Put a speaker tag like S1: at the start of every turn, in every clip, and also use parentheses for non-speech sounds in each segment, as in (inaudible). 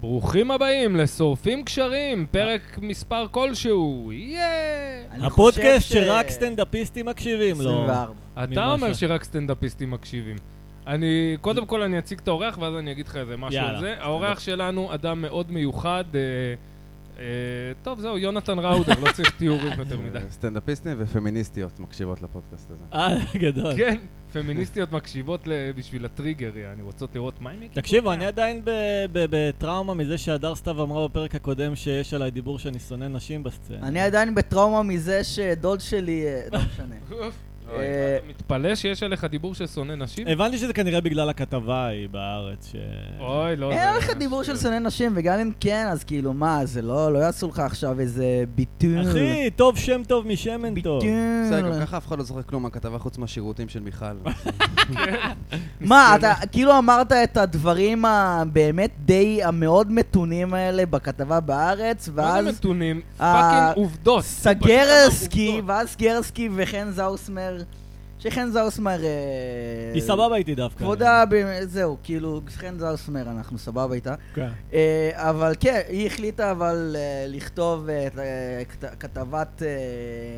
S1: ברוכים הבאים לשורפים קשרים, פרק מספר כלשהו, יאה!
S2: אני
S3: הפודקאסט
S2: חושב ש-
S3: שרק סטנדאפיסטים מקשיבים
S1: לא-
S3: לו.
S2: 24.
S1: אתה
S3: ממה
S2: לא-
S1: אומר
S3: ש-
S1: שרק סטנדאפיסטים מקשיבים. אני, קודם כל אני אציג את האורח ואז אני אגיד לך איזה משהו
S3: יאללה.
S1: על זה. האורח שלנו אדם מאוד מיוחד, אה, אה, טוב זהו, יונתן ראודר, לא צריך תיאורים יותר
S2: (laughs)
S1: מדי.
S4: סטנדאפיסטים ופמיניסטיות מקשיבות לפודקאסט הזה.
S3: אה, גדול.
S1: כן, פמיניסטיות מקשיבות ל- בשביל הטריגר, אני רוצות לראות מה הם
S2: (laughs)
S1: יגידו.
S3: תקשיבו, אני עדיין ב- ב- בטראומה מזה שהדר סתיו אמרה בפרק הקודם שיש עליי דיבור שאני שונא נשים
S1: כן.
S3: בסצנה.
S2: אני עדיין בטראומה מזה שדוד שלי... אה,
S1: (laughs)
S2: לא משנה. אה,
S1: אתה מתפלא שיש עליך דיבור ששונא נשים?
S3: הבנתי שזה כנראה בגלל הכתבה ההיא בארץ, ש...
S1: אוי, לא.
S2: אין
S1: זה-
S2: לך דיבור של שונא נשים, וגם אם כן, אז כאילו, מה, זה לא, לא יעשו לך עכשיו איזה ביטול.
S3: אחי, טוב שם טוב משמן טוב.
S4: בסדר, גם
S2: ביטול.
S4: ככה אף אחד לא זוכר כלום מהכתבה חוץ מהשירותים של מיכל. (laughs)
S2: מה, אתה כאילו אמרת את הדברים הבאמת די המאוד מתונים האלה בכתבה בארץ,
S1: מה
S2: ואז
S1: זה מתונים?
S2: אה,
S1: פאקינג עובדות. פשוט
S2: סגרסקי,
S1: עובדות.
S2: ואז סגרסקי וחן זאוסמר, שחן זאוסמר... אה,
S3: היא סבבה איתי דווקא.
S2: כבודה, ב- זהו, כאילו, חן זאוסמר, אנחנו סבבה איתה.
S3: כן.
S2: אה, אבל כן, היא החליטה אבל אה, לכתוב אה, אה, כת- כתבת אה,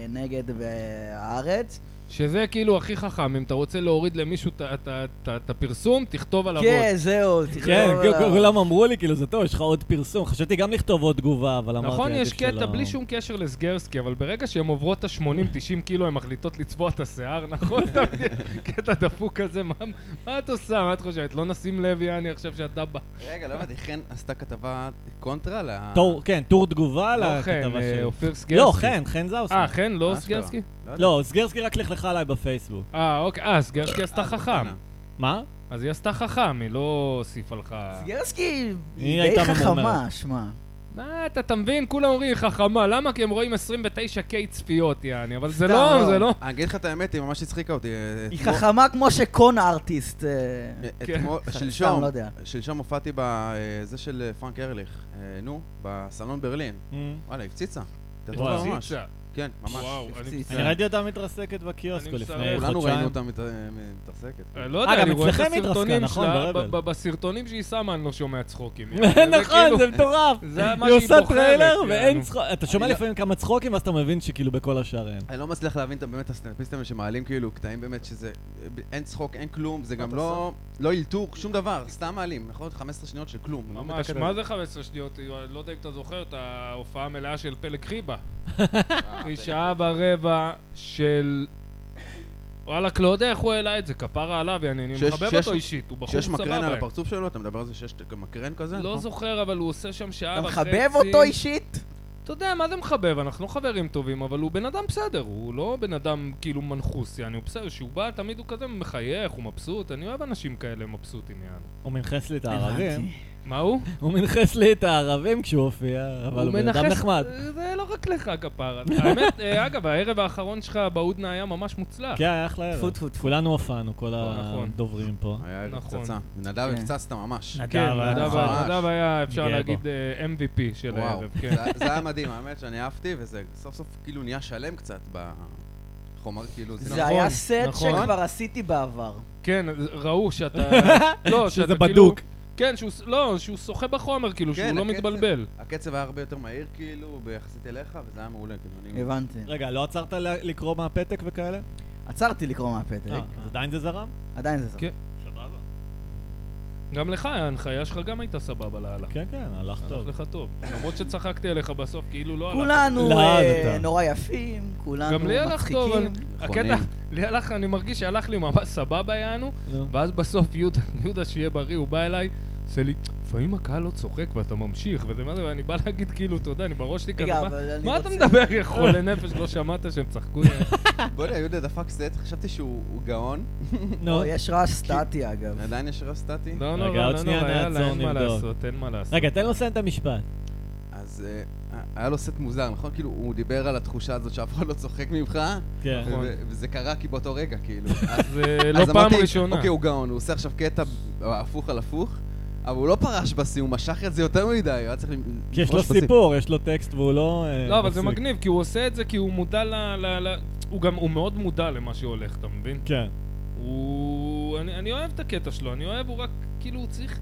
S2: נגד והארץ.
S1: שזה כאילו הכי חכם, אם אתה רוצה להוריד למישהו את- את- את- את הפרסום, תכתוב עליו עוד.
S2: כן, זהו, תכתוב
S3: כן,
S2: עליו.
S3: כ- כולם אמרו לי, כאילו, זה טוב, יש לך עוד פרסום. חשבתי גם לכתוב עוד תגובה, אבל אמרתי...
S1: נכון,
S3: עדיף
S1: יש קטע
S3: שלא.
S1: בלי שום קשר לסגרסקי, אבל ברגע שהן עוברות את ה-80-90 קילו, הן מחליטות לצבוע את השיער, נכון? אתה מבין? קטע דפוק כזה, מה- מה את עושה? מה את חושבת? לא נשים לב, יעני, עכשיו שאתה בא.
S4: רגע, לא הבנתי, חן עשתה כתבה קונטרה ל...
S3: טור, כן, טור תגובה
S1: לא חן,
S3: לכתבה
S1: אה,
S3: שלי.
S1: אופיר סגרסקי.
S3: לא, חן, חן זאוס.
S1: אה, חן, לא
S4: אשכרה.
S1: סגרסקי?
S4: יודע.
S3: לא, סגרסקי רק לכלכה עליי בפייסבוק.
S1: אה, אוקיי, אה, סגרסקי עשתה
S4: אה, זה
S1: חכם.
S4: קטנה.
S3: מה?
S1: אז היא עשתה חכם, היא לא הוסיפה לך...
S2: סגרסקי
S3: היא
S2: היא
S3: הייתה
S2: די
S3: ממורמרת.
S2: חכמה, שמע.
S1: מה, אתה אתה מבין? כולם אומרים היא חכמה, למה? כי הם רואים 29K צפיות, יעני, אבל זה
S2: סתם,
S1: לא,
S2: לא.
S1: זה לא.
S4: אה, אני אגיד לך את האמת, היא ממש הצחיקה אותי. אה,
S2: היא
S4: אתמול-
S2: חכמה כמו שקון ארטיסט. אה,
S4: אה,
S1: כן.
S4: אתמול-
S2: סתם,
S4: שלשום,
S2: לא יודע.
S4: שלשום הופעתי בזה של אה, פרנק ארליך, אה, נו, בסלון ברלין. וואלה, הפציצה.
S3: וואו.
S4: תתקוף ממש.
S1: פיצה.
S4: כן, ממש.
S1: וואו, אני
S2: הפציצה.
S3: אני ראיתי אותה מתרסקת בקיוסק
S1: אני
S3: לפני
S1: מסרב.
S3: חודשיים.
S4: כולנו ראינו אותה מת- אה, מתרסקת.
S1: אה, לא
S3: אה,
S1: יודע,
S3: גם
S1: אני רואה את
S3: אצלכם היא התרסקה,
S1: הסרטונים
S3: נכון,
S1: שלה,
S3: ברבל.
S1: ב- ב- בסרטונים שהיא שמה אני לא שומע צחוקים.
S3: (laughs) (laughs) נכון, זה מטורף.
S1: זה מה
S3: היא
S1: שהיא
S3: עושה
S1: בוחרת,
S3: טריילר
S1: יענו.
S3: ואין צחוק. אתה שומע
S4: אני לא-
S3: לפעמים כמה צחוקים, ואז אתה מבין שכאילו בכל השאר אין.
S4: אני לא מצליח להבין את באמת הסטנדאפיסטים האלה שמעלים כאילו קטעים באמת שזה אין צחוק, אין כלום, זה גם
S2: אתה
S4: לא לא אלתור, שום דבר, סתם מעלים, נכון? 15 שניות של כלום. אני לא
S1: ממש,
S4: מתקדם.
S1: מה זה 15 שניות? אני לא יודע אם אתה זוכר את ההופעה המלאה של פלג
S3: (laughs)
S1: חיבה. היא שעה ורבע של... וואלכ, לא יודע איך הוא העלה את זה, כפרה עליו, יעני, אני
S4: שיש-
S1: מחבב
S4: שיש-
S1: אותו אישית, הוא בחור
S4: שיש מקרן על
S1: סבבה.
S4: הפרצוף שלו, אתה מדבר על זה שיש גם מקרן כזה?
S1: לא
S4: נכון?
S1: זוכר, אבל הוא עושה שם שעה
S2: אתה
S1: וחצי.
S2: מחבב אותו אישית?
S1: אתה יודע, מה זה מחבב? אנחנו חברים טובים, אבל הוא בן אדם בסדר, הוא לא בן אדם כאילו מנחוס, יעני, הוא בסדר, שהוא בא, תמיד הוא כזה מחייך, הוא מבסוט, אני אוהב אנשים כאלה מבסוטים, יעני.
S3: הוא מנחס לי את הערבים.
S2: הבנתי.
S1: מה הוא?
S3: הוא מנחס לי את הערבים כשהוא הופיע, אבל הוא בן אדם
S1: מנחש-
S3: נחמד.
S1: זה לא רק לך, כפרה. האמת, אה, אגב, הערב האחרון שלך בהודנה היה ממש מוצלח.
S3: כן, היה אחלה ערב.
S2: טפו, טפו, טפו.
S3: כולנו הופענו, כל
S1: נכון.
S3: הדוברים פה.
S4: היה ערב
S1: נכון.
S4: פצצה. נדב
S2: כן.
S4: הפצצת ממש.
S3: נדב
S1: כן,
S3: היה
S1: נדב
S4: ממש.
S1: נדב היה, אפשר
S3: גאה בו.
S1: להגיד, אה, MVP של
S4: וואו.
S1: הערב,
S3: (laughs)
S1: כן.
S4: זה- זה היה מדהים, האמת שאני אהבתי, וזה סוף סוף כאילו נהיה שלם קצת בחומר, כאילו, זה
S2: זה
S1: נכון,
S2: היה סט
S1: נכון.
S2: שכבר עשיתי בעבר.
S1: כן, ראו שאתה...
S3: (laughs)
S1: לא,
S3: שזה
S1: שאתה כאילו-
S3: בדוק.
S1: כן, שהוא ס- לא, שהוא שוחה בחומר, כאילו,
S4: כן,
S1: שהוא לא
S4: הקצב-
S1: מתבלבל.
S4: הקצב היה הרבה יותר מהיר כאילו, ביחסית אליך, וזה היה מעולה, כאילו, אני...
S2: הבנתי.
S3: רגע, לא עצרת ל- לקרוא מהפתק וכאלה?
S2: עצרתי לקרוא מהפתק.
S3: אה, אז עדיין זה זרם?
S2: עדיין זה
S1: כן.
S2: זאת.
S3: סבבה.
S1: גם לך, ההנחיה שלך גם הייתה סבבה לאללה.
S3: כן, כן, הלך
S1: אה. הלך
S3: טוב.
S1: לך טוב. למרות שצחקתי עליך בסוף, כאילו לא הלך.
S2: כולנו
S3: לאן
S2: אה,
S3: אתה?
S2: נורא יפים, כולנו
S1: גם לי הלך טוב,
S2: מצחיקים.
S1: אבל-
S4: נכונים.
S1: הקטע, לי הלך, אני מרגיש שהלך לי ממש סבבה יענו,
S3: נו.
S1: ואז בסוף יהודה, (laughs) יהודה שיהיה בריא, הוא בא אליי, עושה לי, לפעמים הקהל לא צוחק ואתה ממשיך, וזה מה זה, ואני בא להגיד כאילו, אתה יודע, אני בראש שלי כזה,
S2: רגע,
S1: "מה-
S2: אבל אני
S1: מה אתה
S2: רוצה-
S1: מדבר, יא חולה נפש, לא שמעת שהם צחקו?
S4: בוא'נה, יהודה דפק סט, חשבתי שהוא הוא גאון,
S3: נו.
S2: לא, יש רעש סטטי אגב.
S4: עדיין יש רע סטטי.
S1: לא
S3: רגע,
S1: נורא,
S3: עוד
S1: לא נורא,
S3: שנייה
S1: יאללה,
S3: נעצור,
S1: אין מה
S3: נבדוק.
S1: לעשות, אין מה לעשות.
S3: רגע, תן לו לסיים את המשפט.
S4: אז אה, היה לו סט מוזר, נכון? כאילו, הוא דיבר על התחושה הזאת שאף אחד לא צוחק ממך,
S3: כן.
S1: נכון.
S4: ו- וזה קרה כי באותו רגע, כאילו.
S1: (laughs)
S4: אז-
S1: זה
S4: אז
S1: לא פעם
S4: אמרתי,
S1: ראשונה.
S4: אוקיי, הוא גאון, הוא עושה עכשיו קטע אה, הפוך על הפוך, אבל הוא לא פרש בשיא, הוא משך את זה יותר מדי, הוא היה צריך למ-
S3: כי יש לו
S4: לפרוש בשיא.
S3: סיפור, יש לו טקסט והוא לא... אה,
S1: לא, אבל זה
S3: מפסיק.
S1: מגניב, כי הוא עושה את זה כי הוא מודע ל... ל- ל- הוא גם, הוא מאוד מודע למה שהולך, אתה מבין?
S3: כן.
S1: הוא... אני, אני אוהב את הקטע שלו, אני אוהב, הוא רק, כאילו, הוא צריך...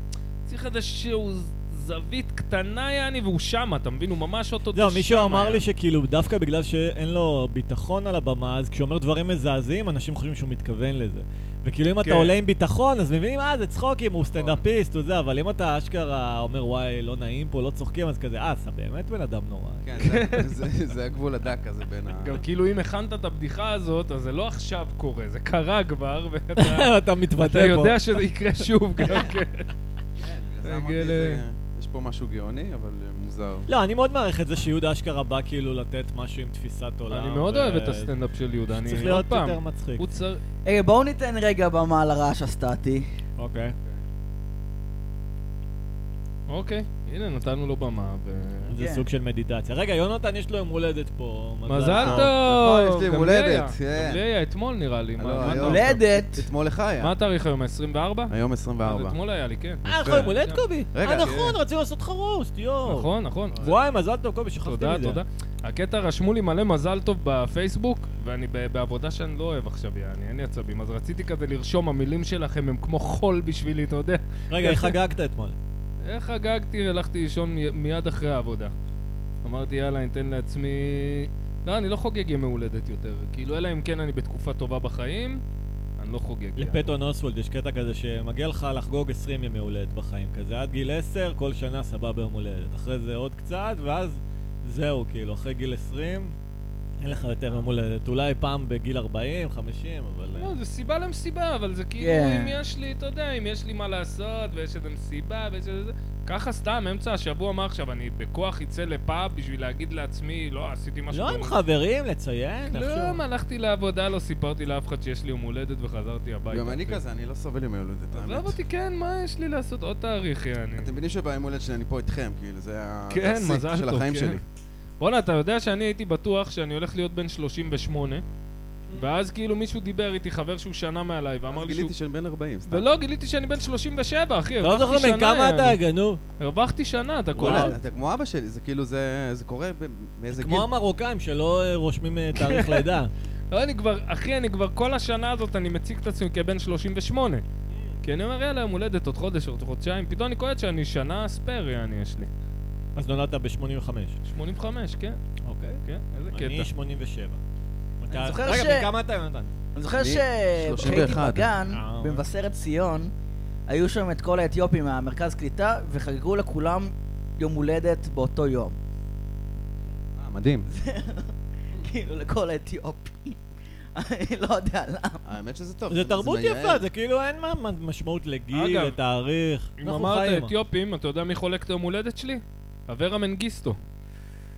S1: צריך איזה שהוא ז- זווית קטנה יעני, והוא שמה, אתה מבין? הוא ממש אותו
S3: זהו, לא, מישהו אמר לי שכאילו, דווקא בגלל שאין לו ביטחון על הבמה, אז כשהוא אומר דברים מזעזעים, אנשים חושבים שהוא מתכוון לזה. וכאילו, אם
S1: כן. נכון.
S3: אתה עולה עם ביטחון, אז מבינים, אה, זה צחוקים, הוא סטנדאפיסט וזה, אבל אם אתה אשכרה אומר, וואי, לא נעים פה, לא צוחקים, אז כזה, אה, אתה באמת בן אדם נורא.
S4: כן, זה- (laughs) זה- זה הגבול הדק הזה בין ה...
S1: גם כאילו אם הכנת את הבדיחה הזאת, אז זה לא עכשיו קורה, זה קרה כבר, ואתה
S3: (laughs) (laughs) אתה מתבטא פה.
S1: אתה יודע שזה יקרה שוב גם כן.
S4: כן, בגלל זה
S1: רגל,
S4: אמרתי, זה-
S1: אה.
S4: יש פה משהו גאוני, אבל אה, מוזר.
S3: לא, אני מאוד מעריך את זה שיהודה אשכרה בא כאילו לתת משהו עם תפיסת עולם.
S1: אני מאוד אוהב את
S3: ו-
S1: הסטנדאפ של יהודה,
S3: צריך
S1: אני עוד
S3: להיות
S1: פעם.
S3: יותר מצחיק.
S1: הוא צריך...
S2: רגע, בואו ניתן רגע במה לרעש הסטטי.
S3: אוקיי.
S1: אוקיי, הנה נתנו לו במה. ו-
S3: זה
S2: כן.
S3: סוג של מדיטציה. רגע, יונתן, יש לו יום הולדת פה.
S1: מזל
S4: נכון,
S1: טוב!
S4: יש לי
S1: גם
S4: יום
S1: לי
S4: הולדת,
S1: היה.
S4: כן.
S1: גם לי היה אתמול נראה לי. מה-
S4: לא,
S1: מה אתה-
S4: היום.
S2: הולדת.
S4: אתמול לך היה.
S1: מה התאריך היום? ה-24?
S4: היום 24.
S1: אתמול היה לי, כן.
S3: אה, נכון, יום הולדת קובי?
S4: רגע,
S3: אה, נכון,
S4: כן.
S3: רצינו לעשות לך רוסט, יואו.
S1: נכון, נכון.
S3: וואי, מזל טוב, קובי, שכחתי מזה.
S1: תודה, תודה. הקטע רשמו לי מלא מזל טוב בפייסבוק, ואני ב- בעבודה שאני לא אוהב עכשיו, יעני, אין לי עצבים. אז רציתי כזה לרשום, המילים שלכם הם כמו חול בשבילי, אתה יודע.
S3: רגע, איך חגגת אתמול?
S1: איך חגגתי, הלכתי לישון מי- מיד אחרי העבודה. אמרתי, יאללה, אני אתן לעצמי... לא, אני לא חוגג ימי הולדת יותר. כאילו, אלא אם כן אני בתקופה טובה בחיים, אני לא חוגג. יעני.
S3: לפטון אוסוולד יש קטע כזה שמגיע לך לחגוג 20 ימי הולדת בחיים כזה. עד גיל 10, כל שנה סבבה יום הולדת. אחרי זה עוד קצת, ואז זהו, כאילו, אחרי גיל 20, אין לך יותר יום הולדת. אולי פעם בגיל 40, 50, אבל... אה,
S1: לא, זה סיבה למסיבה, אבל זה כאילו,
S2: כן.
S1: אם יש לי, אתה יודע, אם יש לי מה לעשות, ויש איזה מסיבה, ויש איזה... ככה סתם, אמצע השבוע, מה עכשיו, אני בכוח אצא לפאב בשביל להגיד לעצמי, לא, עשיתי משהו... לא,
S3: לא
S1: גרוע."
S3: עם חברים, לציין,
S1: כלום,
S3: לחשוב.
S1: הלכתי לעבודה, לא סיפרתי לאף אחד שיש לי יום הולדת וחזרתי הביתה.
S4: גם אני
S1: אפילו.
S4: כזה, אני לא סובל יום הולדת,
S1: עזוב
S4: האמת.
S1: אותי, כן, מה יש לי לעשות? עוד תאריך, יעני.
S4: אתם מבינים שביום הולדת שלי אני פה איתכם, כאילו, זה
S1: כן,
S4: התעסיק
S1: מזל
S4: של
S1: טוב,
S4: החיים
S1: כן.
S4: שלי.
S1: בואנה, אתה יודע שאני הייתי בטוח שאני הולך להיות בן 38, ואז כאילו מישהו דיבר איתי, חבר שהוא שנה מעליי, ואמר
S4: אז
S1: לי שהוא...
S4: גיליתי שאני בן 40, סתם.
S1: ולא, גיליתי שאני בן 37, אחי,
S3: אתה לא
S1: הרווחתי שנה.
S3: זוכר בן כמה אתה,
S1: יעני.
S3: גנוב?
S1: הרווחתי שנה, אתה
S3: וואלה,
S1: קולט?
S4: וואלה, אתה כמו אבא שלי, זה כאילו, זה זה קורה ב- מאיזה גיל.
S3: כמו המרוקאים שלא אה, רושמים אה, תאריך לידה.
S1: לא, אני כבר, אחי, אני כבר כל השנה הזאת, אני מציג את עצמי כבן 38. כי אני אומר, יאללה, יום הולדת עוד חודש, עוד חודשיים, פתאום אני קולט שאני שנה ספייר, יעני, יש לי.
S3: אז נולדת ב-85.
S1: 85, כן,
S3: אוקיי.
S1: כן, איזה
S3: אני
S1: קטע.
S3: 87.
S2: אני זוכר ש-
S3: רגע, בן כמה אתה, יונתן?
S2: אני זוכר
S4: אני
S2: שכשהייתי
S4: 31.
S2: בגן,
S3: אה,
S2: במבשרת ציון, היו שם את כל האתיופים מהמרכז קליטה, וחגגו לכולם יום הולדת באותו יום. (laughs)
S4: אה, מדהים.
S2: כאילו, לכל האתיופים. (laughs) אני לא יודע למה.
S4: האמת שזה טוב.
S3: זה תרבות
S4: מייעל.
S3: יפה, זה כאילו אין מה- מה- משמעות לגיל,
S1: אגב,
S3: לתאריך.
S1: אם
S3: אנחנו
S1: אמרת
S3: חיים.
S1: אתיופים, אתה יודע מי חולק את היום הולדת שלי? אברה מנגיסטו,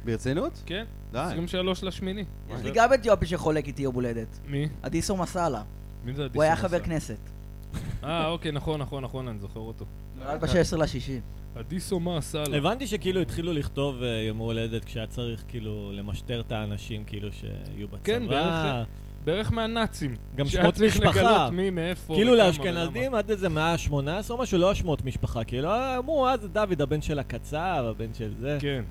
S4: ברצינות?
S1: כן?
S3: אה.
S4: די.
S1: 23 לשמיני.
S2: יש לי גם אתיופי שחולק איתי יום הולדת.
S1: מי?
S2: אדיסו מסאלה.
S1: מי זה
S2: הוא היה
S1: אדיסו
S2: חבר
S1: מסאלה?
S2: כנסת.
S1: אה, אוקיי, נכון, נכון, נכון, אני זוכר אותו.
S2: רק ב-16 לשישי.
S1: אדיסו מה עשה לו?
S3: הבנתי שכאילו התחילו לכתוב אה, יום הולדת כשהיה צריך כאילו למשטר את האנשים כאילו שיהיו
S1: כן,
S3: בצבא.
S1: בערך בערך מהנאצים.
S3: גם
S1: שהיה
S3: שמות
S1: צריך
S3: משפחה.
S1: לגלות מי, מאיפה.
S3: כאילו
S1: וכמה
S3: לאשכנזים עד איזה מאה ה-18 או משהו, לא השמות משפחה. כאילו אה, אמרו, אז דוד הבן של הקצב, הבן של זה.
S1: ולמה. כן.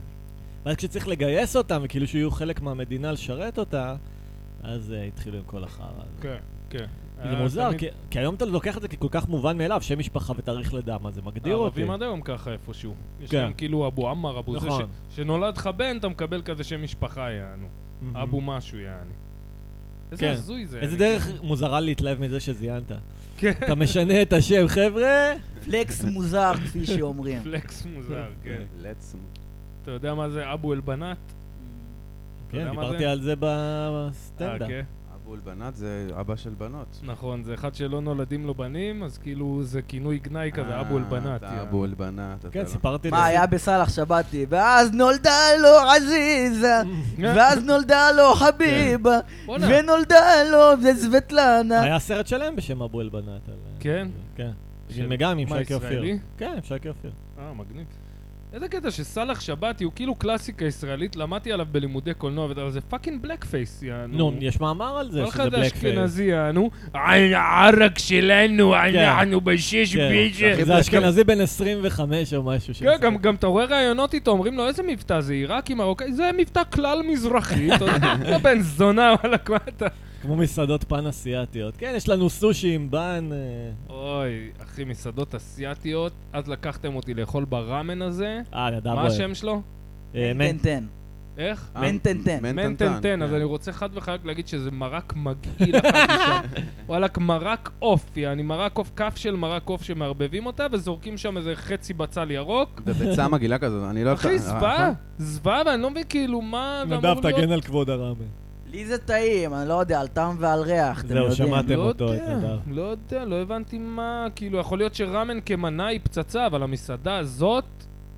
S3: ואז כשצריך לגייס אותם, וכאילו שיהיו חלק מהמדינה לשרת אותה, אז אה, התחילו עם כל החרא הזה.
S1: כן, כן.
S3: זה מוזר, כי- כי היום אתה לוקח את זה ככל כך מובן מאליו, שם משפחה ותאריך לידה, מה זה מגדיר אותי.
S1: הערבים עד היום ככה איפשהו. יש
S3: כן.
S1: להם כאילו אבו עמר, אבו זה,
S3: נכון.
S1: ש- שנולד לך בן, אתה מקבל כזה שם משפחה, יענו.
S3: Mhm.
S1: אבו משהו, יעני. איזה
S3: כן.
S1: הזוי זה.
S3: איזה
S1: אני- כאילו
S3: דרך מוזרה להתלהב מזה שזיינת.
S1: כן.
S3: אתה משנה את השם, חבר'ה.
S2: פלקס מוזר, כפי שאומרים.
S1: פלקס
S3: (laughs)
S1: מוזר, כן.
S4: Let's move.
S1: אתה יודע מה זה אבו אלבנת?
S3: כן,
S1: יודע מה
S3: דיברתי
S1: זה?
S3: על זה
S1: אה,
S3: בסטנדאפ.
S1: כן.
S4: אבול בנת זה אבא של בנות.
S1: נכון, זה אחד שלא נולדים לו בנים, אז כאילו זה כינוי גנאי כזה,
S4: אה,
S1: אבו אלבנת.
S4: אתה
S1: יעני.
S4: אבו אלבנת. אתה
S3: כן,
S1: אוקיי.
S4: לא.
S3: סיפרתי
S2: מה, היה בסאלח שבתי, ואז נולדה לו עזיזה, ואז נולדה לו חביבה,
S1: כן. בואנה.
S2: ונולדה לו זה סבטלנה.
S3: היה סרט שלם בשם אבו אלבנת. על-
S1: כן?
S3: כן.
S1: של-
S3: גם עם
S1: מה,
S3: שייקי אופיר.
S1: ישראלי?
S3: כן, עם שייקי אופיר.
S1: אה, מגניב. איזה קטע שסאלח שבתי הוא כאילו קלאסיקה ישראלית, למדתי עליו בלימודי קולנוע, אבל זה פאקינג בלק פייס, יענו.
S3: נו, יש מאמר על זה,
S1: כל
S3: שזה
S1: אחד
S3: בלק פייס.
S1: אשכנזי, יענו. הערק שלנו, אנחנו בשש בישה.
S3: כן, זה אשכנזי בן 25 או
S1: כן,
S3: משהו. שמשחק.
S1: גם- גם אתה רואה ראיונות איתו, אומרים לו, איזה
S3: (laughs)
S1: מבטא זה, עיראקי, מרוקאי? זה מבטא כלל מזרחי, אתה יודע, בן זונה, וואלה, מה אתה...
S3: כמו מסעדות פן אסיאתיות. כן, יש לנו סושי עם בן. אה,
S1: אוי, אחי, מסעדות אסיאתיות, אז לקחתם אותי לאכול בראמן הזה.
S3: אה, נדב
S1: מה
S3: אוהב.
S1: השם שלו?
S3: אה,
S2: תן,
S3: מנ-
S2: תן.
S1: איך?
S4: אה,
S2: מנטנטן.
S1: מנטנטן, אז
S4: כן.
S1: אני רוצה חד וחלק להגיד שזה מרק מגעיל אכלתי
S4: (laughs)
S1: שם. וואלכ, מרק עוף, יעני מרק עוף, כף של מרק עוף שמערבבים אותה וזורקים שם איזה חצי בצל ירוק.
S4: בביצה מגעילה כזאת, אני לא...
S1: אחי, זוועה, זוועה, ואני לא מבין כאילו מה...
S2: כן,
S1: זה
S3: נדב,
S1: אמור להיות-
S3: תגן על כבוד הרמה.
S2: לי זה טעים, אני לא יודע, על טעם ועל ריח, אתם
S3: זהו,
S2: יודעים.
S3: שמעתם
S1: לא
S3: אותו, את
S1: יודע,
S3: נדב.
S1: לא יודע, לא הבנתי מה, כאילו, יכול להיות שראמן כמנה היא פצצה, אבל המסעדה הזאת,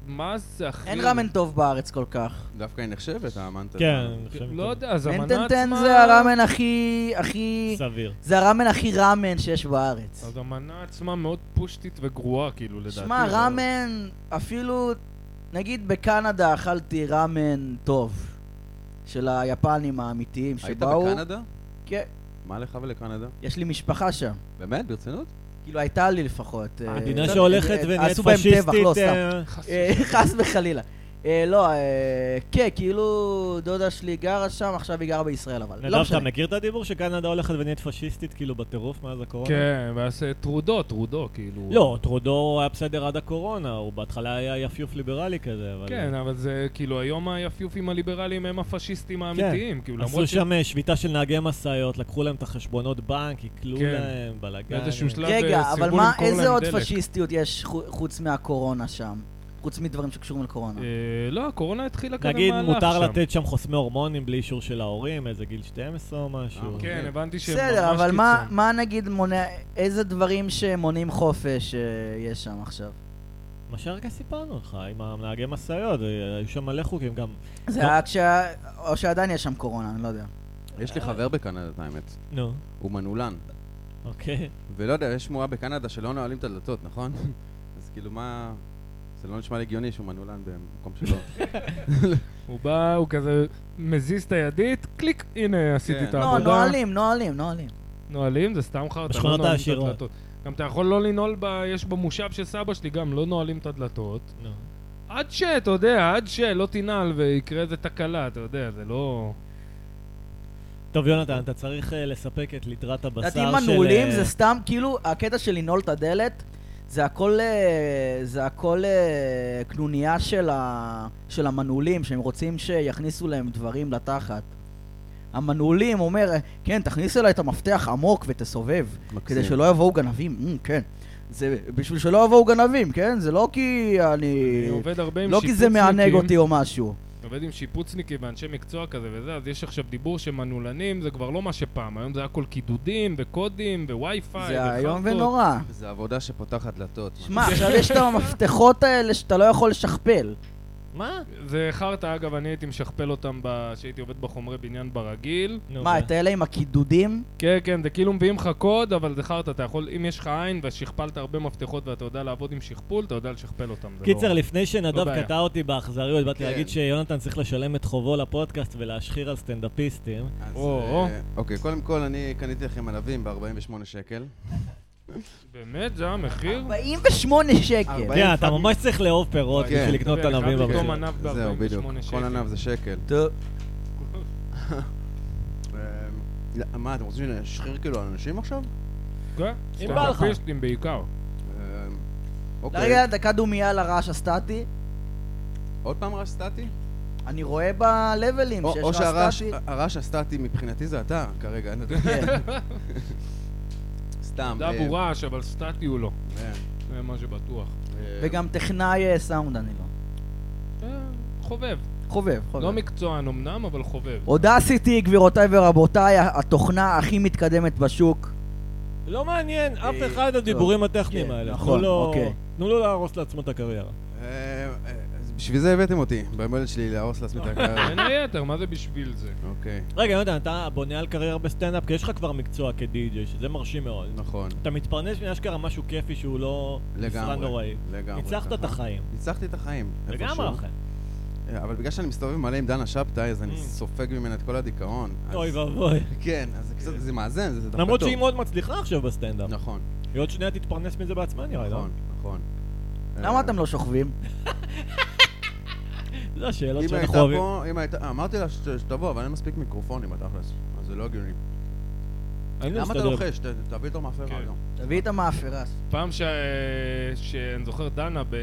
S1: מה זה, אחי?
S2: אין ראמן טוב בארץ כל כך.
S4: דווקא היא נחשבת, האמנת.
S3: כן, אני חושב
S1: לא
S3: שזה
S1: יודע, אז המנה עצמה...
S2: מנטנטן זה הראמן הכי... הכי...
S3: סביר.
S2: זה הראמן הכי ראמן שיש בארץ.
S1: אז המנה עצמה מאוד פושטית וגרועה, כאילו, אוקיי, לדעתי.
S2: שמע,
S1: זה-
S2: ראמן, אפילו... נגיד בקנדה אכלתי ראמן טוב. של היפנים האמיתיים
S4: היית
S2: שבאו...
S4: בקנדה?
S2: כן.
S4: מה לך ולקנדה?
S2: יש לי משפחה שם.
S4: באמת? ברצינות?
S2: כאילו, הייתה לי לפחות. אה,
S3: המדינה
S2: קצת-
S3: שהולכת
S2: אה,
S3: ונהיית
S2: עשו בהם טבח,
S3: פשיסטית,
S2: לא, סתם.
S3: אה,
S1: חס
S2: אה, (laughs) חס וחלילה. אה, לא, אה, כן, כאילו דודה שלי גרה שם, עכשיו היא גרה בישראל, אבל
S3: נדב,
S2: לא משנה.
S3: אתה מכיר את הדיבור שקנדה הולכת ונהיית פשיסטית, כאילו, בטירוף מאז הקורונה?
S1: כן, ואז אה, טרודו, טרודו, כאילו.
S3: לא, טרודו היה בסדר עד הקורונה, הוא בהתחלה היה יפיוף ליברלי כזה, אבל...
S1: כן, אבל זה כאילו היום היפיופים הליברליים הם הפשיסטים האמיתיים. כאילו,
S3: עשו
S1: למרות ש...
S3: שם אה, שביתה של נהגי משאיות, לקחו להם את החשבונות בנק, עיקלו
S1: כן.
S3: להם, בלאגן.
S1: באיזשהו שלב
S2: רגע,
S1: אה,
S2: אבל
S1: סירבו
S2: מה,
S1: למכור
S2: איזה
S1: להם
S2: עוד
S1: דלק.
S2: פשיסטיות יש חו- חוץ מהקורונה שם? חוץ מדברים שקשורים לקורונה.
S1: אה, לא, הקורונה התחילה
S2: כן,
S1: כזה מהלך
S3: נגיד,
S1: שם.
S3: מותר לתת שם חוסמי הורמונים בלי אישור של ההורים, איזה גיל 12 או משהו.
S4: אה,
S2: אוקיי.
S1: כן, הבנתי שהם ממש
S2: בסדר, אבל מה-
S1: קיצון.
S2: מה נגיד מונע, איזה דברים שמונעים חופש אה, יש שם עכשיו?
S3: מה שהרגע סיפרנו לך, עם הנהגי משאיות, אה, היו שם מלא חוקים גם.
S2: זה
S3: לא.
S2: היה כשה... או שעדיין יש שם קורונה, אני לא יודע.
S4: יש לי
S3: אה,
S4: חבר בקנדה, את האמת.
S3: נו,
S4: הוא מנעולן.
S3: אוקיי.
S4: ולא יודע, יש שמועה בקנדה שלא נועלים את הדלתות, נכון? (laughs) אז כאילו מה... זה לא נשמע לי הגיוני שהוא מנעולן במקום
S2: (laughs)
S4: שלו.
S1: הוא בא, הוא כזה מזיז את הידית, קליק, הנה, עשיתי
S4: כן.
S1: את
S4: לא,
S2: לא,
S1: העבודה.
S2: נוהלים, נוהלים, נוהלים.
S1: נוהלים זה סתם חרטא,
S3: בשכונות
S1: לא נועלים את
S3: העשירות.
S1: הדלתות. גם אתה יכול לא לנעול, ב... יש במושב של סבא שלי גם, לא נועלים את הדלתות.
S3: נו.
S1: עד ש, אתה יודע, עד שלא תנעל ויקרה איזה תקלה, אתה יודע, זה לא...
S3: טוב, יונתן, אתה צריך אה, לספק את ליטרת הבשר של...
S2: לדעתי מנעולים
S3: אה,
S2: זה סתם, כאילו, הקטע של לנעול את הדלת, זה הכל, אה, זה הכל אה, קנוניה של, ה, של המנעולים, שהם רוצים שיכניסו להם דברים לתחת. המנעולים אומר, כן, תכניס אליי את המפתח עמוק ותסובב, כדי שלא יבואו גנבים, mm, כן. זה בשביל שלא יבואו גנבים, כן? זה לא כי אני...
S1: אני עובד הרבה עם
S2: לא כי זה מענג
S1: שיפוצניקים.
S2: אותי או משהו.
S1: עובד עם שיפוצניקים ואנשי מקצוע כזה וזה, אז יש עכשיו דיבור שמנעולנים זה כבר לא מה שפעם, היום זה הכל קידודים וקודים ווי-פיי
S2: זה איום
S1: וחרטות.
S2: ונורא.
S4: זה עבודה שפותחת דלתות.
S2: שמע, עכשיו יש את המפתחות האלה שאתה לא יכול לשכפל.
S3: מה?
S1: זה חרטא, אגב, אני הייתי משכפל אותם ב- כשהייתי עובד בחומרי בניין ברגיל.
S3: נו, כן.
S2: מה,
S3: ו-
S2: את האלה עם הקידודים?
S1: כן, כן, זה כאילו מביאים לך קוד, אבל זה חרטא, אתה יכול, אם יש לך עין ושכפלת הרבה מפתחות ואתה יודע לעבוד עם שכפול, אתה יודע לשכפל אותם. זה
S3: קיצר,
S1: לא...
S3: לפני
S1: לא
S3: שנדב
S1: בעיה.
S3: קטע אותי באכזריות, באתי
S4: כן.
S3: להגיד שיונתן צריך לשלם את חובו לפודקאסט ולהשחיר על סטנדאפיסטים.
S4: אז,
S1: או,
S4: אה,
S1: או.
S4: אוקיי, קודם כל אני קניתי לכם ענבים ב-48 שקל.
S1: באמת? זה המחיר?
S2: 48 שקל.
S4: ארבעים.
S3: כן,
S4: באים
S3: אתה
S4: פאק-
S3: ממש צריך לאהוב פירות
S4: כן.
S3: בשביל לקנות את
S1: אני חייב לקנות
S3: ענבים במחיר.
S1: מנה. ענב ב-
S4: זהו,
S1: 48
S4: בדיוק. כל
S1: שקל.
S4: ענב זה שקל. (laughs)
S2: טוב,
S4: אה, מה, אתם רוצים שנשחיר כאילו על אנשים עכשיו?
S1: כן?
S3: אם בא לך.
S1: סטנדאפיסטים בעיקר.
S4: אה,
S2: רגע,
S4: אוקיי.
S2: דקה דומייה לרעש הסטטי.
S4: עוד פעם רעש סטטי?
S2: אני רואה בלבלים
S4: או או
S2: שיש רעש
S4: שהרעש
S2: סטטי.
S4: הרעש הסטטי מבחינתי זה אתה כרגע. אני לא
S1: (laughs)
S4: יודע.
S2: כן.
S4: סתם.
S1: דב
S2: אמ,
S4: אה,
S1: הוא רעש, אבל סטטי הוא לא.
S4: אה,
S1: זה מה שבטוח.
S4: אה,
S2: וגם טכנאי אה, סאונד אני לא.
S1: אה, חובב.
S2: חובב,
S1: לא
S2: חובב.
S1: מקצוען אמנם, אבל חובב.
S2: אודסיטי, גבירותיי ורבותיי, התוכנה הכי מתקדמת בשוק.
S3: לא מעניין אף
S2: אה,
S3: אחד הדיבורים הטכניים
S2: כן,
S3: האלה.
S2: נכון,
S3: תנו לו-
S2: אוקיי.
S3: תנו לו להרוס לעצמו את הקריירה.
S4: אה, אה, אז בשביל זה הבאתם אותי, ביום הולדת שלי להרוס לעצמי את הקריירה.
S3: כן.
S1: בין היתר, מה זה בשביל זה?
S4: אוקיי,
S3: רגע, יונתן, אתה בונה על קריירה בסטנדאפ, כי יש לך כבר מקצוע כדי-ג'יי, שזה מרשים מאוד.
S4: נכון,
S3: אתה מתפרנס מאשכרה משהו כיפי שהוא לא משרה
S4: לגמרי.
S3: נוראית.
S4: לגמרי.
S3: ניצחת את
S4: ככה.
S3: החיים.
S4: ניצחתי את החיים. איפשהו.
S3: לגמרי אחי.
S4: אה, אבל בגלל שאני מסתובב מלא עם דנה שבתאי, אז
S3: Mm.
S4: אני סופג ממנה את כל הדיכאון. אז-
S3: אוי ואבוי.
S4: כן, אז זה קצת, זה מאזן, זה דווקא טוב.
S3: למרות שהיא מאוד מצליחה עכשיו בסטנדאפ.
S4: נכון,
S3: היא עוד שנייה תתפרנס מזה בעצמה נראה לי, לא?
S4: נכון, נכון. אה,
S2: למה אתם לא שוכבים?
S3: זה השאלות
S4: אם
S3: שאנחנו
S4: הייתה אה,
S3: אוהבים.
S4: פה, אם הייתה, אמרתי לה ש- שתבוא, אבל אין מספיק מיקרופונים בתכלס, אז זה לא הגיוני.
S3: היינו
S4: למה אתה
S3: מסתדרים.
S4: לוחש? ת- תביא איתו מאפרה
S1: כן.
S4: גם.
S2: תביא את המאפרה.
S1: פעם ש... שאני זוכר דנה ב...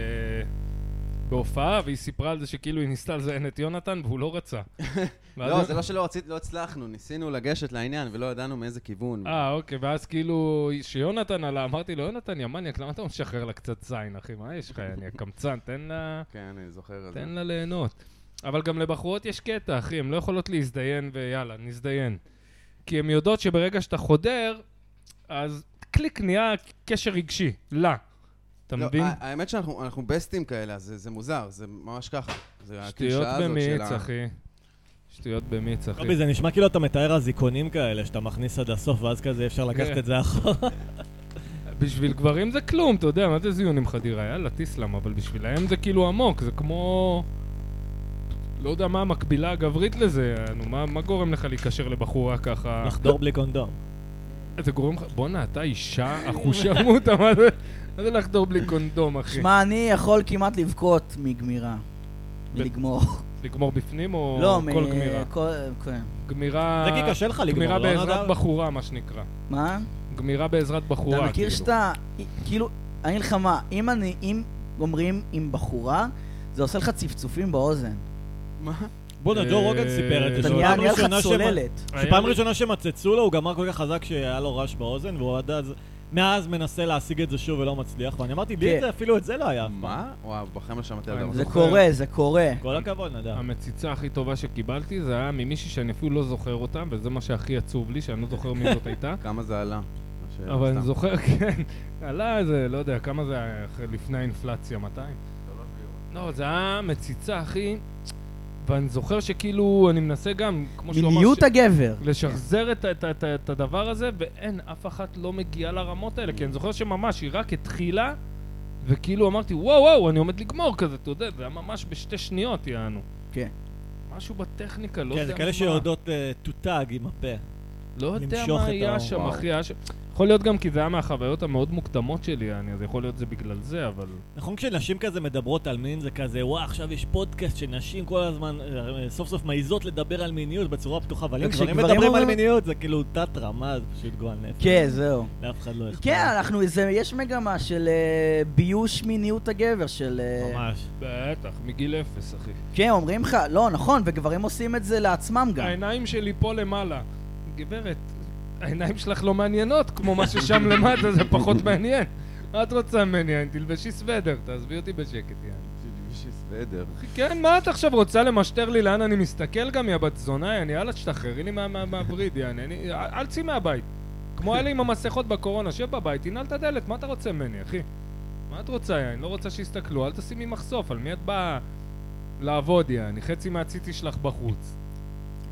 S1: בהופעה, והיא סיפרה על זה שכאילו היא ניסתה לזיין את יונתן, והוא לא
S4: (laughs)
S1: רצה.
S4: לא, זה לא שלא רצית, לא הצלחנו, ניסינו לגשת לעניין ולא ידענו מאיזה כיוון.
S1: אה, אוקיי, ואז כאילו, שיונתן עלה, אמרתי לו, יונתן, יא מניאק, למה אתה משחרר לה קצת זין, אחי? מה יש לך, אני הקמצן, תן לה...
S4: כן, אני זוכר את זה.
S1: תן לה ליהנות. אבל גם לבחורות יש קטע, אחי, הן לא יכולות להזדיין ויאללה, נזדיין. כי הן יודעות שברגע שאתה חודר, אז קליק נהיה קשר רגשי, לה. אתה
S4: לא,
S1: מבין?
S4: ה- האמת שאנחנו אנחנו בסטים כאלה, אז זה זה מוזר, זה ממש ככה. זה
S1: שטויות
S4: הקלישאה הזאת של
S1: במיץ,
S4: ה-
S1: אחי. שטויות במיץ, אחי.
S3: קובי, זה נשמע כאילו אתה מתאר אזיקונים כאלה, שאתה מכניס עד הסוף, ואז כזה אפשר לקחת
S1: כן.
S3: את זה אחורה.
S1: בשביל גברים זה כלום, אתה יודע, מה זה זיון עם חדירה? יאללה, תסלם, אבל בשבילהם זה כאילו עמוק, זה כמו... לא יודע מה המקבילה הגברית לזה, נו, מה, מה גורם לך להיקשר לבחורה
S4: אה.
S1: ככה?
S3: (laughs) לחדור בלי קונדום.
S1: זה גורם לך... בואנה, אתה אישה אחושמוטה, מה זה- מה זה לחדור בלי קונדום, אחי?
S2: שמע, אני יכול כמעט לבכות מגמירה.
S1: ב-
S2: מלגמור.
S1: לגמור בפנים או
S2: לא,
S1: כל
S2: מ-
S1: גמירה?
S2: כל- כן.
S1: גמירה...
S3: זה כי קשה לך לגמור,
S1: גמירה
S3: לא
S1: בעזרת
S3: נדב?
S1: בחורה, מה שנקרא.
S2: מה?
S1: גמירה בעזרת בחורה,
S2: אתה
S1: כאילו.
S2: מכיר שאתה, כאילו, אני אגיד לך מה, אם אני, אם גומרים עם בחורה, זה עושה לך צפצופים באוזן.
S4: מה?
S3: בואנה, ג'ו
S1: אה,
S3: רוגן סיפר את
S2: אתה
S3: זה.
S1: זו
S2: נהיה
S3: שפעם
S2: נהיה לך
S3: ראשונה שהם-
S2: צוללת.
S3: שפעם ראשונה שמצצו לו, הוא גמר כל כך חזק שהיה לו רעש באוזן, והוא עד אז... מאז מנסה להשיג את זה שוב ולא מצליח, ואני אמרתי, לי
S2: כן.
S3: את זה, אפילו את זה לא היה אף פעם.
S4: מה? וואו, בחיים לא שמעתי על
S1: אני
S2: זה
S1: זוכר.
S2: קורה, זה קורה.
S3: כל הכבוד, נדב.
S1: אמ, המציצה הכי טובה שקיבלתי זה היה ממישהי שאני אפילו לא זוכר אותה, וזה מה שהכי עצוב לי, שאני לא זוכר מי זאת הייתה.
S4: כמה (laughs) זה עלה? השאלה
S1: אבל אני
S4: סתם.
S1: זוכר, (laughs) כן, עלה איזה, לא יודע, כמה זה היה אחרי- לפני האינפלציה, 200? לא, זה היה מציצה, אחי, ואני זוכר שכאילו, אני מנסה גם, כמו שהוא אמר,
S2: מיניות
S1: ש-
S2: הגבר.
S1: לשחזר את, ה- את, ה- את, ה- את הדבר הזה, ואין, אף אחת לא מגיעה לרמות האלה, כי אני זוכר שממש, היא רק התחילה, וכאילו אמרתי, וואו, וואו, אני עומד לגמור כזה, אתה יודע, זה היה ממש בשתי שניות, יענו.
S2: כן.
S1: משהו בטכניקה, לא
S3: כן,
S1: יודע
S3: זה כאלה
S1: מה.
S3: שיודעות אה, תותג עם הפה.
S1: לא יודע
S3: למשוך
S1: מה
S3: את
S1: היה
S3: האור.
S1: שם,
S4: וואו.
S1: אחי, היה שם... יכול להיות גם כי זה היה מהחוויות המאוד מוקדמות שלי, אני, אז יכול להיות זה בגלל זה, אבל...
S3: נכון כשנשים כזה מדברות על מין זה כזה, וואה, עכשיו יש פודקאסט שנשים כל הזמן אה, סוף סוף מעיזות לדבר על מיניות בצורה פתוחה, אבל אם
S2: וכשגברים
S3: גברים מדברים על
S2: אומרים-
S3: מיניות זה כאילו תת רמה, זה פשוט גועל נפש.
S2: כן, זהו.
S3: לאף אחד לא אכפת.
S2: כן, אנחנו, זה, יש מגמה של אה, ביוש מיניות הגבר, של... אה,
S3: ממש.
S1: בטח, מגיל אפס, אחי.
S2: כן, אומרים לך, לא, נכון, וגברים עושים את זה לעצמם גם.
S1: העיניים שלי פה למעלה. גברת, העיניים שלך לא מעניינות, כמו מה ששם (laughs) למטה זה פחות מעניין. מה את רוצה ממני? אני תלבשי סוודר, תעזבי אותי בשקט, יאללה.
S4: בשביל סוודר.
S1: אחי, כן, מה את עכשיו רוצה למשטר לי לאן אני מסתכל גם, יא בת זונה, יעני, יאללה, תשתחררי לי מה- מה- מהווריד, יעני, אני- אל אל צאי מהבית. כמו אלה עם המסכות בקורונה, שב בבית, תנעל את הדלת, מה אתה רוצה ממני, אחי? מה את רוצה, יעני? לא רוצה שיסתכלו, אל תשימי מחשוף, על מי את באה לעבוד, יעני? חצי מהציצי שלך בחוץ.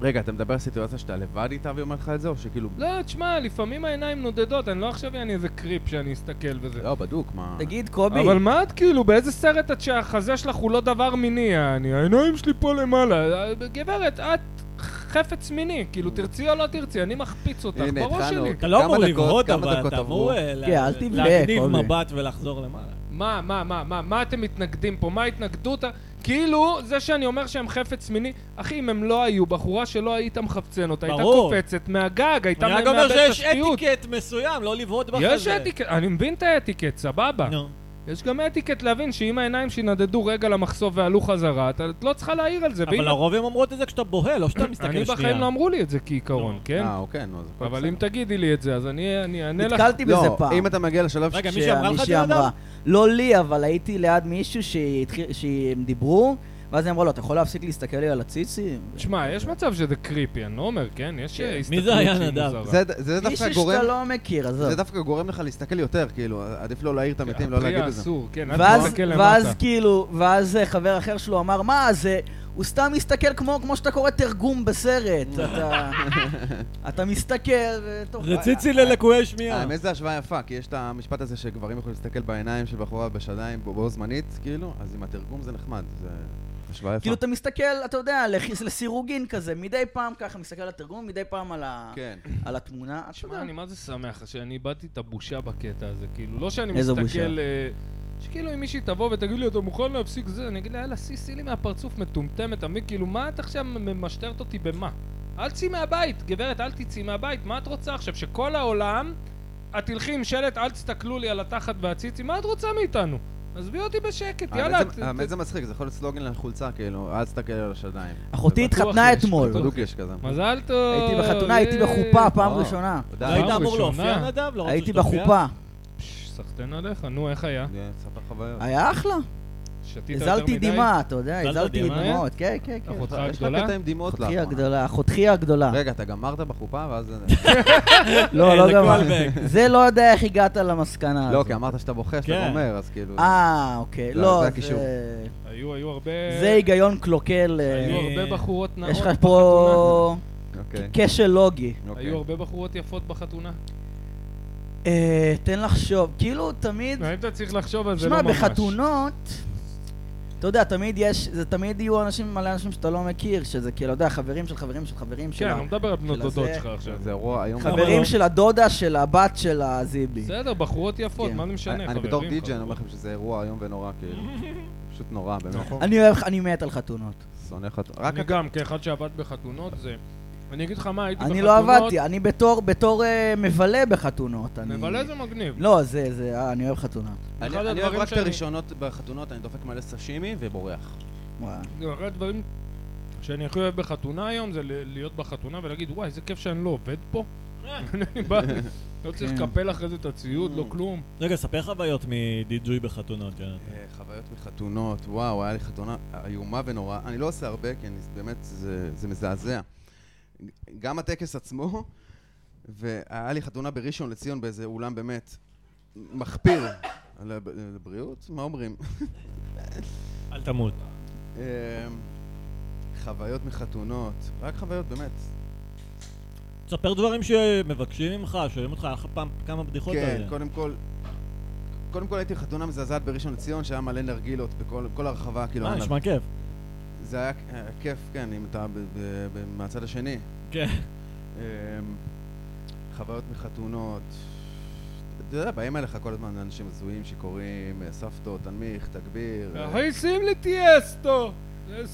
S4: רגע, אתה מדבר על סיטואציה שאתה לבד איתה והיא אומרת לך את זה, או שכאילו...
S1: לא, תשמע, לפעמים העיניים נודדות, אני לא עכשיו יעני איזה קריפ שאני אסתכל וזה.
S4: לא, בדוק, מה...
S2: תגיד, קובי,
S1: אבל מה את כאילו, באיזה סרט את שהחזה שלך הוא לא דבר מיני, יעני? העיניים שלי פה למעלה. אה, גברת, את חפץ מיני, כאילו, תרצי או לא תרצי, אני מחפיץ אותך
S4: הנה,
S1: בראש
S4: התחלנו.
S1: שלי.
S3: אתה לא
S4: כמה
S3: אמור
S4: דקות-
S3: לבהות,
S4: כמה
S3: אבל
S4: דקות
S3: אתה
S4: עברו?
S3: אמור אה, לה-
S2: כן, אל תבלה,
S3: להגניב
S2: קובי.
S3: מבט ולחזור למעלה.
S1: מה, מה, מה, מה, מה אתם מתנגדים פה? מה ההתנגדות? ה- כאילו, זה שאני אומר שהם חפץ מיני, אחי, אם הם לא היו, בחורה שלא היית מחפצן אותה, הייתה
S3: ברור.
S1: קופצת מהגג, הייתה
S3: אני רק
S1: מאבדת
S3: אומר
S1: את
S3: שיש
S1: השפיות.
S3: אתיקט מסוים, לא לבהות בחזה.
S1: יש אתיקט, אני מבין את האתיקט, סבבה.
S3: נו.
S1: יש גם אתיקט להבין שאם העיניים שינדדו רגע למחסום ועלו חזרה, אתה- את לא צריכה להעיר על זה. ואם-
S3: אבל הרוב הם אומרות את זה כשאתה בוהה, לא כשאתה מסתכל
S1: אני
S3: שנייה.
S1: בחיים לא אמרו לי את זה כעיקרון,
S3: לא.
S1: כן?
S4: אה, אוקיי, נו, אז הכל
S1: אבל
S4: בסדר.
S1: אם תגידי לי את זה, אז אני אני אענה לך.
S2: נתקלתי בזה
S4: לא,
S2: פעם.
S4: אם אתה מגיע לשלב ש...
S3: רגע,
S2: ש-
S3: כן, מישהי אמרה לך את זה
S2: מישהי
S3: אדם?
S2: אמרה. לא לי, אבל הייתי ליד מישהו שהתחיל- שהם דיברו, ואז היא אמרה לו, אתה יכול להפסיק להסתכל לי על הציצי?
S1: תשמע, יש מצב שזה קריפי, אני לא אומר, כן? יש אה,
S3: מי
S1: הסתכלות
S3: זה היה,
S1: שהיא
S3: נדב?
S1: מוזרה.
S4: זה- זה דווקא
S2: מישהו
S4: גורם...
S2: שאתה לא מכיר, עזוב.
S4: זה דווקא גורם לך להסתכל יותר, כאילו, עדיף לא להעיר את המתים, לא
S1: הפרי
S4: להגיד את זה.
S1: האסור, כן, אל
S2: ואז,
S1: תסתכל
S2: ואז
S1: למטה.
S2: כאילו, ואז אה, חבר אחר שלו אמר, מה, זה, הוא סתם מסתכל כמו, כמו שאתה קורא תרגום
S4: (laughs)
S2: בסרט. אתה, אתה מסתכל, ותוך...
S3: זה ציצי ללקויי שמיעה.
S4: האמת זו השוואה יפה, כי יש את המשפט הזה שגברים יכולים להסתכל בעיניים של בחורה בשדיים בו בו זמנית, כאילו, אז עם התרגום זה נחמד, זה השוואה יפה.
S2: כאילו, אתה מסתכל, אתה יודע, לח- לסירוגין כזה, מדי פעם ככה מסתכל על התרגום, מדי פעם על, ה...
S4: כן.
S2: על התמונה. עד
S1: תשמע,
S2: מה?
S1: אני מה זה שמח, שאני איבדתי את הבושה בקטע הזה, כאילו, לא שאני
S2: איזו
S1: מסתכל...
S2: בושה?
S1: אה, שכאילו אם מישהי תבוא ותגיד לי, אתה מוכן להפסיק זה? אני אגיד לה, יאללה, סיסי לי מהפרצוף מטומטמת, עמי, כאילו, מה את עכשיו ממשטרת אותי במה? אל תצאי מהבית, גברת, אל תצאי מהבית, מה את רוצה עכשיו? שכל העולם, את תלכי עם שלט, אל תסתכלו לי על התחת והציצי, מה את רוצה מאיתנו? עזבי אותי בשקט, יאללה.
S4: האמת
S1: ת-
S4: זה- האמת
S1: ת-
S4: זה מצחיק, זה יכול להיות סלוגן לחולצה, כאילו, אל תסתכל על השדיים.
S2: אחותי
S4: בטוח
S2: התחתנה
S1: יש,
S2: אתמול.
S1: בטוח.
S4: בדוק יש כזה.
S1: מזל טוב.
S2: הייתי בחתונה, הייתי בחופה פעם
S4: אה.
S2: ראשונה.
S4: די,
S3: לא היית
S1: פעם
S3: אמור
S1: ראשונה.
S3: להופיע נדב? לא רצית
S2: הייתי
S3: שתופיע?
S2: בחופה.
S1: פש, סחטיין עליך, נו, איך היה?
S4: זה ספר חוויות.
S2: היה אחלה.
S1: שתית יותר
S2: הזלתי
S1: מדי?
S2: דמעה, אתה יודע,
S3: הזלת
S2: הזלתי
S3: דמעה?
S2: דמעות. כן, כן, כן.
S1: אחותך
S4: יש לך
S1: הגדולה?
S4: קטע עם דמעות
S2: אחותי
S4: לאחרונה.
S2: הגדולה, אחותכי הגדולה.
S4: רגע, אתה גמרת בחופה ואז...
S2: לא, לא
S3: זה
S2: גמרתי.
S3: קולבק.
S2: זה לא יודע איך הגעת למסקנה
S4: לא,
S2: הזאת.
S4: כי אמרת שאתה בוכה, שאתה
S3: כן.
S4: גומר, אז כאילו...
S2: אה, אוקיי.
S4: זה-
S2: לא,
S4: זה
S2: זה-
S4: הקישור.
S1: היו, היו הרבה...
S2: זה היגיון קלוקל. אה,
S1: היו
S3: אני- נכון,
S1: הרבה בחורות נאות
S2: יש לך
S1: בחתונה.
S2: פה
S4: אוקיי.
S2: כשל לוגי.
S4: אוקיי.
S1: היו הרבה בחורות יפות בחתונה.
S2: אה, תן לחשוב. כאילו, תמיד...
S1: האם אתה צריך לחשוב על זה?
S2: שמע,
S1: לא ממש.
S2: בחתונות, אתה יודע, תמיד יש, זה תמיד יהיו אנשים, מלא אנשים שאתה לא מכיר, שזה כאילו, אתה יודע, חברים של חברים של חברים
S1: כן,
S2: של ה-
S1: אני מדבר על בנות
S2: של הזה.
S1: דודות שלך עכשיו.
S4: זה אירוע היום.
S3: למה
S2: חברים
S3: לא?
S2: של הדודה של הבת של הזיבי.
S1: בסדר, בחורות יפות,
S2: כן.
S1: מה זה משנה?
S4: אני בתור
S1: חברים,
S4: די.ג'יי, אני אומר
S1: חברות.
S4: לכם שזה אירוע איום ונורא,
S1: (laughs)
S4: כאילו. פשוט נורא, באמת.
S2: אני אוהב, אני מת על חתונות.
S4: שונא חתונה. רק
S1: אני גם, כאחד שעבד בחתונות, זה... אני אגיד לך מה, הייתי בחתונות...
S2: אני לא עבדתי, אני בתור, בתור אה, מבלה בחתונות. אני-
S1: מבלה זה מגניב.
S2: לא, זה, זה, אה, אני אוהב חתונה.
S1: אחד
S5: אני, אני אוהב
S1: הדברים
S5: רק את
S1: שאני-
S5: הראשונות בחתונות, אני דופק מלא סשימי ובורח.
S2: וואי.
S1: זה אחד הדברים שאני הכי אוהב בחתונה היום, זה ל- להיות בחתונה ולהגיד, וואי, איזה כיף שאני לא עובד פה. (laughs) אני בא, לא צריך
S2: כן.
S1: לקפל אחרי זה את הציוד, לא כלום.
S3: רגע, ספר חוויות מדיג'וי בחתונות, יונתן.
S4: אה, חוויות מחתונות, וואו, היה לי חתונה איומה ונוראה. אני לא עושה הרבה, כי אני, באמת, זה, זה מזעזע. גם הטקס עצמו, והיה לי חתונה בראשון לציון באיזה אולם באמת מחפיר. לב- לבריאות? מה אומרים?
S3: אל תמות.
S4: אה, חוויות מחתונות, רק חוויות באמת.
S3: תספר דברים שמבקשים ממך, שואלים אותך, היה לך פעם כמה בדיחות
S4: כן,
S3: עליהם.
S4: קודם כל... קודם כל הייתי בחתונה מזעזעת בראשון לציון, שהיה מלא נרגילות בכל כל הרחבה, כאילו...
S3: אה,
S4: היה
S3: נשמע כיף.
S4: זה היה אה, כיף, כן, אם אתה ב- ב- ב- מהצד השני.
S3: כן.
S4: אמ, חוויות מחתונות. אתה יודע, באים אליך כל הזמן אנשים הזויים שקוראים אה, סבתו, תנמיך, תגביר. אה,
S1: אחי, שים לי טיאסטו!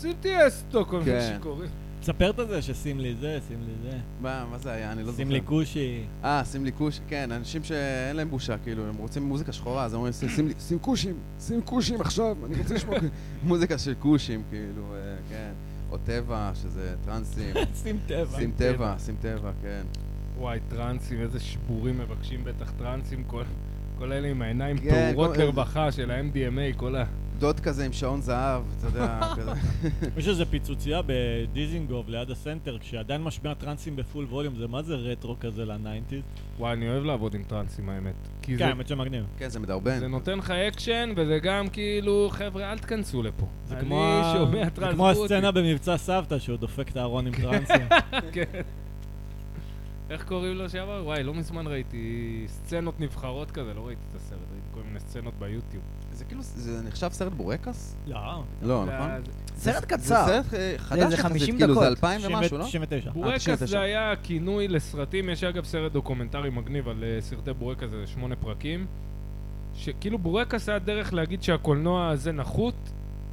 S1: שים טיאסטו, כל מיני
S4: כן.
S1: שיכורים.
S3: תספר את זה ששים לי זה, שים לי זה.
S4: מה מה זה היה? אני לא זוכר.
S3: שים לי כושי.
S4: אה, שים לי כוש... כן, אנשים שאין להם בושה, כאילו, הם רוצים מוזיקה שחורה, אז הם אומרים, "שים- שים לי, שים כושים, שים כושים עכשיו, אני רוצה לשמוע (laughs) מוזיקה של כושים, כאילו, אה, כן. או טבע, שזה טרנסים.
S3: שים טבע.
S4: שים טבע, שים טבע, כן.
S1: וואי, טרנסים, איזה שבורים מבקשים בטח טרנסים, כל- כל אלה עם העיניים
S4: כן,
S1: פעורות
S4: כל-
S1: לרווחה של ה-MDMA, כל ה...
S4: דוד כזה עם שעון זהב, אתה יודע, כזה.
S3: יש איזה פיצוצייה בדיזינגוף ליד הסנטר, כשעדיין משמיע טרנסים בפול ווליום, זה מה זה רטרו כזה לניינטיז?
S1: וואי, אני אוהב לעבוד עם טרנסים, האמת. כי
S3: כן,
S1: זה-
S3: האמת שמגניב.
S4: כן, זה מדרבן.
S1: זה נותן לך אקשן, וזה גם כאילו, חבר'ה, אל תכנסו לפה.
S3: זה
S1: אני
S3: כמו ה-
S1: שומע
S3: זה
S1: טרנס
S3: כמו
S1: בוטי.
S3: הסצנה במבצע סבתא שהוא דופק את הארון עם טרנסים.
S1: (laughs) כן. איך קוראים לו שעבר? וואי, לא מזמן ראיתי סצנות נבחרות כזה, לא ראיתי את הסרט, ראיתי כל מיני סצנות ביוטיוב.
S4: זה כאילו, זה נחשב סרט
S3: (laughs)
S4: בורקס?
S3: לא,
S4: לא, נכון?
S1: ואז-
S2: סרט
S4: זה
S2: קצר.
S4: סרט אה, חדש
S2: איזה
S4: יחסית,
S2: 50
S4: כאילו זה
S2: דקות.
S4: אלפיים ומשהו, לא?
S3: 99.
S1: בורקס
S4: 99.
S1: זה היה כינוי לסרטים, יש אגב סרט דוקומנטרי מגניב על אה, סרטי בורקס, זה שמונה פרקים, שכאילו בורקס היה דרך להגיד שהקולנוע הזה נחות,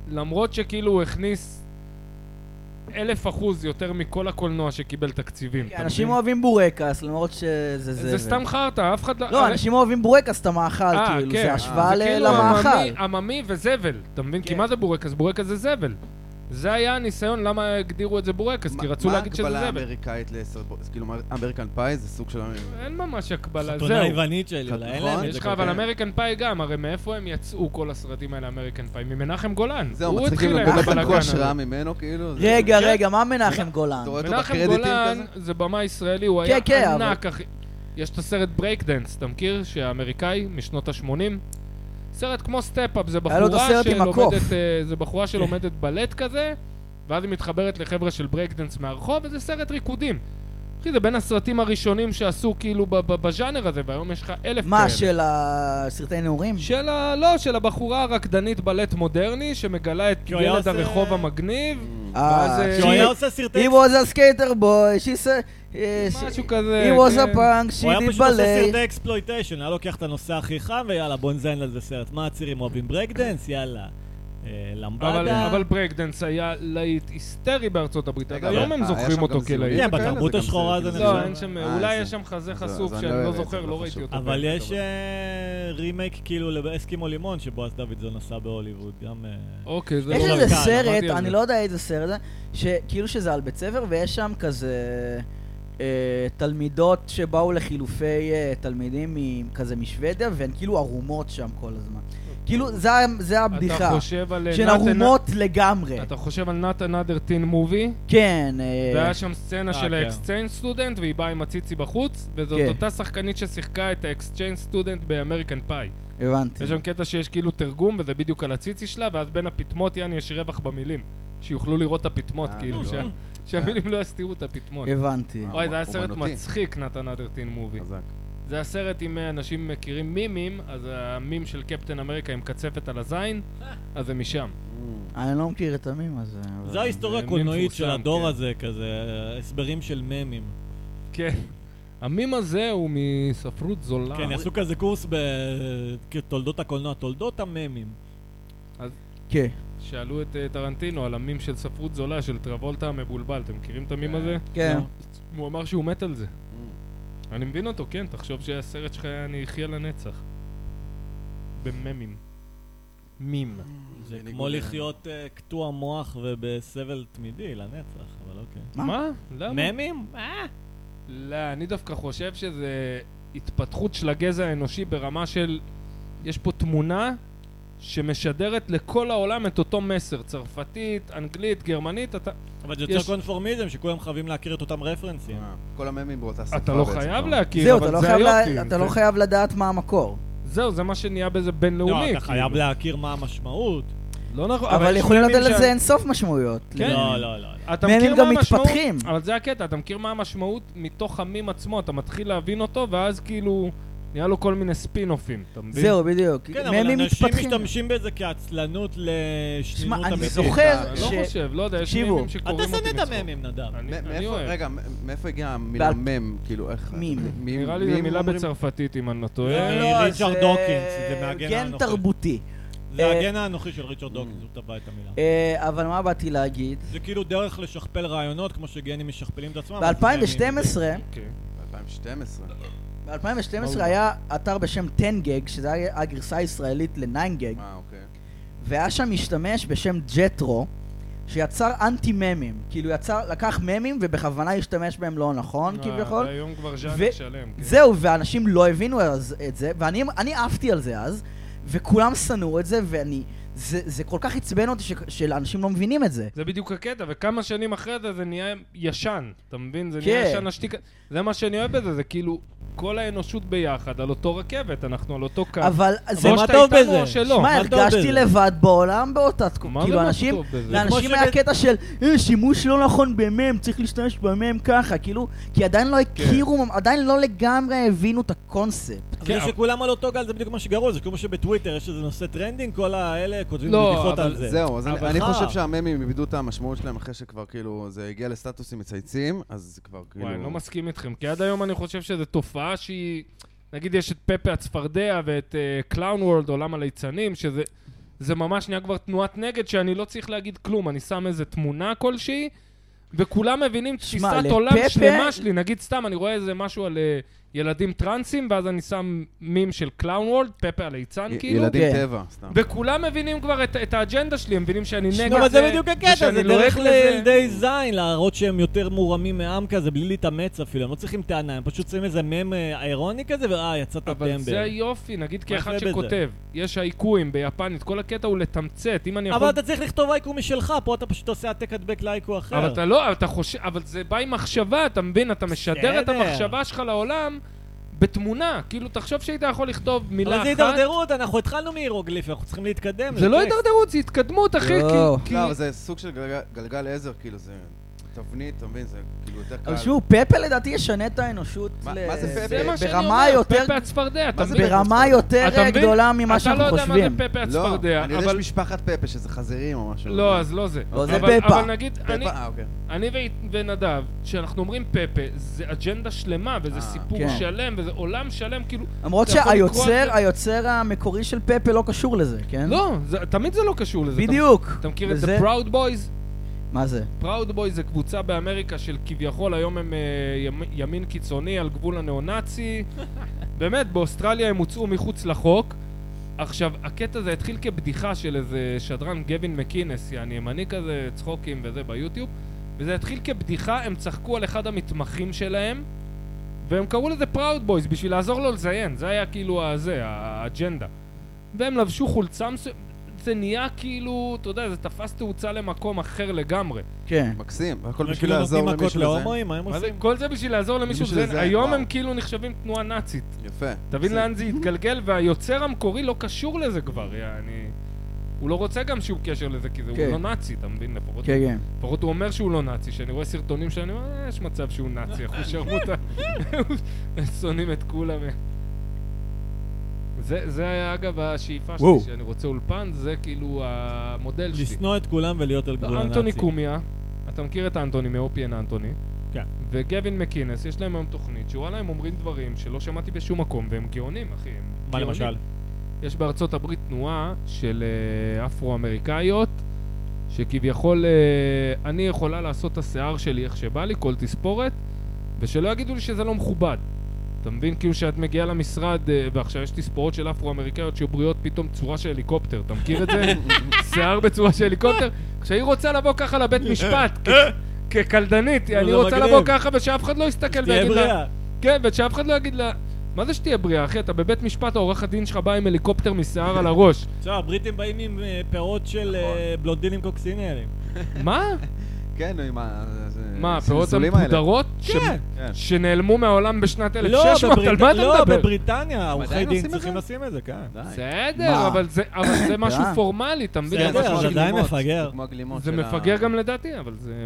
S1: למרות שכאילו הוא הכניס אלף אחוז יותר מכל הקולנוע שקיבל תקציבים.
S2: כן,
S1: אתה
S2: אנשים
S1: מבין?
S2: אוהבים בורקס, למרות שזה זבל.
S1: זה סתם חרטא, אף אחד לא...
S2: לא,
S1: הרי-
S2: אנשים אוהבים בורקס את המאכל,
S1: אה,
S2: כאילו,
S1: כן.
S2: זה השוואה
S1: זה
S2: ל-
S1: כאילו עממי-
S2: למאכל.
S1: עממי וזבל, אתה מבין? כי
S2: כן.
S1: מה זה בורקס? בורקס זה זבל. זה היה הניסיון למה הגדירו את זה בורקס, כי
S4: מה-
S1: רצו להגיד
S4: מה
S1: שזה
S4: ההגבלה
S1: זבל.
S4: האמריקאית לסרט בורקס? כאילו, אמריקן פאי זה סוג של...
S1: אין ממש הקבלה, זהו.
S3: חתונה יוונית שלי,
S4: נכון.
S3: אולי אין להם את
S1: יש
S3: זה.
S1: לך
S4: כל
S1: אבל
S4: כך.
S1: אמריקן פאי גם, הרי מאיפה הם יצאו כל הסרטים האלה אמריקן פאי? ממנחם גולן.
S4: זהו,
S1: הוא
S4: מצחיקים לא
S1: התחיל להם
S4: לבן
S1: את
S4: לקחו
S1: הבלאגן
S4: השראה
S1: הזה.
S4: ממנו, כאילו? זה-
S2: רגע,
S1: כן.
S2: רגע, מה מנחם גולן?
S4: אתה רואה אותו
S1: מנחם
S4: בקרדיטים
S1: גולן
S4: כזה?
S1: זה במה ישראלי, הוא
S2: כן,
S1: היה
S2: כן, אבל-
S1: ענק, אחי. יש את הסרט ברייקדנס, אתה מכיר? שהאמריקאי, משנות ה-80. סרט כמו סטפ-אפ, זה
S2: היה לו את
S1: בחורה
S2: הסרט עם הקוף.
S1: שלומדת, אה, זה בחורה שלומדת בלט כזה, ואז היא מתחברת לחבר'ה של ברייקדנס מהרחוב, וזה סרט ריקודים. אחי, זה בין הסרטים הראשונים שעשו כאילו ב- ב- בז'אנר הזה, והיום יש לך אלף כאלה.
S2: מה, של הסרטי נעורים?
S1: של ה... לא, של הבחורה הרקדנית בלט מודרני, שמגלה את
S3: כי הוא היה
S1: ילד
S3: עושה-
S1: הרחוב המגניב,
S4: Mm.
S2: אה,
S1: ואז, אה,
S3: כשהוא היה
S2: she-
S3: עושה סרטי...
S2: He was a skater boy, she said...
S1: משהו כזה.
S2: He was a
S1: כן.
S2: punk, she
S3: הוא היה
S2: did
S3: פשוט עושה
S2: ballet.
S3: סרטי אקספלויטיישן, היה לוקח את הנושא הכי חם ויאללה בוא נזיין לזה סרט. מה הצירים אוהבים ברקדנס? יאללה. אה,
S1: אבל,
S3: למבדה.
S1: אבל ברקדנס היה להיט היסטרי בארצות הברית, עד
S4: רגע,
S1: היום הם
S4: אה, היה
S1: זוכרים
S4: שם
S1: אותו
S4: גם זיהומים
S1: כלהיט.
S3: כן,
S4: וכאלה,
S3: בתרבות
S4: זה גם
S3: השחורה
S4: זה-
S3: זה
S4: זה-
S1: לא,
S3: נחשב.
S1: אין שם,
S4: אה,
S1: אולי
S4: זה-
S1: יש שם חזה
S4: אז-
S1: חשוף
S4: אז אני
S1: שאני
S4: לא
S1: לא
S4: אראה את
S1: זוכר, לא
S4: זה, לא
S1: ראיתי
S4: חשוב.
S1: אותו.
S3: אבל
S1: באמת,
S3: יש אה, רימייק כאילו לאסקימו לימון שבועז דוידזון עשה בהוליווד, גם... אה,
S1: אוקיי, זה
S2: יש
S1: לא...
S3: לא
S2: איזה
S3: קל,
S1: למדתי על
S2: סרט,
S1: זה.
S2: אני לא יודע איזה סרט זה, שכאילו שזה על בית ספר, ויש שם כזה אה, תלמידות שבאו לחילופי אה, תלמידים מ- כזה משוודיה, והן כאילו ערומות שם כל הזמן. כאילו, זה ה-
S1: אתה
S2: זה הבדיחה.
S1: חושב על... אה,
S2: שהן
S1: Not An-
S2: ערומות לגמרי.
S1: אתה חושב על Not Another Teen Movie?
S2: כן, אה,
S1: והיה שם סצנה
S3: אה,
S1: של
S3: כן.
S1: האקסצ'יינג סטודנט, והיא באה עם הציצי בחוץ, וזאת
S2: כן.
S1: אותה שחקנית ששיחקה את האקסצ'יינג סטודנט באמריקן פאי.
S4: כן.
S2: הבנתי.
S1: יש שם קטע שיש כאילו תרגום, וזה בדיוק על הציצי שלה, ואז בין הפטמות יעני יש רווח במילים. שיוכלו לראות את הפטמות,
S4: אה,
S1: כאילו,
S4: לא.
S1: שה- שהמילים לא יסתירו את הפטמות.
S2: הבנתי.
S4: אה,
S1: אוי, זה היה סרט
S4: אומנותי.
S1: מצחיק, נתן אדרטין מובי.
S4: חזק.
S1: זה היה סרט אם אה, אנשים מכירים מימים, אז המים של קפטן אמריקה עם קצפת על הזין, אז זה משם.
S2: אני לא מכיר את המים הזה. אבל-
S3: זה ההיסטוריה
S1: מי
S3: הקולנועית
S1: מפורסם,
S3: של הדור
S1: כן.
S3: הזה, כזה, אה, הסברים של ממים.
S1: כן. המים הזה הוא מספרות זולה.
S3: כן, יעשו כזה קורס בתולדות הקולנוע, תולדות הממים.
S2: כן.
S1: שאלו את אה, טרנטינו על המים של ספרות זולה של טרבולטה המבולבל, אתם מכירים את המים הזה?
S2: כן.
S3: לא.
S1: הוא אמר שהוא מת על זה. אני מבין אותו, כן, תחשוב שהסרט שלך היה אני אחיה לנצח. בממים. מים.
S3: זה
S4: בניגוד
S3: כמו
S4: אלינו.
S3: לחיות אה, קטוע מוח ובסבל תמידי לנצח, אבל אוקיי.
S2: מה?
S1: מה? למה?
S3: ממים? אה.
S1: לא, אני דווקא חושב שזה התפתחות של הגזע האנושי ברמה של... יש פה תמונה שמשדרת לכל העולם את אותו מסר. צרפתית, אנגלית, גרמנית, אתה...
S3: אבל זה יוצר
S1: יש-
S3: קונפורמיזם שכולם חייבים להכיר את אותם רפרנסים.
S4: אה, כל הממים באותה שפה
S1: אתה לא
S4: בעצם,
S1: חייב
S4: לא?
S1: להכיר,
S2: זהו, אתה
S1: אבל
S2: לא
S1: זה כאילו,
S2: חייב ל-
S1: היופי.
S2: אתה
S1: זה-
S2: לא חייב לדעת מה המקור.
S1: זהו, זה מה שנהיה בזה בינלאומי.
S3: לא, אתה
S1: כאילו.
S3: חייב להכיר מה המשמעות.
S1: לא נכון,
S2: אבל
S1: יש
S2: יכולים
S1: מימים
S2: לתת לזה
S1: שה-
S2: אינסוף משמעויות.
S1: כן.
S3: לא, לא, לא. לא.
S1: אתה
S2: מהם
S1: מכיר
S2: הם
S1: מה
S2: גם
S1: המשמעות-
S2: מתפתחים.
S1: אבל זה הקטע, אתה מכיר מה המשמעות מתוך המים עצמו, אתה מתחיל להבין אותו, ואז כאילו נהיה לו כל מיני ספין-אופים, אתה מבין?
S2: זהו, בדיוק.
S3: כן,
S2: מהם
S3: אבל
S2: הם
S3: אנשים
S2: מתפתחים.
S3: משתמשים בזה כעצלנות
S2: שמע,
S3: לשנינות
S2: אני
S3: אמיתית.
S2: זוכר
S1: אני
S2: ש...
S1: לא חושב, לא יודע, יש
S2: תקשיבו,
S1: מימים
S3: אתה
S1: שקוראים אותי
S3: שנא את
S1: מצחוק.
S3: הממים, נדב.
S1: אני-
S4: מ-
S1: אני
S4: מאיפה-
S1: אוהב.
S4: רגע, מ- מאיפה הגיעה המילה
S2: בעל-
S4: מם? כאילו, איך...
S2: מים.
S4: מים-
S1: נראה לי זו
S4: מים
S1: מילה
S4: אומרים?
S1: בצרפתית, אם אני לא
S3: לא,
S1: טועה.
S3: לא.
S2: אה,
S3: ריצ'רד
S2: זה
S3: דוקינס, זה מהגן
S2: גן
S3: האנוכי.
S2: כן תרבותי.
S3: זה
S2: אה,
S3: הגן האנוכי של ריצ'רד דוקינס, הוא טבע את המילה.
S2: אה, אבל מה באתי להגיד?
S3: זה כאילו דרך לשכפל רעיונות, כמו שגנים משכפלים את עצמם. אז ממים
S2: ב-2012,
S3: זה-
S1: אוקיי.
S4: 2012.
S2: ב-2012 היה אתר בשם 10 גג, שזה היה הגרסה הישראלית ל-9 גג,
S4: אה, אוקיי.
S2: והיה שם משתמש בשם ג'טרו, שיצר אנטי ממים. כאילו יצר, לקח ממים ובכוונה השתמש בהם לא נכון
S1: אה,
S2: כביכול.
S1: היום כבר
S2: ו-
S1: ז'אנק שלם. כן.
S2: זהו, ואנשים לא הבינו אז את זה, ואני אני עפתי על זה אז, וכולם שנאו את זה, ואני... זה, זה כל כך עצבן אותי ש, שאנשים לא מבינים את זה.
S1: זה בדיוק הקטע, וכמה שנים אחרי זה זה נהיה ישן, אתה מבין? זה נהיה
S2: כן.
S1: ישן השתיק... זה מה שאני אוהב בזה, זה כאילו כל האנושות ביחד על אותו רכבת, אנחנו על אותו קו.
S2: אבל זה...
S3: אבל
S1: או
S3: מה
S1: שאתה
S3: טוב
S1: איתנו
S3: בזה?
S1: או שלא.
S2: שמע,
S3: מה טוב בזה?
S2: הרגשתי לבד בעולם באותה
S1: מה
S2: תקופה.
S1: זה
S2: כאילו,
S1: מה
S2: אנשים...
S1: טוב בזה?
S3: זה
S2: לאנשים
S3: כמו
S2: היה
S3: שבית-
S2: קטע של "אה, שימוש לא נכון במם, צריך להשתמש במם ככה, כאילו, כי עדיין לא הכירו, עדיין לא לגמרי הבינו את הקונספט.
S3: אבל
S1: כן,
S3: זה כאילו שכולם על אותו גל זה בדיוק מה שגרוע, זה כמו שבטוויטר יש איזה נושא טרנדינג, כל האלה כותבים
S1: לא, אבל
S3: בדיחות
S1: לא.
S3: על זה.
S4: זהו, אז אני-
S3: אבל
S4: אני
S3: אה,
S4: חושב שהממים איבדו את המשמעות שלהם אחרי שכבר כאילו זה הגיע לסטטוסים מצייצים, אז זה כבר כאילו...
S1: וואי, אני לא מסכים איתכם, כי עד היום אני חושב שזו תופעה שהיא... נגיד יש את פפה הצפרדע ואת קלאון וורלד, עולם הליצנים, שזה... זה ממש נהיה כבר תנועת נגד שאני לא צריך להגיד כלום, אני שם איזה תמונה כלשהי, וכולם מבינים
S2: שמע,
S1: תפיסת עולם
S2: לפפה-
S1: שלמה שלי. נגיד סתם, אני רואה איזה משהו על אה, ילדים טרנסים, ואז אני שם מים של קלאון וורלד, פפה הליצן,
S4: י-
S1: כאילו.
S4: ילדים
S2: כן.
S4: טבע, סתם.
S1: וכולם מבינים כבר את, את האג'נדה שלי, הם מבינים שאני נגד זה.
S3: לא, אבל
S2: אה,
S3: זה בדיוק הקטע,
S1: ושאני
S2: לא
S3: זה דרך
S1: לועג לזה.
S3: לילדי זין להראות שהם יותר מורמים מעם כזה, בלי להתאמץ אפילו, הם לא צריכים טענה, הם פשוט שמים איזה מם אה, אירוני כזה, ואה, יצאת
S1: אבל זה
S3: טמבר.
S1: היופי, נגיד
S3: מה
S1: כאחד
S3: יפה בזה?
S1: שכותב, יש האיקואים ביפנית, כל הקטע הוא לתמצת, אם אני יכול...
S3: אבל אתה צריך לכתוב אייקו משלך, פה אתה פשוט עושה העתק הדבק לאייקו אחר.
S1: אבל אתה לא, אבל אתה חושב, אבל זה בא עם מחשבה, אתה מבין? אתה משדר את
S3: בסדר.
S1: המחשבה שלך לעולם בתמונה. כאילו, תחשוב שהיית יכול לכתוב מילה
S3: אבל זה
S1: אחת.
S3: הידרדרות, אנחנו התחלנו מהירוגליפי, אנחנו צריכים להתקדם.
S1: זה לא
S3: לטקסט.
S1: הידרדרות, זה התקדמות, אחי, כי-
S2: לא.
S1: כי...
S4: לא, אבל זה סוג של גלגל- גלגל עזר, כאילו זה... אתה תבנית, אתה מבין? זה כאילו יותר קל.
S2: אבל שמעו, פפה לדעתי ישנה את האנושות.
S4: מה-
S2: ל-
S4: מה זה פפה?
S1: זה מה שאני
S2: ברמה
S1: אומר,
S2: יותר-
S1: פפה הצפרדע, אתה
S4: זה
S1: מבין?
S2: ברמה יותר אה,
S1: אתה מבין?
S2: גדולה ממה
S1: אתה לא
S2: שאנחנו
S1: יודע מה זה
S2: חושבים.
S1: פפה
S4: לא,
S1: הצפרדע,
S4: אני יודע
S1: אבל...
S4: שמשפחת פפה, שזה חזירים או משהו.
S1: לא, אז לא זה.
S2: לא, זה
S1: אבל-
S2: פפה.
S1: אבל נגיד,
S4: פפה,
S1: אני-
S4: אה, אוקיי.
S1: אני ו- ונדב, כשאנחנו אומרים פפה, זה אג'נדה שלמה, וזה
S4: אה,
S1: סיפור
S2: כן.
S1: שלם, וזה עולם שלם, כאילו...
S2: למרות
S1: אתה יכול לקרוא על
S2: שהיוצר
S1: זה-
S2: היוצר המקורי של פפה לא קשור לזה, כן?
S1: לא, זה- תמיד זה לא קשור לזה. אתה-
S2: בדיוק.
S1: אתה מכיר את
S2: וזה-
S1: The Proud Boys?
S2: מה זה?
S1: פראוד בוי זה קבוצה באמריקה של כביכול היום הם אה, ימ- ימין קיצוני על גבול הנאו-נאצי. באמת, באוסטרליה הם הוצאו מחוץ לחוק. עכשיו, הקטע הזה התחיל כבדיחה של איזה שדרן גבין מקינס, יעני ימני כזה, צחוקים וזה ביוטיוב, וזה התחיל כבדיחה, הם צחקו על אחד המתמחים שלהם, והם קראו לזה פראוד בויז בשביל לעזור לו לזיין, זה היה כאילו הזה, האג'נדה. והם לבשו חולצה מסוימת, זה נהיה כאילו, אתה יודע, זה תפס תאוצה למקום אחר לגמרי.
S2: כן.
S4: מקסים, הכל
S3: הם
S4: בשביל
S3: כאילו
S4: לעזור
S3: נותנים מכות
S4: למישהו לזה.
S3: להומואים, מה הם
S1: מה זה?
S3: עושים?
S1: כל זה בשביל לעזור למישהו
S4: בשביל
S1: לזיין.
S4: זה,
S1: היום
S4: וואו.
S1: הם כאילו נחשבים תנועה נאצית.
S4: יפה.
S1: תבין
S4: זה-
S1: לאן זה התגלגל, והיוצר המקורי לא קשור לזה כבר, יעני... הוא לא רוצה גם שום קשר לזה, כי זה, הוא
S2: כן.
S1: לא נאצי, אתה מבין? לפחות,
S2: כן, כן.
S1: לפחות הוא אומר שהוא לא נאצי, שאני רואה סרטונים שאני אומר, "אה, יש מצב שהוא נאצי, אחוז שרמוטה, הם שונאים את כולם. זה, זה היה אגב השאיפה שלי,
S3: וואו.
S1: שאני רוצה אולפן, זה כאילו המודל שלי.
S3: לשנוא את כולם ולהיות על גבול הנאצי.
S1: אנטוני קומיה, אתה מכיר את אנטוני מאופיין אנטוני?
S3: כן.
S1: וגווין מקינס, יש להם היום תוכנית שוואלה הם אומרים דברים שלא שמעתי בשום מקום והם גאונים, אחי. הם
S3: מה
S1: גאונים.
S3: למשל?
S1: יש בארצות הברית תנועה של אה, אפרו-אמריקאיות, שכביכול אה, אני יכולה לעשות את השיער שלי איך שבא לי, כל תספורת, ושלא יגידו לי שזה לא מכובד. אתה מבין? כאילו שאת מגיעה למשרד, אה, ועכשיו יש תספורות של אפרו-אמריקאיות שהיו בריאות פתאום צורה של הליקופטר, אתה מכיר את
S3: (laughs)
S1: זה? שיער בצורה של הליקופטר. כשהיא רוצה לבוא ככה לבית משפט,
S3: (laughs)
S1: כ- כקלדנית,
S3: זה
S1: אני רוצה
S3: מגניב.
S1: לבוא ככה ושאף אחד לא יסתכל
S3: תהיה
S1: ויגיד לה...
S3: בריאה.
S1: כן, ושאף אחד לא יגיד לה... מה זה שתהיה בריאה, אחי? אתה בבית משפט, העורך הדין שלך בא עם הליקופטר משיער על הראש.
S3: עכשיו, הבריטים באים עם אה, פירות של אה,
S1: נכון.
S3: בלונדינים קוקסינלים.
S1: מה?
S4: כן, נו, עם ה... זה-
S1: מה, הפירות
S4: הזלזולים האלה.
S1: המפודרות? ש-
S3: כן.
S4: כן.
S1: שנעלמו מהעולם בשנת
S3: לא,
S1: 1600? על
S3: בברית-
S1: מה אתה
S3: לא,
S1: מדבר?
S3: בבריטניה, העורכי
S4: עדיין
S3: דין
S4: עושים את
S3: צריכים
S4: זה? נכון.
S3: לשים את זה, כן.
S5: די.
S1: בסדר,
S2: מה?
S1: אבל זה- אבל זה משהו
S2: אה.
S1: פורמלי, אתה מבין?
S4: כן,
S3: בסדר,
S5: זה כמו
S3: אבל עדיין
S5: הגלימות,
S3: מפגר.
S5: זה כמו הגלימות
S1: זה
S5: של ה-
S1: מפגר גם לדעתי, אבל זה...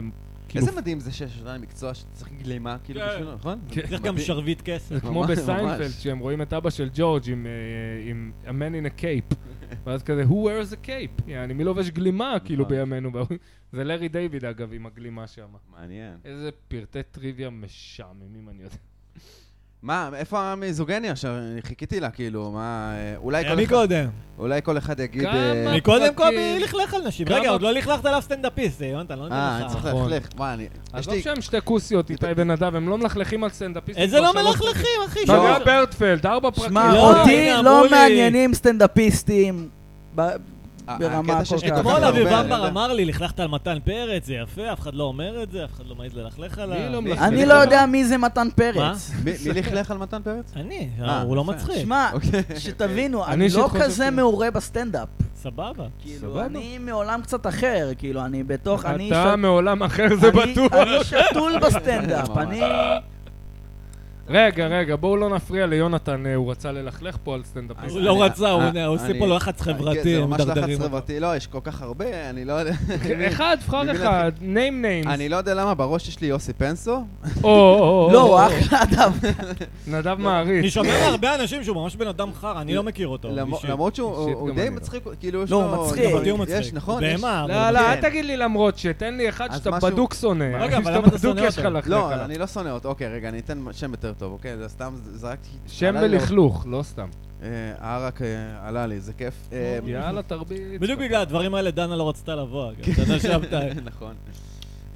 S1: כאילו,
S4: איזה מדהים זה שיש עדיין מקצוע שצריך גלימה, כאילו,
S1: כן.
S4: בשבילו, נכון?
S1: כן.
S4: זה
S3: צריך גם
S4: מדהים.
S3: שרביט כסף.
S1: זה כמו
S4: ממש,
S1: בסיינפלד,
S4: ממש.
S1: שהם רואים את אבא של ג'ורג' עם, אה, עם a man in a cape. ואז כזה, who wears a cape? יעני, מי לובש גלימה, כאילו,
S4: נכון.
S1: בימינו? (laughs) זה לארי דיוויד, אגב, עם הגלימה שם.
S4: מעניין.
S1: איזה פרטי טריוויה משעממים אני יודע.
S4: מה, איפה המיזוגניה שחיכיתי לה, כאילו, מה... אה, אולי כל
S3: מי
S4: אחד-
S3: קודם?
S4: אולי כל אחד יגיד...
S1: כמה-
S4: אה,
S3: מקודם
S1: פרטים.
S3: קובי לכלך על נשים.
S1: כמה-
S3: רגע, עוד לא לכלכת עליו סטנדאפיסט, אה, יונתן, לא
S4: אה,
S3: נותן
S4: אני צריך
S3: לך.
S1: נכון.
S4: ללכלך. מה, אני... יש
S1: עזוב
S4: לי...
S1: שהם שתי כוסיות, איתי ונדב, הם לא מלכלכים על סטנדאפיסטים.
S3: איזה
S1: כבר
S3: לא
S1: שלוש-
S3: מלכלכים, אחי?
S4: לא,
S1: בגלל
S3: שלוש-
S1: ברטפלד, ארבע פרקים.
S2: שמע,
S3: לא,
S2: אותי
S3: הנה, אמרו
S2: לא
S3: לי.
S2: מעניינים סטנדאפיסטים. ב-
S4: ה-
S2: ברמה
S4: הקטע שיש
S2: כל
S4: לי
S2: כך-
S4: כל כך
S3: אתמול
S2: ככה
S4: הרבה,
S3: אביב
S4: אני
S3: אמבר
S4: יודע.
S3: אמר לי, לכלכת על מתן פרץ, זה יפה, אף אחד לא אומר את זה, אף אחד לא מעז ללכלך עליו.
S1: לא
S3: מי?
S1: מלכלך?
S2: אני לא יודע מי זה מתן פרץ.
S4: מי- מי לכלך על מתן פרץ?
S3: (laughs) אני,
S4: אה,
S3: הוא לא
S4: יפה.
S3: מצחיק.
S2: שמע,
S4: אוקיי.
S2: שתבינו,
S1: אני
S2: אני
S1: אישית
S2: לא
S1: חושב
S2: כזה
S1: שזה-
S2: מעורה בסטנדאפ.
S3: סבבה.
S2: כאילו,
S1: סבבה.
S2: אני מעולם קצת אחר, כאילו, אני בתוך, אני...
S1: אתה
S2: ש-
S1: מעולם אחר, זה
S2: אני-
S1: בטוח.
S2: אני שתול בסטנדאפ,
S4: ממש.
S2: אני...
S1: רגע, רגע, בואו לא נפריע ליונתן, אה, הוא רצה ללכלך פה על
S4: אז
S1: סטנדאפיסט.
S3: הוא לא
S4: אני-
S3: רצה, הוא
S4: אה,
S3: עושה
S4: אני-
S3: פה לחץ
S4: אה, כן,
S3: חברתי,
S4: זה ממש
S3: מדרדרים
S4: לחץ
S3: אותו.
S4: חברתי, לא, יש כל כך הרבה, אני לא יודע.
S1: אחד,
S4: ממי
S1: בחר
S4: להתחיל?
S1: אחד, name names.
S4: אני לא יודע למה, בראש יש לי יוסי פנסו.
S1: או, או, או,
S2: לא,
S1: או,
S2: הוא אחלה דווקא.
S1: נדב
S3: אני
S1: מעריץ.
S3: שומע מהרבה אנשים שהוא ממש בן אדם חר, אני לא מכיר אותו.
S4: למ-
S3: אישית.
S4: למרות שהוא
S1: אישית
S4: הוא- הוא
S1: גם
S4: די
S1: אני לא.
S4: מצחיק, כאילו יש
S2: לא,
S4: לו...
S2: הוא מצחיק.
S4: גם-
S3: אותי הוא מצחיק.
S4: יש, נכון? יש-
S3: בהמה.
S1: לא, לא, אל
S4: כן.
S1: תגיד לי למרות שתן לי אחד
S4: אז
S1: שאתה
S4: משהו-
S1: בדוק שונא.
S3: רגע, אבל
S1: שאתה
S3: למה אתה שונא
S1: בדוק יש לך
S3: אותו?
S1: לכלך
S4: לא,
S1: עליו.
S4: אני לא שונא אותו. אוקיי, רגע, אני אתן שם יותר טוב, אוקיי? זה סתם ז- זרקתי...
S1: שם
S4: עלה לי לא-
S1: בלכלוך, לא סתם.
S4: אה, הערק אה, עלה לי, זה כיף. אה,
S1: יאללה, תרביץ.
S3: בדיוק בגלל הדברים האלה דנה לא רצתה לבוא, אגב.
S4: כן.
S3: דנה
S4: (laughs)
S3: שבתאי.
S4: (laughs) נכון.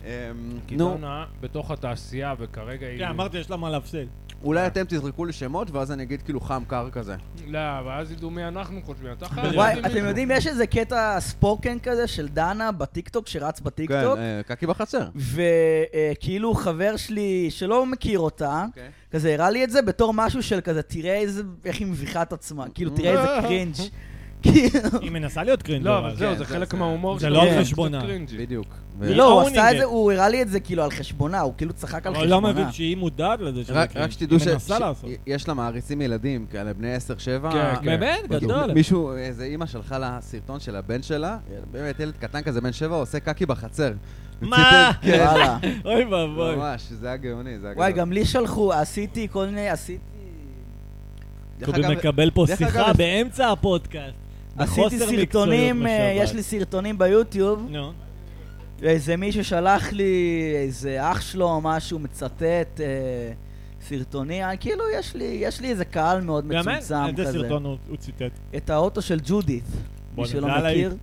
S4: אה, נו,
S1: נו. בתוך התעשייה, וכרגע היא...
S3: כן, אמרתי, יש לה מה להפסיד.
S4: אולי אתם תזרקו לי שמות, ואז אני אגיד כאילו חם קר כזה.
S1: לא, ואז ידעו מי אנחנו חושבים. אתה חייב...
S2: וואי,
S1: להגיד
S2: אתם
S1: מישהו.
S2: יודעים, יש איזה קטע ספוקן כזה של דנה בטיקטוק, שרץ בטיקטוק,
S4: כן, אה, קקי בחצר.
S2: וכאילו חבר שלי שלא מכיר אותה,
S4: אוקיי,
S2: כזה הראה לי את זה בתור משהו של כזה, תראה איזה, איך היא מביכה את עצמה, כאילו, תראה
S3: (laughs)
S2: איזה קרינג'. כאילו,
S3: היא מנסה להיות קרינג'
S1: לא, אבל זהו,
S4: כן,
S1: זה
S4: זה-
S1: חלק
S4: זה-
S1: מההומור
S3: זה לא על
S1: קצת
S3: חשבונה.
S1: קרינג'י.
S4: בדיוק. ו-
S2: לא, הוא
S3: owning
S2: עשה את
S3: it.
S2: זה, הוא הראה לי את זה כאילו על חשבונה, הוא כאילו צחק על
S3: אבל לא מבין
S2: חשבונה. (laughs)
S3: שהיא מודעת לזה שזה
S4: רק
S3: קרינג'.
S4: רק שתדעו
S3: היא מנסה לעשות.
S4: שיש לה מעריצים ילדים, כאלה בני 10-7.
S1: כן, כן.
S3: באמת, גדול.
S4: מישהו, איזה אימא שלחה לה סרטון של הבן שלה, באמת ילד קטן כזה בן שבע עושה קקי בחצר. כן,
S3: מה?
S2: כן. וואלה.
S3: אוי ואבוי.
S4: ממש, זה היה גאוני, זה היה
S2: וואי,
S4: גדול.
S2: גם לי שלחו, עשיתי כל מיני, עשיתי...
S4: דרך
S3: קובי
S4: אגב,
S3: מקבל פה
S4: דרך
S3: שיחה
S4: אגב,
S3: באמצע הפודקאסט.
S2: עשיתי
S3: בחוסר
S2: סרטונים,
S3: מקצועיות
S2: אה,
S3: בשבת.
S2: יש לי סרטונים ביוטיוב,
S3: נו,
S2: איזה מישהו שלח לי, איזה אח שלו או משהו, מצטט אה, סרטונים, אה, כאילו יש לי, יש לי איזה קהל מאוד
S3: גם אין,
S2: מצומצם
S3: איזה
S2: כזה.
S3: סרטון הוא הוא ציטט?
S2: את האוטו של ג'ודית, מי
S3: בואנה,
S2: שלא
S3: זה היה
S2: מכיר.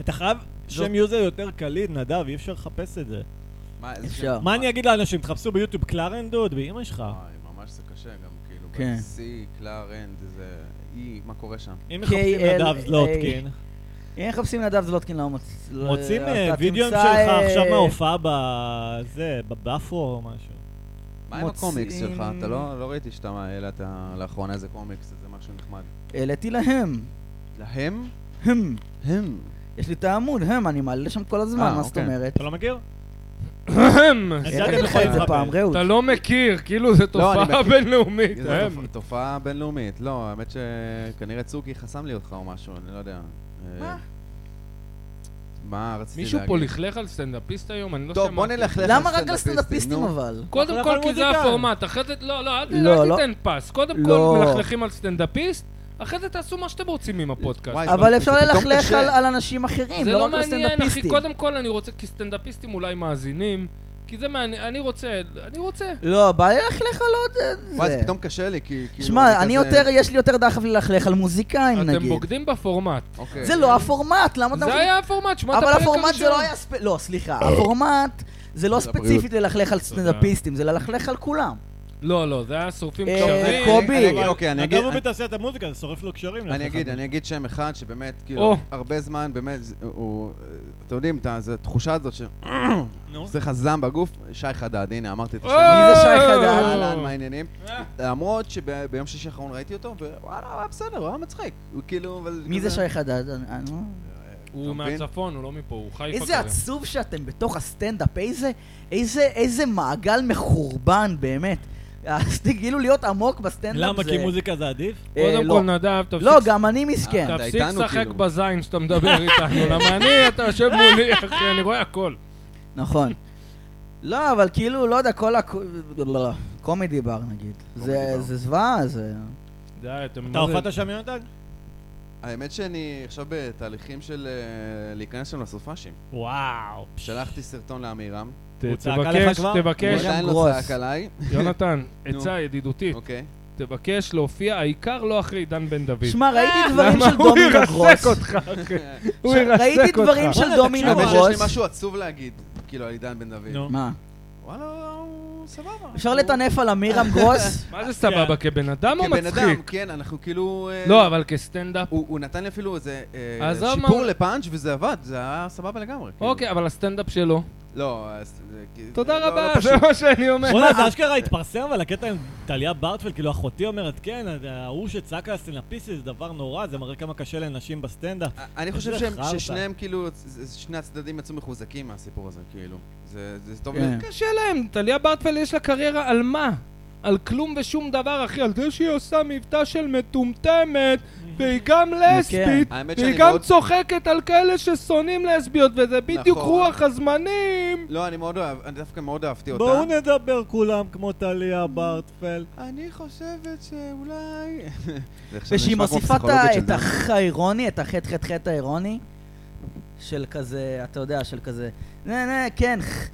S3: אתה חייב
S2: זו- אה.
S3: שם יוזר יותר קליט, נדב, אי אפשר לחפש את זה.
S4: מה, איזה
S2: אפשר.
S3: מה אני אגיד לאנשים? תחפשו ביוטיוב קלרן דוד, באמא שלך.
S4: וואי, ממש זה קשה, גם כאילו,
S2: כן.
S4: ב-C, קלארנד, זה אי, מה קורה שם?
S3: אם מחפשים
S2: KLA.
S3: נדב זלוטקין,
S2: אם מחפשים נדב זלוטקין לא מוצ...
S3: מוצאים
S2: לא-
S3: אה,
S2: אה, אתה
S3: וידאוים
S2: תמצא,
S3: שלך
S2: אה,
S3: עכשיו מההופעה בזה, בבאפו או משהו.
S4: מה עם הקומיקס
S2: מוצאים-
S4: שלך? אתה לא לא ראיתי שאתה העלת לאחרונה איזה קומיקס, איזה משהו נחמד.
S2: העליתי להם.
S4: להם?
S2: הם.
S4: הם.
S2: יש לי את העמוד, הם, אני מעלה שם כל הזמן,
S4: אה,
S2: מה זאת
S4: אוקיי.
S2: אומרת?
S3: אתה לא מכיר? אז
S2: איך
S3: אתם
S2: אני לך
S3: יכולים
S2: את זה
S3: לחפש.
S2: פעם, רעות?
S1: אתה לא מכיר, כאילו זו תופעה
S4: מכיר.
S1: בינלאומית.
S4: זו
S1: אה,
S4: תופ- תופעה בינלאומית. לא, האמת שכנראה צוקי חסם לי אותך או משהו, אני לא יודע. אה,
S2: מה?
S4: מה רציתי להגיד?
S1: מישהו פה לכלך על סטנדאפיסט היום? אני לא שמעתי.
S4: טוב, בוא נלך לך
S2: למה רק על
S4: לסטנדאפיסטים,
S2: סטנדאפיסטים
S4: נו.
S2: אבל?
S1: קודם
S3: לכלך
S1: כל
S3: על
S1: כי זה
S3: מוזיקאים.
S1: הפורמט, אחרי זה, לא, לא, אל
S2: לא,
S1: אל
S2: לא.
S1: תיתן פס. קודם
S2: לא.
S1: כל מלכלכים על סטנדאפיסט, אחרי זה תעשו מה שאתם רוצים עם הפודקאסט.
S4: וואי,
S2: אבל אפשר
S4: זה פתאום
S2: ללכלך
S4: קשה.
S2: על- על אנשים אחרים,
S1: זה
S2: לא
S1: לא
S2: רק על
S1: מעניין, אחי.
S2: סטנדאפיסטים.
S1: קודם כל אני רוצה, כי סטנדאפיסטים אולי מאזינים, כי זה מעניין, אני רוצה, אני רוצה.
S2: לא, בא לי ללכלך על עוד אה,
S4: וואי,
S2: זה.
S4: זה פתאום קשה לי, כי... כאילו,
S2: שמע, אני
S4: כזה-
S2: יותר, יש לי יותר דחף ללכלך על מוזיקאים
S1: אתם
S2: נגיד.
S1: בוגדים בפורמט.
S4: אוקיי.
S2: זה לא הפורמט, למה אתה...
S1: זה היה הפורמט, שמעת
S2: אבל
S1: הפרק
S2: הפורמט זה
S1: הראשון. אה.
S2: לא היה... ספ- לא, סליחה, הפורמט זה לא
S4: זה הבריאות.
S2: ספציפית ללכלך על סטנדאפיסטים, זה ללכלך על כולם.
S1: לא, לא, זה היה שורפים
S2: אה,
S1: קשרים.
S2: קובי.
S4: אני אגיד, אוקיי, אני אגיד...
S3: נדב הוא בתעשיית המוזיקה, זה שורף לו קשרים.
S2: אה,
S4: אני
S3: לאף
S4: אגיד,
S3: אחד.
S4: אני אגיד שם אחד שבאמת,
S1: או.
S4: כאילו, הרבה זמן, באמת, זה- הוא... אתם יודעים, את התחושה הזאת
S3: נו.
S4: שזה חזם בגוף, שי חדד, הנה, אמרתי את
S1: או!
S4: השם.
S2: מי
S1: אה!
S2: זה שי חדד? אה, לא,
S4: אהלן, מה העניינים? למרות שביום שישי האחרון ראיתי אותו, ווואלה, הוא היה בסדר, הוא היה מצחיק. הוא כאילו, אבל...
S2: מי זה
S4: כזה-
S2: שי חדד? אני- אני לא-
S1: הוא
S4: אתה מבין?
S1: מהצפון, הוא לא מפה, הוא חיפה
S2: איזה
S1: כזה.
S2: עצוב שאתם בתוך הסטנדאפ, איזה- איזה איזה מעגל מחורבן באמת. אז (laughs) כאילו להיות עמוק בסטנדאפ זה...
S3: למה? כי מוזיקה זה עדיף?
S2: אה,
S1: קודם
S2: לא.
S1: כל, אה, נדב,
S2: לא,
S1: תפסיק
S2: גם אני מסכן.
S4: אתה
S1: תפסיק
S4: איתנו,
S1: לשחק
S4: כאילו.
S1: בזין שאתה מדבר איתנו, למה אני, אתה
S2: (laughs)
S1: יושב מולי, אחי, אני רואה הכל.
S2: (laughs) נכון. לא, אבל כאילו, לא יודע, כל הק... לא, קומדי בר נגיד. זה
S4: בר.
S2: זה זוועה, זה...
S1: די, אתם...
S3: אתה
S1: מה זה-
S3: הופעת שם יונתן?
S4: האמת שאני עכשיו בתהליכים של אה, להיכנס שם לסופאשים.
S3: וואו.
S4: שלחתי סרטון לאמירם,
S1: ת-
S3: הוא צעק עליך
S1: תבקש,
S3: כבר?
S4: הוא
S1: תבקש,
S2: יש
S4: עדיין לא
S2: כן. גרוס.
S4: צעק עליי,
S1: יונתן,
S4: נו.
S1: עצה ידידותית,
S4: אוקיי.
S1: תבקש להופיע, העיקר לא אחרי עידן בן דוד.
S2: שמע, ראיתי דברים
S1: אה, למה
S2: של
S1: הוא
S2: דומינג
S1: ירסק
S2: גרוס.
S1: אותך, אחי.
S4: (laughs)
S1: הוא ירסק אותך. אה,
S2: ראיתי דברים של דומינו
S4: האמת שיש לי
S2: גרוס.
S4: משהו עצוב להגיד, כאילו, על עידן בן דוד.
S3: נו.
S2: מה?
S4: וואלה, הוא סבבה.
S2: אפשר
S4: הוא-
S2: לטנף על
S1: (laughs)
S2: אמירם גרוס?
S1: מה זה סבבה, כבן אדם או
S4: כבן אדם,
S1: מצחיק?
S4: כן, אנחנו כאילו... אה,
S1: לא, אבל כסטנדאפ.
S4: הוא הוא נתן לי אפילו איזה אה,
S1: עזוב מה-
S4: שיפור לפאנץ' וזה עבד, זה היה סבבה לגמרי. כאילו.
S1: אוקיי, אבל הסטנדאפ שלו.
S4: לא, אז... זה כאילו-
S1: תודה
S4: לא- לא
S1: רבה,
S4: פשוט.
S1: זה מה שאני אומר.
S3: בוא'נה, זה אשכרה התפרסם, אבל הקטע עם טליה ברטפלד, כאילו אחותי אומרת, כן, ההוא שצעק על הסטנדאפיסט זה דבר נורא, זה מראה כמה קשה לנשים בסטנדאפ.
S4: אה, אני חושב
S3: איזה
S4: שהם-
S3: חרטא.
S4: ששניהם כאילו, זה- זה- שני הצדדים יצאו מחוזקים מהסיפור הזה, כאילו. זה זה טוב.
S2: כן.
S1: קשה להם, טליה ברטפלד יש לה קריירה על מה? על כלום ושום דבר, אחי, על זה שהיא עושה מבטא של מטומטמת, והיא גם
S2: כן.
S1: לסבית,
S4: האמת
S1: והיא
S4: שאני
S1: גם
S4: מאוד-
S1: צוחקת על כאלה ששונאים לסביות, וזה בדיוק
S4: נכון.
S1: רוח הזמנים.
S4: לא, אני מאוד אוהב, אני דווקא מאוד אהבתי אותה.
S3: בואו נדבר כולם כמו טליה ברטפלד.
S4: אני חושבת שאולי... זה עכשיו
S2: ושהיא
S4: נשמע כמו
S2: מוסיפה את
S4: פסיכולוגית של
S2: ה- את
S4: דן.
S2: הח האירוני, את החטא חטא חטא האירוני, של כזה, אתה יודע, של כזה, נה נה, כן. ח-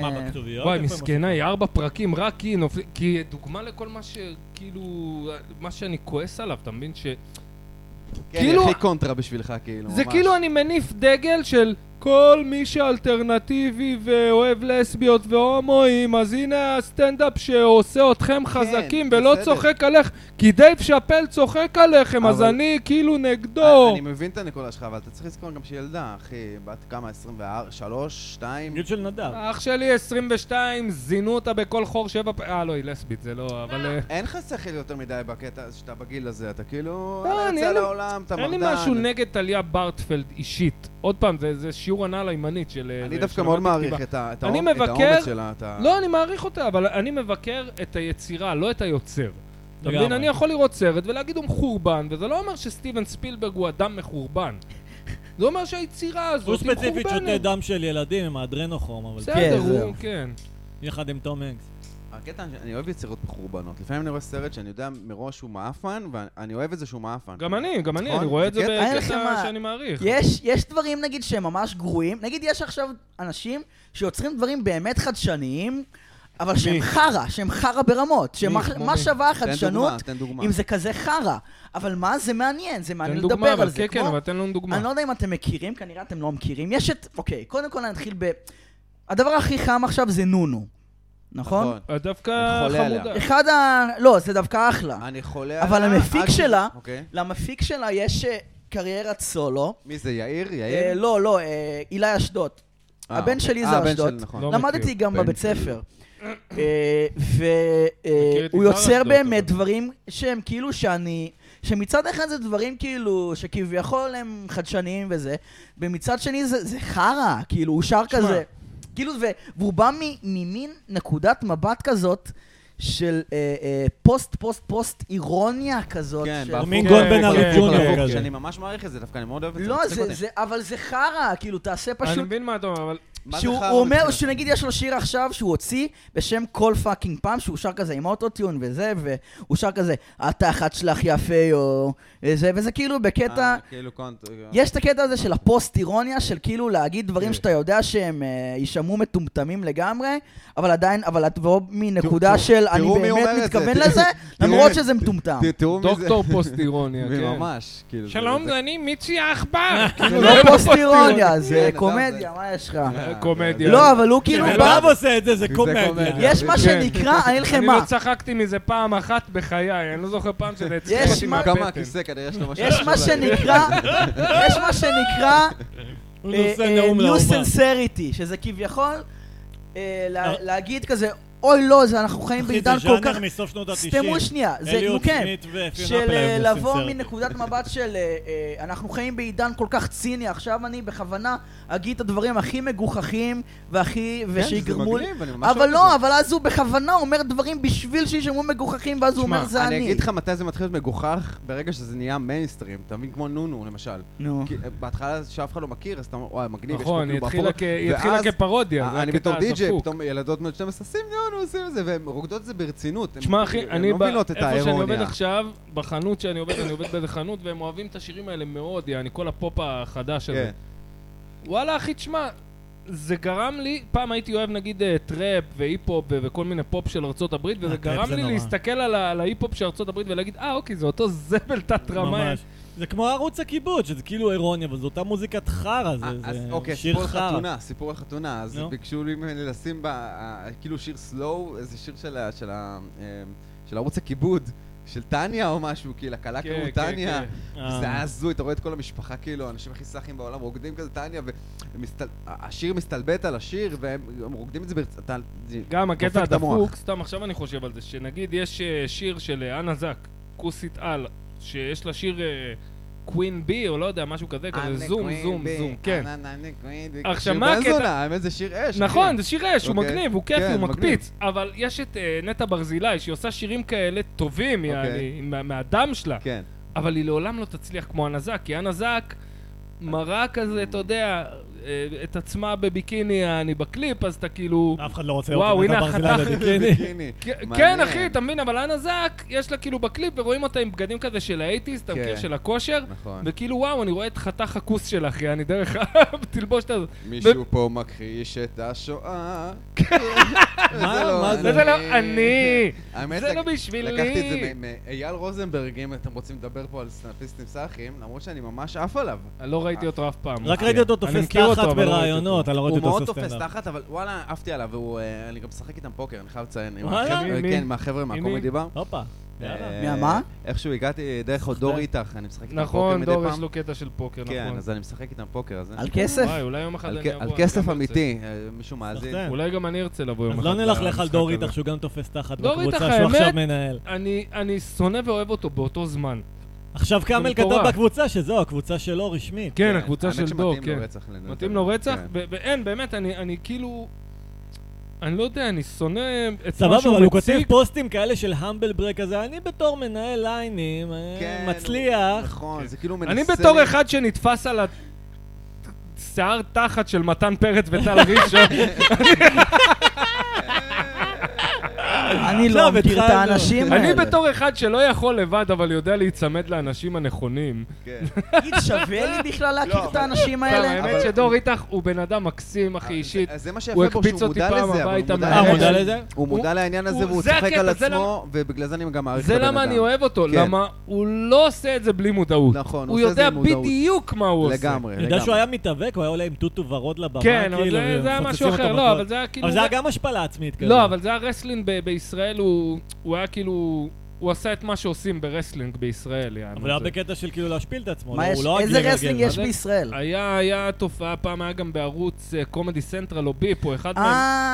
S3: מה,
S2: אה,
S3: בכתוביות?
S1: וואי,
S3: איפה הם
S1: מסכנה, היא ארבע פרקים, רק כי היא נופלת, כי היא דוגמה לכל מה שכאילו, מה שאני כועס עליו, אתה מבין? ש...
S4: כן, היא
S1: כאילו-
S4: הכי קונטרה בשבילך, כאילו,
S1: זה
S4: ממש.
S1: כאילו אני מניף דגל של כל מי שאלטרנטיבי ואוהב לסביות והומואים, אז הנה הסטנדאפ שעושה אתכם חזקים ולא
S4: כן, בסדר.
S1: צוחק עליך, כי דייב שאפל צוחק עליכם, אז
S4: אבל-
S1: אני כאילו
S4: אני-
S1: נגדו.
S4: אני מבין את הנקודה שלך, אבל אתה צריך לזכור גם שהיא ילדה, אחי, בת כמה? 24? 3? 2?
S3: גיל של נדב.
S2: אה,
S1: אח שלי 22, זינו אותה בכל חור שבע פ... אה, לא, היא לסבית, זה לא, אבל... אה,
S4: אין לך שכל יותר מדי בקטע הזה שאתה בגיל הזה, אתה כאילו...
S1: לא,
S4: אתה
S1: אני-
S4: יוצא
S1: אין לי-
S4: לעולם, אתה
S1: אין לי
S4: מרדן.
S1: משהו נגד טליה ברטפלד אישית. עוד פעם, זה זה שיעור הנעל הימנית של... אה,
S4: אני
S1: של
S4: דווקא
S1: למדתי
S4: מאוד מעריך
S1: כתיבה.
S4: את ה- את
S1: אני
S4: האומ- את
S1: מבקר-
S4: האומץ שלה, את ה...
S1: לא, אני מעריך אותה, אבל אני מבקר את היצירה, לא את היוצר. אתה מבין?
S3: לגמרי.
S1: אני יכול לראות סרט ולהגיד הוא מחורבן, וזה לא אומר שסטיבן ספילברג הוא אדם מחורבן. זה אומר שהיצירה הזאת
S3: הוא
S1: היא
S3: ספציפית שותה
S1: מחורבנת.
S3: דם של ילדים עם האדרנוכרום, אבל
S2: כן,
S1: בסדר,
S2: זהו.
S1: הוא, כן.
S3: יחד עם תום הנקס.
S4: הקטע, אני אוהב יצירות מחורבנות. לפעמים אני רואה סרט שאני יודע מראש שהוא מעפן, ואני אוהב את זה שהוא מעפן.
S1: גם אני, גם אני,
S4: נכון?
S1: אני רואה את זה
S4: זה קטע.
S2: כן, אין לך מה.
S1: בקטע שאני מעריך.
S2: יש, יש דברים, נגיד, שהם ממש גרועים. נגיד, יש עכשיו אנשים שיוצרים דברים באמת חדשניים, אבל שהם חרא, שהם חרא ברמות. שמה
S1: כמו
S2: מה
S1: מי?
S2: שווה
S4: תן
S2: החדשנות
S4: דוגמה, תן דוגמה.
S2: אם זה כזה חרא? אבל מה, זה מעניין, זה מעניין
S1: תן
S2: לדבר
S1: דוגמה,
S2: על
S1: אבל
S2: זה.
S1: כן, כן,
S2: כמו-
S1: אבל תן לנו דוגמה.
S2: אני לא יודע אם אתם מכירים, כנראה אתם לא מכירים. יש את... אוקיי, קודם כל אני אתחיל ב... הדבר הכי חם עכשיו זה נונו, נכון?
S1: את דווקא
S4: אני חולה עליה.
S1: חמודה.
S2: אחד ה... לא, זה דווקא אחלה.
S4: אני חולה
S2: אבל
S4: עליה
S2: המפיק
S4: עד ש-
S2: שלה-
S4: אוקיי.
S2: למפיק שלה יש אה, קריירת סולו.
S4: מי זה, יאיר?
S2: אה,
S4: יאיר?
S2: לא, לא, אה, אילי אשדוד.
S4: כן? אה,
S2: הבן
S4: אוקיי.
S2: שלי
S4: אה,
S2: זה
S4: הבן
S2: אשדוד.
S4: של- נכון.
S1: לא
S2: למדתי
S1: מכיר.
S2: גם
S4: בן
S2: בבית אה,
S4: שלי.
S2: סבר. והוא
S1: עיקר
S2: אה, יוצר
S1: אשדוד,
S2: באמת
S1: אבל.
S2: דברים שהם כאילו שאני... שמצד אחד זה דברים כאילו שכביכול הם חדשניים וזה, ומצד שני זה, זה חרא, כאילו הוא שר
S1: שמע.
S2: כזה. כאילו, ו, והוא בא מ- ממין נקודת מבט כזאת של אה, אה, פוסט פוסט פוסט אירוניה כזאת.
S4: כן,
S2: של...
S4: בהפוך.
S3: מין גון
S1: כן,
S3: בן
S1: כן,
S3: ארי
S1: כן,
S3: ג'וניור
S1: כן.
S3: כזה.
S4: שאני ממש מעריך את זה, דווקא אני מאוד אוהב את זה.
S2: לא,
S4: מצחיק
S2: זה,
S4: אותי.
S2: זה, אבל זה חרא, כאילו, תעשה (laughs) פשוט...
S1: אני מבין מה אתה אומר,
S4: (laughs)
S1: אבל...
S4: מה זה
S2: שהוא
S4: חרא
S2: הוא אומר,
S4: מבחינת-
S2: שנגיד יש לו שיר עכשיו שהוא הוציא בשם כל פאקינג פעם, שהוא שר כזה עם אוטוטיון וזה, והוא שר כזה, התחת שלך יפה או זה, וזה כאילו בקטע...
S4: אה, כאילו קונט...
S2: יש את הקטע הזה של הפוסט-אירוניה, של כאילו להגיד דברים
S1: כן.
S2: שאתה יודע שהם אה, יישמעו מטומטמים לגמרי, אבל עדיין, אבל את בוא מנקודה
S4: תראו-
S2: של אני
S4: תראו מי
S2: באמת
S4: אומר את זה,
S2: מתכוון
S4: תראו-
S2: לזה,
S4: תראו-
S2: למרות שזה מטומטם.
S4: ת- תראו מי זה...
S1: דוקטור
S4: (laughs)
S1: פוסט-אירוניה, כן.
S4: ממש, כאילו... זה-
S1: שלום,
S4: זה-
S1: אני מיצי
S4: (laughs)
S1: העכבר.
S2: זה לא פוסט-אירוניה, זה
S4: כן, אדם,
S2: קומדיה,
S4: זה-
S2: מה יש לך?
S4: אה,
S1: קומדיה.
S2: לא, אבל הוא כאילו
S1: זה
S2: בא...
S3: אלבב עושה את זה, זה קומדיה.
S4: קומדיה.
S2: יש מה
S1: כן.
S2: שנקרא, אני אגיד לכם
S1: אני
S2: מה.
S1: לא צחקתי מזה פעם אחת בחיי, אני לא זוכר פעם שזה הצחיק
S2: יש
S1: אותי
S2: מה-
S1: מהבטן.
S4: כמה הכיסא כנראה יש לו משהו... כן,
S2: יש מה שנקרא, יש מה שנקרא אה,
S3: הוא נושא נאום
S2: ניו
S3: לאומה.
S2: סנסריטי, שזה כביכול אה, לה- להגיד כזה, אוי לא, זה אנחנו חיים
S3: אחי,
S2: בעידן
S3: זה
S2: כל כך...
S3: ז'אנר מסוף שנות ה-90.
S2: סתמו שנייה, זה נו
S3: אליוט
S2: כן,
S3: סמית ואפיון
S2: של
S3: אפל
S2: אה,
S3: היו
S2: לבוא
S3: בסנסר.
S2: מנקודת מבט של אה, אה, אנחנו חיים בעידן כל כך ציני, עכשיו אני בכוונה אגיד את הדברים הכי מגוחכים והכי,
S4: כן,
S2: ושיגרמו לי... אבל לא, אבל אז הוא בכוונה אומר דברים בשביל שישמעו מגוחכים, ואז הוא
S1: שמע,
S2: אומר זה
S4: אני
S2: אני.
S4: אגיד לך מתי זה מתחיל להיות מגוחך, ברגע שזה נהיה מיינסטרים, אתה מבין? כמו נונו, למשל.
S2: נו.
S4: כי אה, בהתחלה שאף אחד לא מכיר, אז אתה אומר, וואי, מגניב, יש פה
S1: נכון, היא
S4: כאילו
S1: התחילה
S4: בהפוך."
S1: כ- היא התחילה
S4: ואז- אה,
S1: כפרודיה, זה
S4: אני
S1: הקטע
S4: בתור די-ג'יי,
S1: הדפוק.
S4: פתאום ילדות בנות 12 עושים נונו, "לא, עושים את זה, והן רוקדות את זה ברצינות. הן-
S1: תשמע אחי,
S4: הן
S1: אני
S4: לא
S1: ב-
S4: מבינות את
S1: איפה שאני עובד
S4: האירוניה.
S1: עכשיו, בחנות שאני עובד, אני עובד באיזה חנות, והם אוהבים את השירים האלה מאוד, יעני כל הפופ החדש הזה.
S4: כן.
S1: וואלה אחי, תשמע, זה גרם לי, פעם הייתי אוהב נגיד אה, טראפ והיפ-הופ ו- וכל מיני פופ של ארצות הברית, וזה
S3: אה, טראפ
S1: גרם
S3: זה
S1: לי
S3: נורא.
S1: להסתכל על ה- על ההיפ-הופ של ארצות הברית ולהגיד, אה אוקיי, זה אותו זבל תת רמה.
S3: ממש. זה כמו ערוץ הכיבוד, שזה כאילו אירוניה, אבל זו אותה מוזיקת חרא, זה-
S4: אה, אז
S3: זה
S4: אוקיי,
S3: שיר
S4: סיפור
S3: חרא.
S4: חתונה, סיפור החתונה, אז
S3: נו.
S4: ביקשו לי ממני לשים בה, אה, כאילו שיר סלואו, איזה שיר של ה- של ה- אה, של ערוץ הכיבוד, של טניה או משהו, כאילו, הקלה
S1: כן,
S4: קראו
S1: כן,
S4: טניה.
S1: כן.
S3: אה.
S4: זה היה הזוי, אתה רואה את כל המשפחה, כאילו, האנשים הכי סאחים בעולם רוקדים כזה טניה, והשיר מסתלבט על השיר, והם הם רוקדים את זה ברצ...
S1: גם הקטע
S4: דופק את המוח.
S1: הדפוק, סתם עכשיו אני חושב על זה, שנגיד יש אה, שיר של אה, אנה זק, כוסית על, שיש לה שיר קווין בי, או לא יודע, משהו כזה, כזה זום, זום, זום, כן. עכשיו, מה הקטע-
S4: הקטע? האמת זה שיר אש.
S1: נכון, זה שיר אש, הוא
S4: אוקיי.
S1: מגניב, הוא כיפי,
S4: כן,
S1: הוא
S4: מגניב.
S1: מקפיץ, אבל יש את אה, נטע ברזילי, שהיא עושה שירים כאלה טובים,
S4: אוקיי.
S1: יעני, מה- מהדם שלה, (laughs)
S4: כן.
S1: אבל היא לעולם לא תצליח כמו אנה זק, כי אנה זק מראה כזה, אתה יודע, אה, את עצמה בביקיני, אני בקליפ, אז אתה כאילו...
S3: אף אחד לא רוצה
S1: וואו,
S3: לראות את
S1: הנה
S3: הדבר
S1: החתך.
S3: בביקיני.
S4: הנה,
S1: כן,
S4: מעניין.
S1: אחי, אתה מבין, אבל אנה זק, יש לה כאילו בקליפ, ורואים אותה עם בגדים כזה של האייטיז, אתה מכיר,
S4: כן.
S1: של הכושר,
S4: נכון.
S1: וכאילו, וואו, אני רואה את חתך הכוס שלך, יעני, דרך (laughs) התלבושת הזאת.
S4: מישהו פה מכחיש את
S1: (laughs)
S4: השואה.
S3: מה? מה זה?
S1: זה לא אני!
S4: האמת,
S1: זה
S4: לק-
S1: לא בשבילי.
S4: לקחתי את זה מ- מאייל רוזנברג, אם אתם רוצים לדבר פה על סטנאפיסטים סאחים, למרות שאני ממש עף עליו.
S1: אני לא ראיתי אותו אף פעם.
S3: אה. רק ראיתי
S4: כן.
S3: אותו
S1: אני
S3: תופס
S1: מכיר אותו,
S3: תחת
S1: אבל לא ראיתי
S3: ברעיונות,
S1: אותו.
S3: אני לא ראיתי
S4: הוא
S3: אותו
S4: מאוד
S3: עושה
S4: תופס
S3: סטנדאפ.
S4: תחת, אבל וואלה, עפתי עליו, והוא... אה, אני גם משחק איתם פוקר, אני חייב לציין. עם
S3: וואלה?
S4: החבר'ה-
S1: מי?
S4: כן, מהחבר'ה מהקומדי בר.
S3: הופה. יאללה.
S4: אה,
S2: מהמה?
S4: איכשהו הגעתי דרך עוד דור איתך, אני משחק איתם פוקר
S1: נכון,
S4: מדי
S1: דור, יש
S4: פעם.
S1: לו קטע של פוקר,
S4: כן,
S1: נכון.
S4: אז אני משחק איתם פוקר. אז-
S2: על כסף?
S1: וואי, אולי יום אחד
S4: על
S1: אני
S4: כ-
S1: אבוא.
S4: על
S1: אני
S4: כסף
S1: גם ארצה.
S4: אמיתי, אה, מישהו מאזין.
S3: סחטיין.
S1: אולי גם אני ארצה לבוא יום
S3: אז
S1: אחד.
S3: לא נלך לך על
S1: למשחק
S3: דור
S1: הזה.
S3: איתך שהוא גם תופס תחת
S1: דור
S3: בקבוצה
S1: איתך,
S3: שהוא עכשיו
S1: האמת?
S3: מנהל.
S1: אני- אני שונא ואוהב אותו באותו זמן.
S3: עכשיו כרמל
S1: זה מטורף.
S3: כתב בקבוצה שזו הקבוצה שלו רשמית.
S1: כן, הקבוצה
S4: האמת
S1: של
S4: שמתאים
S1: דור,
S4: לו
S1: כן.
S4: רצח לנדב.
S1: מתאים לו רצח,
S4: כן.
S1: ו- ואין, באמת, אני אני כאילו... אני לא יודע, אני שונא את
S3: סבבה,
S1: מה שהוא
S3: אבל הוא כותב
S1: מציג.
S3: פוסטים כאלה של המבל ברק כזה, אני בתור מנהל ליינים, אה,
S4: כן, הוא-
S3: מצליח.
S4: נכון, זה כאילו מנסה...
S1: אני בתור
S4: לי-
S1: אחד שנתפס על ה... שיער תחת של מתן פרץ וטל
S4: (laughs)
S1: ראשון.
S2: אני לא
S3: עכשיו
S2: מכיר את
S3: התחלנו.
S2: האנשים האלה.
S1: אני בתור אחד שלא יכול לבד, אבל יודע להיצמד לאנשים הנכונים.
S4: כן.
S2: תגיד, שווה לי בכלל להכיר
S4: לא,
S2: את האנשים
S1: סתם,
S2: האלה?
S1: האמת שדור איתך הוא בן אדם מקסים, (laughs) אחי אישית.
S4: אה, אז זה מה
S1: הוא
S4: שיפה פה,
S1: הקפיץ
S4: שהוא
S1: אותי
S4: מודע
S1: פעם
S4: לזה, אבל
S1: הביתה
S4: הוא מודע
S3: אה,
S1: מהרכב.
S3: הוא
S4: לזה.
S3: מודע לזה?
S4: הוא
S1: הוא-
S4: מודע לעניין הזה
S1: הוא-
S4: והוא
S1: זה
S4: צוחק
S1: הקטע,
S4: על
S1: זה
S4: עצמו, ובגלל זה אני גם מעריך את
S1: זה
S4: הבן אדם.
S1: למה אני אוהב אותו,
S4: כן.
S1: למה הוא לא עושה את זה בלי מודעות.
S4: נכון,
S1: הוא
S4: הוא עושה את זה
S1: יודע
S4: עם מודעות.
S1: בדיוק מה הוא עושה.
S4: לגמרי,
S3: אני
S4: לגמרי.
S3: יודע שהוא היה מתאבק, הוא היה עולה עם טוטו ורוד לבמה,
S1: כן, אבל
S3: כאילו,
S1: זה- זה היה משהו
S3: ומפוצצים אותו
S1: אחר,
S3: מכות.
S1: לא, אבל זה היה כאילו...
S3: אבל זה היה גם השפלה עצמית כזה.
S1: לא, אבל זה הרסלינג ב- בישראל, הוא הוא היה כאילו... הוא עשה את מה שעושים ברסלינג בישראל, יענו.
S3: אבל היה
S1: זה-
S3: בקטע של כאילו להשפיל את עצמו,
S2: מה
S3: לא-
S2: יש-
S3: הוא לא רק
S2: איזה
S3: לגלגל.
S2: רסלינג
S3: מה
S2: יש
S3: זה?
S2: בישראל?
S1: היה, היה תופעה, פעם היה גם בערוץ קומדי סנטרל או ביפ, או אחד מהם.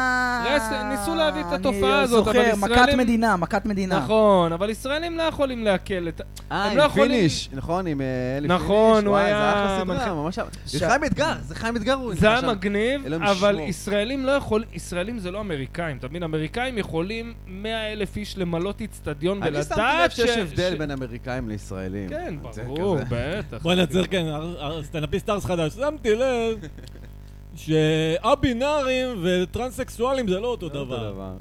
S2: אה...
S1: רס- ניסו להביא את התופעה
S2: אני
S1: הזאת, אבל
S2: זוכר, מכת
S1: ישראלים-
S2: מדינה, מכת מדינה.
S1: נכון, אבל ישראלים לא יכולים לעכל את...
S4: אה,
S1: הם לא
S4: עם
S1: יכולים-
S4: פיניש, נכון, עם אה, אלי פיניש.
S1: נכון, הוא
S4: וואי,
S1: היה
S4: זה אחלה
S1: מנחה-
S4: סדרה, ממש...
S2: ש-
S4: זה חיים אתגר, זה חיים אתגר. הוא
S1: זה
S4: נמצא
S1: היה
S4: שם.
S1: מגניב,
S4: אלוהים
S1: אבל
S4: ישמור.
S1: ישראלים לא יכול... ישראלים זה לא אמריקאים, אתה מבין? אמריקאים יכולים 100 אלף איש למלות איצטדיון
S4: אני שמתי לב
S1: ולדעת ש...
S4: שיש הבדל
S1: ש-
S4: בין אמריקאים לישראלים.
S1: כן,
S4: זה
S1: ברור,
S4: כזה.
S1: בטח.
S3: בוא נעצר כאן, הר- הר- סטנדאפיסט ארס חדש. שמתי לב א-בינארים וטרנסקסואלים זה לא אותו
S4: זה אותו
S3: דבר.
S4: דבר.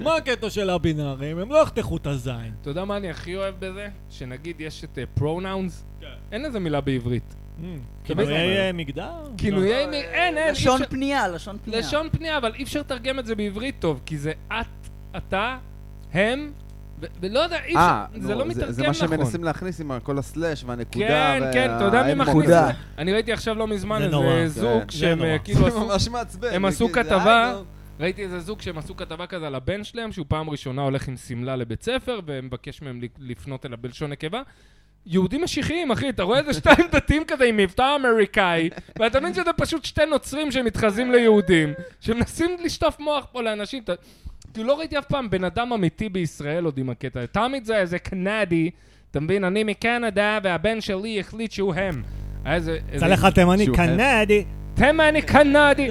S3: מה הקטע של א-בינארים? הם לא יחתכו את הזין.
S1: אתה יודע מה אני הכי אוהב בזה? שנגיד יש את פרונאונס,
S3: כן.
S1: אין איזה מילה בעברית.
S4: לא.
S3: Hmm. כינויי אה, מגדר?
S1: כינויי... מ- אין, אין. אי
S2: לשון
S1: אפשר-
S2: פנייה, לשון פנייה.
S1: לשון פנייה, אבל אי אפשר לתרגם את זה בעברית טוב, כי זה את, אתה, הם, ו- ולא יודע, אי אפשר,
S4: אה,
S1: זה
S4: נו,
S1: לא מתרגם נכון.
S4: זה מה שמנסים להכניס עם כל הסלאש והנקודה.
S1: כן,
S4: וה-
S1: כן, אתה יודע מי
S4: האמוק.
S1: מכניס את
S2: נקודה.
S1: זה? אני ראיתי עכשיו לא מזמן
S3: זה
S1: איזה
S3: נורא.
S1: זוג
S4: כן.
S1: שהם
S3: זה נורא.
S1: אה, כאילו
S4: (laughs) זה
S1: עשו...
S4: ממש מעצבן.
S1: הם
S4: זה
S1: עשו
S4: כאילו, זה
S1: כתבה-
S4: היינו.
S1: ראיתי איזה זוג שהם עשו כתבה כזה על הבן שלהם, שהוא פעם ראשונה הולך עם שמלה לבית ספר, ומבקש מהם ל- לפנות אליו בלשון נקבה. יהודים משיחיים, אחי, אתה רואה איזה שתיים דתיים כזה עם מבטא אמריקאי, ואתה מבין שזה פשוט שתי נוצרים שמתחזים ליהודים, שמנסים לשטוף מוח פה לאנשים. אתה- כאילו לא ראיתי אף פעם בן אדם אמיתי בישראל עוד עם הקטע הזה. תמיד זה איזה קנדי, אתה מבין, אני מקנדה, והבן שלי החליט שהוא הם. היה איזה...
S3: יצא לך תימני
S4: שהוא
S3: קנדי.
S1: אה? תימני קנדי.
S4: וואי,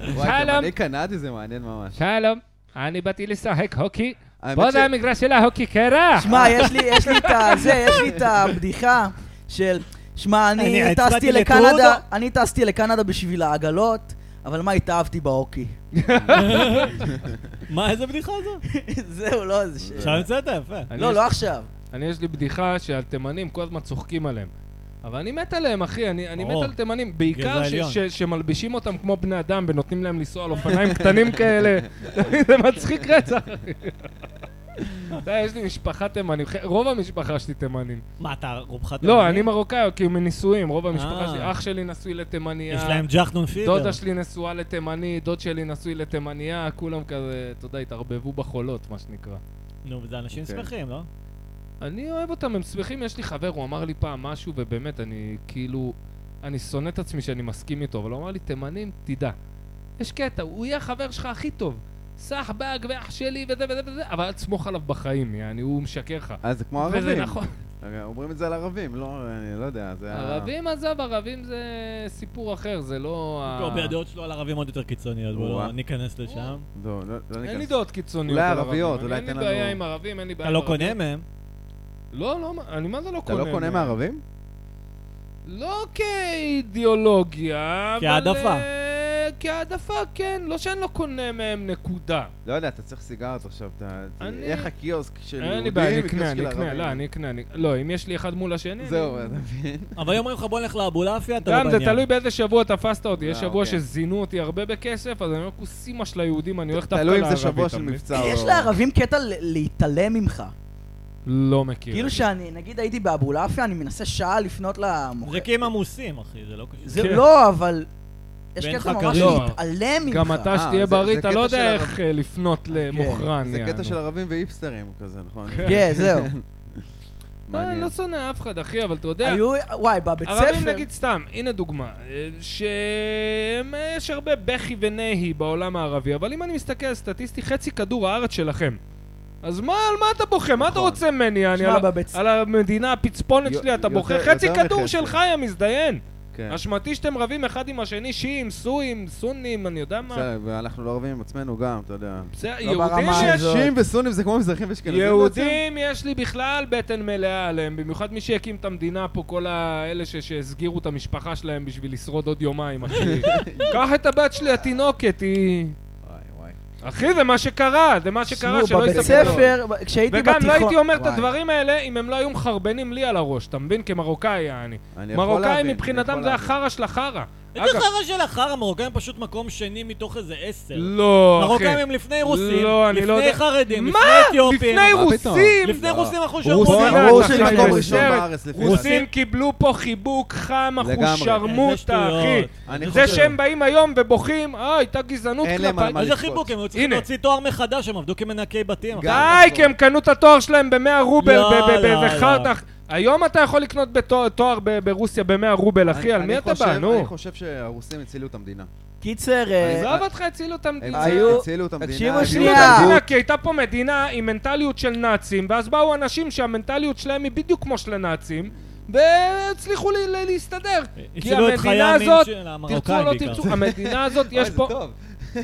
S1: שלום. כן.
S4: גם אני קנדי זה מעניין ממש.
S1: שלום, אני באתי לשחק הוקי.
S4: האמת
S1: פה
S4: ש-
S1: זה המגרש של ההוקי קרח.
S2: שמע, יש לי- יש לי את הזה, יש לי את הבדיחה של... שמע, אני
S3: אני הצבעתי
S2: טסתי לקנדה,
S3: לטרודו.
S2: אני טסתי לקנדה בשביל העגלות, אבל מה, התאהבתי בהוקי.
S3: מה, איזה בדיחה זו?
S2: (laughs) זהו, לא, זה ש...
S3: עכשיו המצאת, יפה.
S1: אני
S2: לא,
S1: יש-
S2: לא עכשיו.
S1: אני יש לי בדיחה שעל תימנים כל הזמן צוחקים עליהם. אבל אני מת עליהם, אחי, אני, אני מת
S3: ברור.
S1: על תימנים. בעיקר
S3: גזע
S1: ש,
S3: עליון.
S1: ש, שמלבישים אותם כמו בני אדם ונותנים להם לנסוע על אופניים (laughs) קטנים כאלה. זה מצחיק רצח,
S2: (laughs)
S1: אחי. אתה יודע, יש לי משפחה תימנים, ח- רוב המשפחה שלי תימנים.
S3: מה, אתה רובך תימני?
S1: לא, אני מרוקאי, כי הוא מנישואים, רוב המשפחה
S3: אה.
S1: שלי. אח שלי נשוי לתימניה.
S3: יש להם ג'חנון פיבר.
S1: דודה שלי נשואה לתימני, דוד שלי נשוי לתימניה, כולם כזה, אתה יודע, התערבבו בחולות, מה שנקרא.
S3: נו, זה אנשים
S4: כן.
S3: שמחים, לא?
S1: אני אוהב אותם, הם שמחים, יש לי חבר, הוא אמר לי פעם משהו, ובאמת, אני כאילו, אני שונא את עצמי שאני מסכים איתו, אבל הוא אמר לי, תימנים, תדע. יש קטע, הוא יהיה החבר שלך הכי טוב. סחבק ואח שלי וזה וזה וזה, אבל אל תסמוך עליו בחיים, יעני, הוא משקר לך.
S4: אז אה, זה כמו
S1: וזה
S4: ערבים. אוקיי,
S1: נכון.
S4: אומרים את זה על ערבים, לא, אני לא יודע, זה... ה-
S1: ערבים, עזוב, ערבים זה סיפור אחר, זה לא... ה-
S3: טוב, הדעות שלו על ערבים עוד יותר קיצוניות, בואו
S4: וואו.
S3: לא ניכנס
S1: אה,
S3: לשם.
S4: לא, לא לא
S1: אין לי
S4: ניכנס.
S1: דעות קיצוניות.
S4: אולי
S1: על ערבים.
S4: ערביות,
S1: אני-
S4: אולי
S1: אין לי
S4: תן
S1: בעיה
S4: לנו-
S1: עם ערבים, אין לי בעיה
S3: אתה
S1: עם
S3: לא
S1: ערבים.
S3: קונה מהם?
S1: לא, לא, אני מה זה לא
S4: אתה
S1: קונה?
S4: לא קונה
S1: מהם?
S4: מערבים?
S1: לא כאידיאולוגיה, אבל...
S3: כהעדפה.
S1: אה, כהעדפה, כן. לא שאני לא קונה מהם, נקודה.
S4: לא יודע, אתה צריך סיגרת עכשיו, אתה...
S1: אני-
S4: יהיה לך קיוסק של יהודים,
S1: אין לי בעיה, אני אקנה,
S4: וקיוסק של
S1: אני אקנה,
S4: ערבים.
S1: לא, אני אקנה, אני... לא, אם יש לי אחד מול השני...
S4: זהו,
S1: אני...
S4: אתה מבין?
S3: אבל אם אומרים לך בוא נלך לאבולעפיה, אתה לא
S1: גם
S3: בעניין.
S1: זה תלוי באיזה שבוע תפסת אותי,
S4: אה,
S1: יש שבוע
S4: אוקיי.
S1: שזינו אותי הרבה בכסף, אז אני אומר כוסימה של היהודים, אני הולך דווקא
S4: תלוי
S1: לערבי.
S4: אם זה שבוע
S1: אתה
S4: של
S1: מבין?
S4: מבצע או לא.
S2: יש לערבים קטע ל- להתעלם ממך.
S1: לא מכיר.
S2: כאילו שאני, נגיד הייתי באבולעפיה, אני מנסה שעה לפנות למוכר.
S3: זה כי הם עמוסים, אחי, זה לא קשור.
S2: זה
S1: כן.
S2: לא, אבל... יש
S3: ואין
S2: קטע
S3: לך
S2: ממש
S1: קריירה.
S2: להתעלם ממך.
S1: לא. גם אתה
S4: אה,
S1: שתהיה
S4: זה-
S1: בריא,
S4: זה
S1: אתה לא
S4: קטע
S1: יודע
S4: של
S1: איך אה, לפנות
S3: כן.
S1: למוכרן.
S4: זה
S1: יענו.
S4: קטע של ערבים ואיפסטרים כזה, נכון?
S2: כן,
S1: (laughs)
S2: זהו.
S1: אה, אני
S4: מעניין.
S1: לא שונא אף אחד, אחי, אבל אתה יודע...
S2: היו, וואי, בבית
S1: ערבים
S2: ספר.
S1: נגיד סתם, הנה דוגמה, אה, שהם, אה, יש הרבה בכי ונהי בעולם הערבי, אבל אם אני מסתכל סטטיסטי, חצי כדור הארץ שלכם. אז מה, על מה אתה בוכה? מה אתה
S4: נכון.
S1: רוצה ממני? אני
S2: שמע,
S1: על ה-
S2: בבית-
S1: על המדינה הפצפונת
S4: יו-
S1: שלי אתה
S4: יותר-
S1: בוכה?
S4: יותר
S1: חצי כדור
S4: מחצי.
S1: שלך, יא מזדיין.
S4: כן.
S1: אשמתי שאתם רבים אחד עם השני, שיעים, סואים, סונים, אני יודע מה.
S4: בסדר, ואנחנו לא ערבים עם עצמנו גם, אתה יודע.
S1: בסדר,
S2: לא
S1: יהודים
S2: ברמה
S1: שיש...
S2: הזאת.
S4: שיעים וסונים זה כמו מזרחים לא ואשכנזים
S1: יהודים יש לי בכלל בטן מלאה עליהם, במיוחד מי שהקים את המדינה פה, כל האלה ש- שהסגירו את המשפחה שלהם בשביל לשרוד עוד יומיים, אחי.
S4: (laughs)
S1: קח את הבת שלי התינוקת, היא...
S4: בעצם? וואי, וואי.
S1: אחי, זה מה שקרה, זה מה שקרה,
S2: תשמעו,
S1: שלא
S2: בבית
S1: יספרו.
S2: ספר, ב- כשהייתי
S1: וגם
S2: בתיכון...
S1: לא הייתי אומר את
S4: וואי.
S1: הדברים האלה אם הם לא היו מחרבנים לי על הראש, אתה מבין? כמרוקאי, אני.
S4: אני יכול
S1: מרוקאי
S4: להבין, אני
S1: מבחינתם
S4: יכול
S1: זה
S4: להבין.
S1: החרא של החרא.
S3: איזה
S1: אגב-
S3: חרא של החרא, מרוקאים פשוט מקום שני מתוך איזה עשר.
S1: לא, אחי.
S3: מרוקאים הם לפני רוסים,
S1: לא, אני לא
S3: לפני
S1: יודע.
S3: חרדים,
S1: מה?
S3: לפני אתיופים.
S1: לפני
S4: מה פתאום?
S1: רוסים!
S3: לפני
S4: לא.
S3: רוסים אנחנו
S4: ברור-
S3: שרמוטה.
S1: בואנה,
S4: ברור
S1: אתה
S4: שהם
S1: חי
S4: מקום
S1: בסרט.
S4: ראשון בארץ לפי
S1: רוסים קיבלו פה חיבוק חם, אחו
S4: לגמרי.
S3: איזה
S1: שרמוטה, אחי.
S3: שטויות.
S4: אני
S1: זה
S4: חושב-
S1: שהם באים היום ובוכים, אה, הייתה גזענות
S4: אין להם על
S1: כלפיי.
S4: מה
S3: איזה
S4: לקפוץ.
S3: חיבוק, הם היו צריכים
S1: הנה.
S3: להוציא תואר מחדש, הם עבדו כמנקי בתים.
S4: גם.
S1: די, כי הם קנו את התואר שלהם ב-100 רובל,
S3: לא,
S1: ב- ב-
S3: לא,
S1: באיזה
S3: לא.
S1: חרטח. היום אתה יכול לקנות בתואר- תואר ב- ברוסיה ב-100 רובל, אחי,
S4: אני-
S1: על
S4: אני
S1: מי אתה
S4: חושב-
S1: בא, נו?
S4: אני חושב שהרוסים הצילו את המדינה.
S2: קיצר, אה,
S1: עזוב אותך, הצילו את
S4: הם
S1: המדינה.
S2: היו-
S4: הצילו את המדינה.
S2: תקשיבו
S4: הביאו
S1: שנייה.
S2: שנייה.
S4: תרבות.
S1: המדינה, כי הייתה פה מדינה עם מנטליות של נאצים, ואז באו אנשים שהמנטליות שלהם היא בדיוק כמו של הנאצים, והצליחו ל- ל- להסתדר. כי
S3: הצילו את חיי
S1: המדינה
S3: המין
S1: הזאת,
S3: של
S1: תרצו
S3: המרוקאים
S1: או לא
S3: בעיקר.
S1: תרצו, המדינה
S4: (laughs)
S1: הזאת
S4: אוי,
S1: יש
S4: אה, זה
S1: פה...
S4: טוב.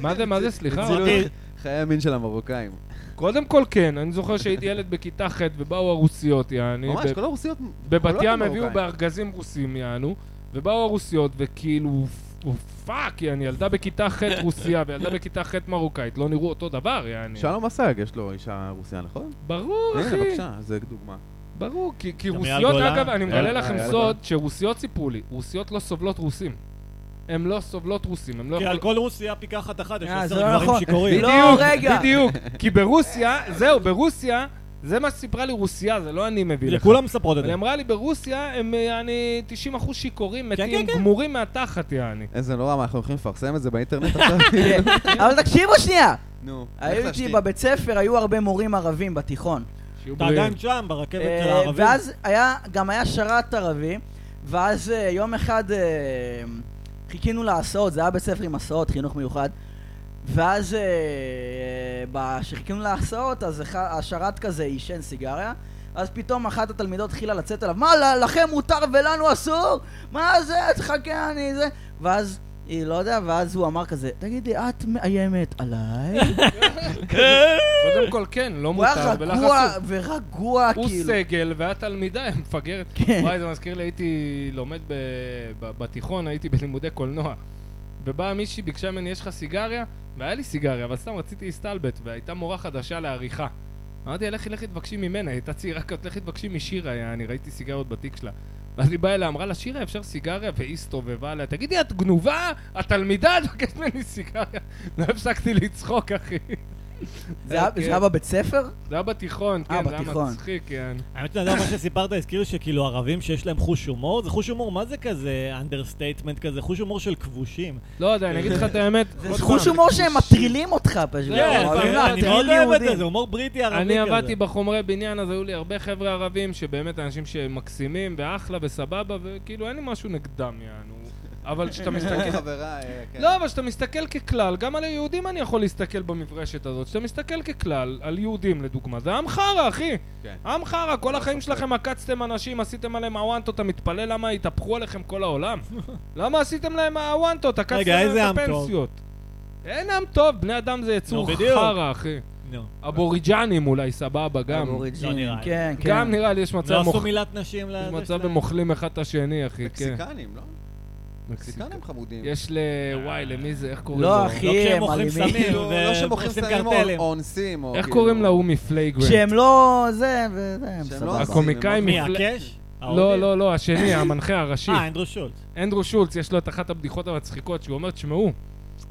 S1: מה זה, מה זה, סליחה?
S4: הצילו
S3: אמרתי-
S4: את חיי המין של המרוקאים.
S1: קודם כל כן, אני זוכר שהייתי ילד בכיתה ח' ובאו הרוסיות, יעני.
S4: ממש,
S1: ב-
S4: כל הרוסיות...
S1: בבת
S4: קולות
S1: ים
S4: המרוקאים.
S1: הביאו בארגזים רוסים, יענו, ובאו הרוסיות, וכאילו, פ- פאק, יעני, ילדה בכיתה
S4: (laughs)
S1: ח' רוסיה וילדה בכיתה ח' מרוקאית, לא נראו אותו דבר, יעני.
S4: שלום אסג, יש לו אישה רוסיה, נכון?
S1: ברור,
S4: הנה,
S1: אחי.
S4: בבקשה, זה דוגמה.
S1: ברור, כי, כי
S3: גם אייל
S1: רוסיות,
S3: גולן?
S1: אגב, אני מגלה
S4: אייל-
S1: לכם
S4: אייל
S1: סוד שרוסיות סיפרו לי, רוסיות לא סובלות רוסים. הן לא סובלות רוסים, הן לא
S3: כי על
S1: יכולות...
S3: כל רוסיה פיקחת אחת יש
S2: אה, זה
S3: עשר
S2: לא
S3: גברים
S2: נכון.
S3: שיכורים.
S2: לא,
S1: בדיוק,
S2: רגע.
S1: בדיוק. כי ברוסיה, זהו, ברוסיה, זה מה שסיפרה לי רוסיה, זה לא אני מביא
S3: זה
S1: לך.
S3: כולם מספרות את זה.
S1: היא אמרה לי, ברוסיה הם, יעני, 90% שיכורים,
S3: כן,
S1: מתים,
S3: כן.
S1: גמורים מהתחת, יעני.
S4: איזה נורא, מה, אנחנו הולכים לפרסם את זה
S1: (laughs)
S4: באינטרנט עכשיו?
S2: כן. אבל תקשיבו שנייה.
S4: נו, לך
S2: הייתי
S4: להשתין.
S2: בבית סבר, היו הרבה מורים ערבים בתיכון.
S1: שיהיו
S3: אתה
S1: בריאים.
S3: גם שם, ברכבת
S2: אה,
S3: של הערבים.
S2: ואז היה, גם היה שרת ערבי, ואז אה, יום אחד אה, חיכינו להסעות, זה היה בית ספר עם הסעות, חינוך מיוחד. ואז אה, כשחיכינו להסעות, אז אח- השרת כזה עישן סיגריה. אז פתאום אחת התלמידות התחילה לצאת עליו, מה, ל- לכם מותר ולנו אסור? מה זה, תחכה, אני זה... ואז, היא לא יודע, ואז הוא אמר כזה, תגידי, את מאיימת
S1: (laughs)
S2: עליי?
S1: קודם כל, כן, לא
S2: הוא היה
S1: מותר ולך
S2: רגוע,
S1: אסור.
S2: ורגוע,
S1: הוא
S2: כאילו.
S1: סגל ואת תלמידה, היא מפגרת.
S2: כן.
S1: וואי, זה מזכיר לי, הייתי לומד ב- ב- בתיכון, הייתי בלימודי קולנוע. ובאה מישהי, ביקשה ממני, יש לך סיגריה? והיה לי סיגריה, אבל סתם רציתי להסתלבט, והייתה מורה חדשה לעריכה. אמרתי לה, לכי, לכי תבקשי ממנה, היא הייתה צעירה כזאת, לכי תבקשי משירה, יא, אני ראיתי סיגריות בתיק שלה. ואז היא באה אליה, אמרה לה, שירה, אפשר סיגריה? והיא הסתובבה עליה, תגידי, את גנובה? את תלמידה? את מבקשת ממני סיגריה? (laughs) לא הפסקתי לצחוק, אחי.
S2: זה היה-
S1: כן.
S2: זה היה בבית ספר?
S1: זה היה בתיכון,
S2: אה,
S1: כן, זה היה
S2: בתיכון.
S1: מצחיק, כן.
S3: האמת שאני יודע מה שסיפרת הזכיר שכאילו ערבים שיש להם חוש הומור, זה חוש הומור, מה זה כזה אנדרסטייטמנט כזה? חוש הומור של כבושים.
S1: לא יודע, אני אגיד
S3: (laughs)
S1: לך את האמת. עוד
S2: זה
S1: פעם,
S2: חוש הומור שהם מטרילים אותך פשוט.
S1: כן,
S2: הם
S3: כן,
S2: "לא, אוהבים
S1: אני
S3: אני מאוד
S2: להטריל
S3: אוהב את זה,
S2: יהודים.
S3: זה הומור בריטי ערבי כזה.
S1: אני עבדתי בחומרי בניין, אז היו לי הרבה חבר'ה ערבים, שבאמת אנשים שמקסימים ואחלה וסבבה, וכאילו אין לי משהו נגדם, יענו. אבל
S3: (laughs)
S1: כשאתה
S4: כן,
S1: מסתכל...
S4: חברה, אה, כן.
S1: לא, אבל כשאתה מסתכל ככלל, גם על היהודים אני יכול להסתכל במברשת הזאת. כשאתה מסתכל ככלל, על יהודים לדוגמה, זה עם חרא, אחי.
S4: כן.
S1: עם חרא, כל
S4: לא
S1: החיים
S4: ספק.
S1: שלכם עקצתם אנשים, עשיתם עליהם הוואנטות, אתה מתפלא למה התהפכו עליכם כל
S3: (laughs)
S1: העולם? למה עשיתם להם הוואנטות? עקצתם
S3: רגע,
S1: להם
S3: איזה עם
S1: את
S3: טוב?
S1: הפנסיות. אין עם טוב, בני אדם זה יצור
S3: נו, בדיוק.
S1: חרא, אחי.
S3: נו.
S1: אבוריג'נים אולי, סבבה, גם.
S2: אבוריג'ינים,
S3: לא נראה לי.
S2: כן, כן.
S1: גם נראה לי יש מצב
S3: לא עשו
S1: מוכ-
S3: מילת נשים
S1: יש
S3: לזה
S1: מצב
S3: שלהם.
S1: הם אוכלים אחד את השני, אחי, כן.
S4: מקסיקנים, לא? מקסיקנים חמודים.
S1: יש ל... וואי, למי זה, איך קוראים לו?
S2: לא,
S3: לא
S2: אחי,
S3: כשהם
S2: הם
S3: אוכלים
S2: אלימים.
S3: סמים.
S4: כאילו, לא שמוכרים
S3: ועושים
S4: סמים או
S3: קרטלים.
S4: או אונסים, או
S1: איך
S4: כאילו-
S2: לא.
S1: קוראים להוא מפלייגרנט?
S2: כשהם לא... זה, וזה, הם
S4: כשהם לא
S2: סבבה.
S4: עושים.
S1: הקומיקאים
S3: מי,
S1: מפל-
S3: הקש?
S1: לא, לא, לא,
S3: (laughs)
S1: השני, המנחה הראשי.
S3: אה, אנדרו שולט.
S1: אנדרו שולץ, יש לו את אחת הבדיחות המצחיקות, שהוא אומר, תשמעו,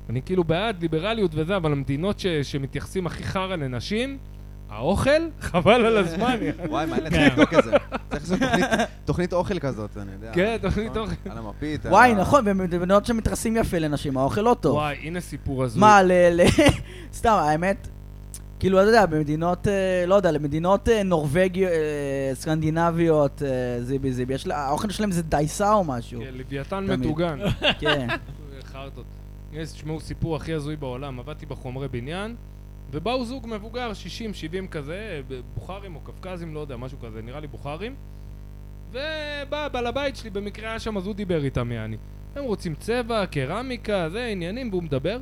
S1: אני כאילו בעד ליברליות וזה, אבל המדינות ש- שמתייחסים הכי חרא לנשים, האוכל, (laughs) חבל על הזמן. יא.
S4: וואי, מה
S3: כן.
S4: לצחוק כזה? צריך לעשות
S1: (laughs)
S4: תוכנית- תוכנית אוכל כזאת, אני יודע.
S1: כן, תוכנית
S4: נכון?
S1: אוכל.
S4: על המפית. על
S2: וואי,
S4: ה-
S2: נכון, במדינות שמתרסים יפה לנשים, האוכל לא טוב.
S1: וואי, הנה סיפור הזוי.
S2: מה, ל... (laughs) ל- סתם, האמת, כאילו, אתה יודע, במדינות, אה, לא יודע, למדינות נורבגיות, סקנדינביות, אה, זיבי זיבי, יש לה- האוכל שלהם זה דייסה או משהו.
S1: כן, לוויתן
S2: תמיד.
S1: מטוגן.
S2: כן.
S1: חרטות. יש, תשמעו, סיפור הכי הזוי בעולם. עבדתי בחומרי בניין, ובאו זוג מבוגר, 60-70 כזה, ב- בוכרים או קפקזים, לא יודע, משהו כזה, נראה לי בוכרים. ובא בעל הבית שלי, במקרה היה שם, אז הוא דיבר איתם, יעני. הם רוצים צבע, קרמיקה, זה, עניינים, והוא מדבר.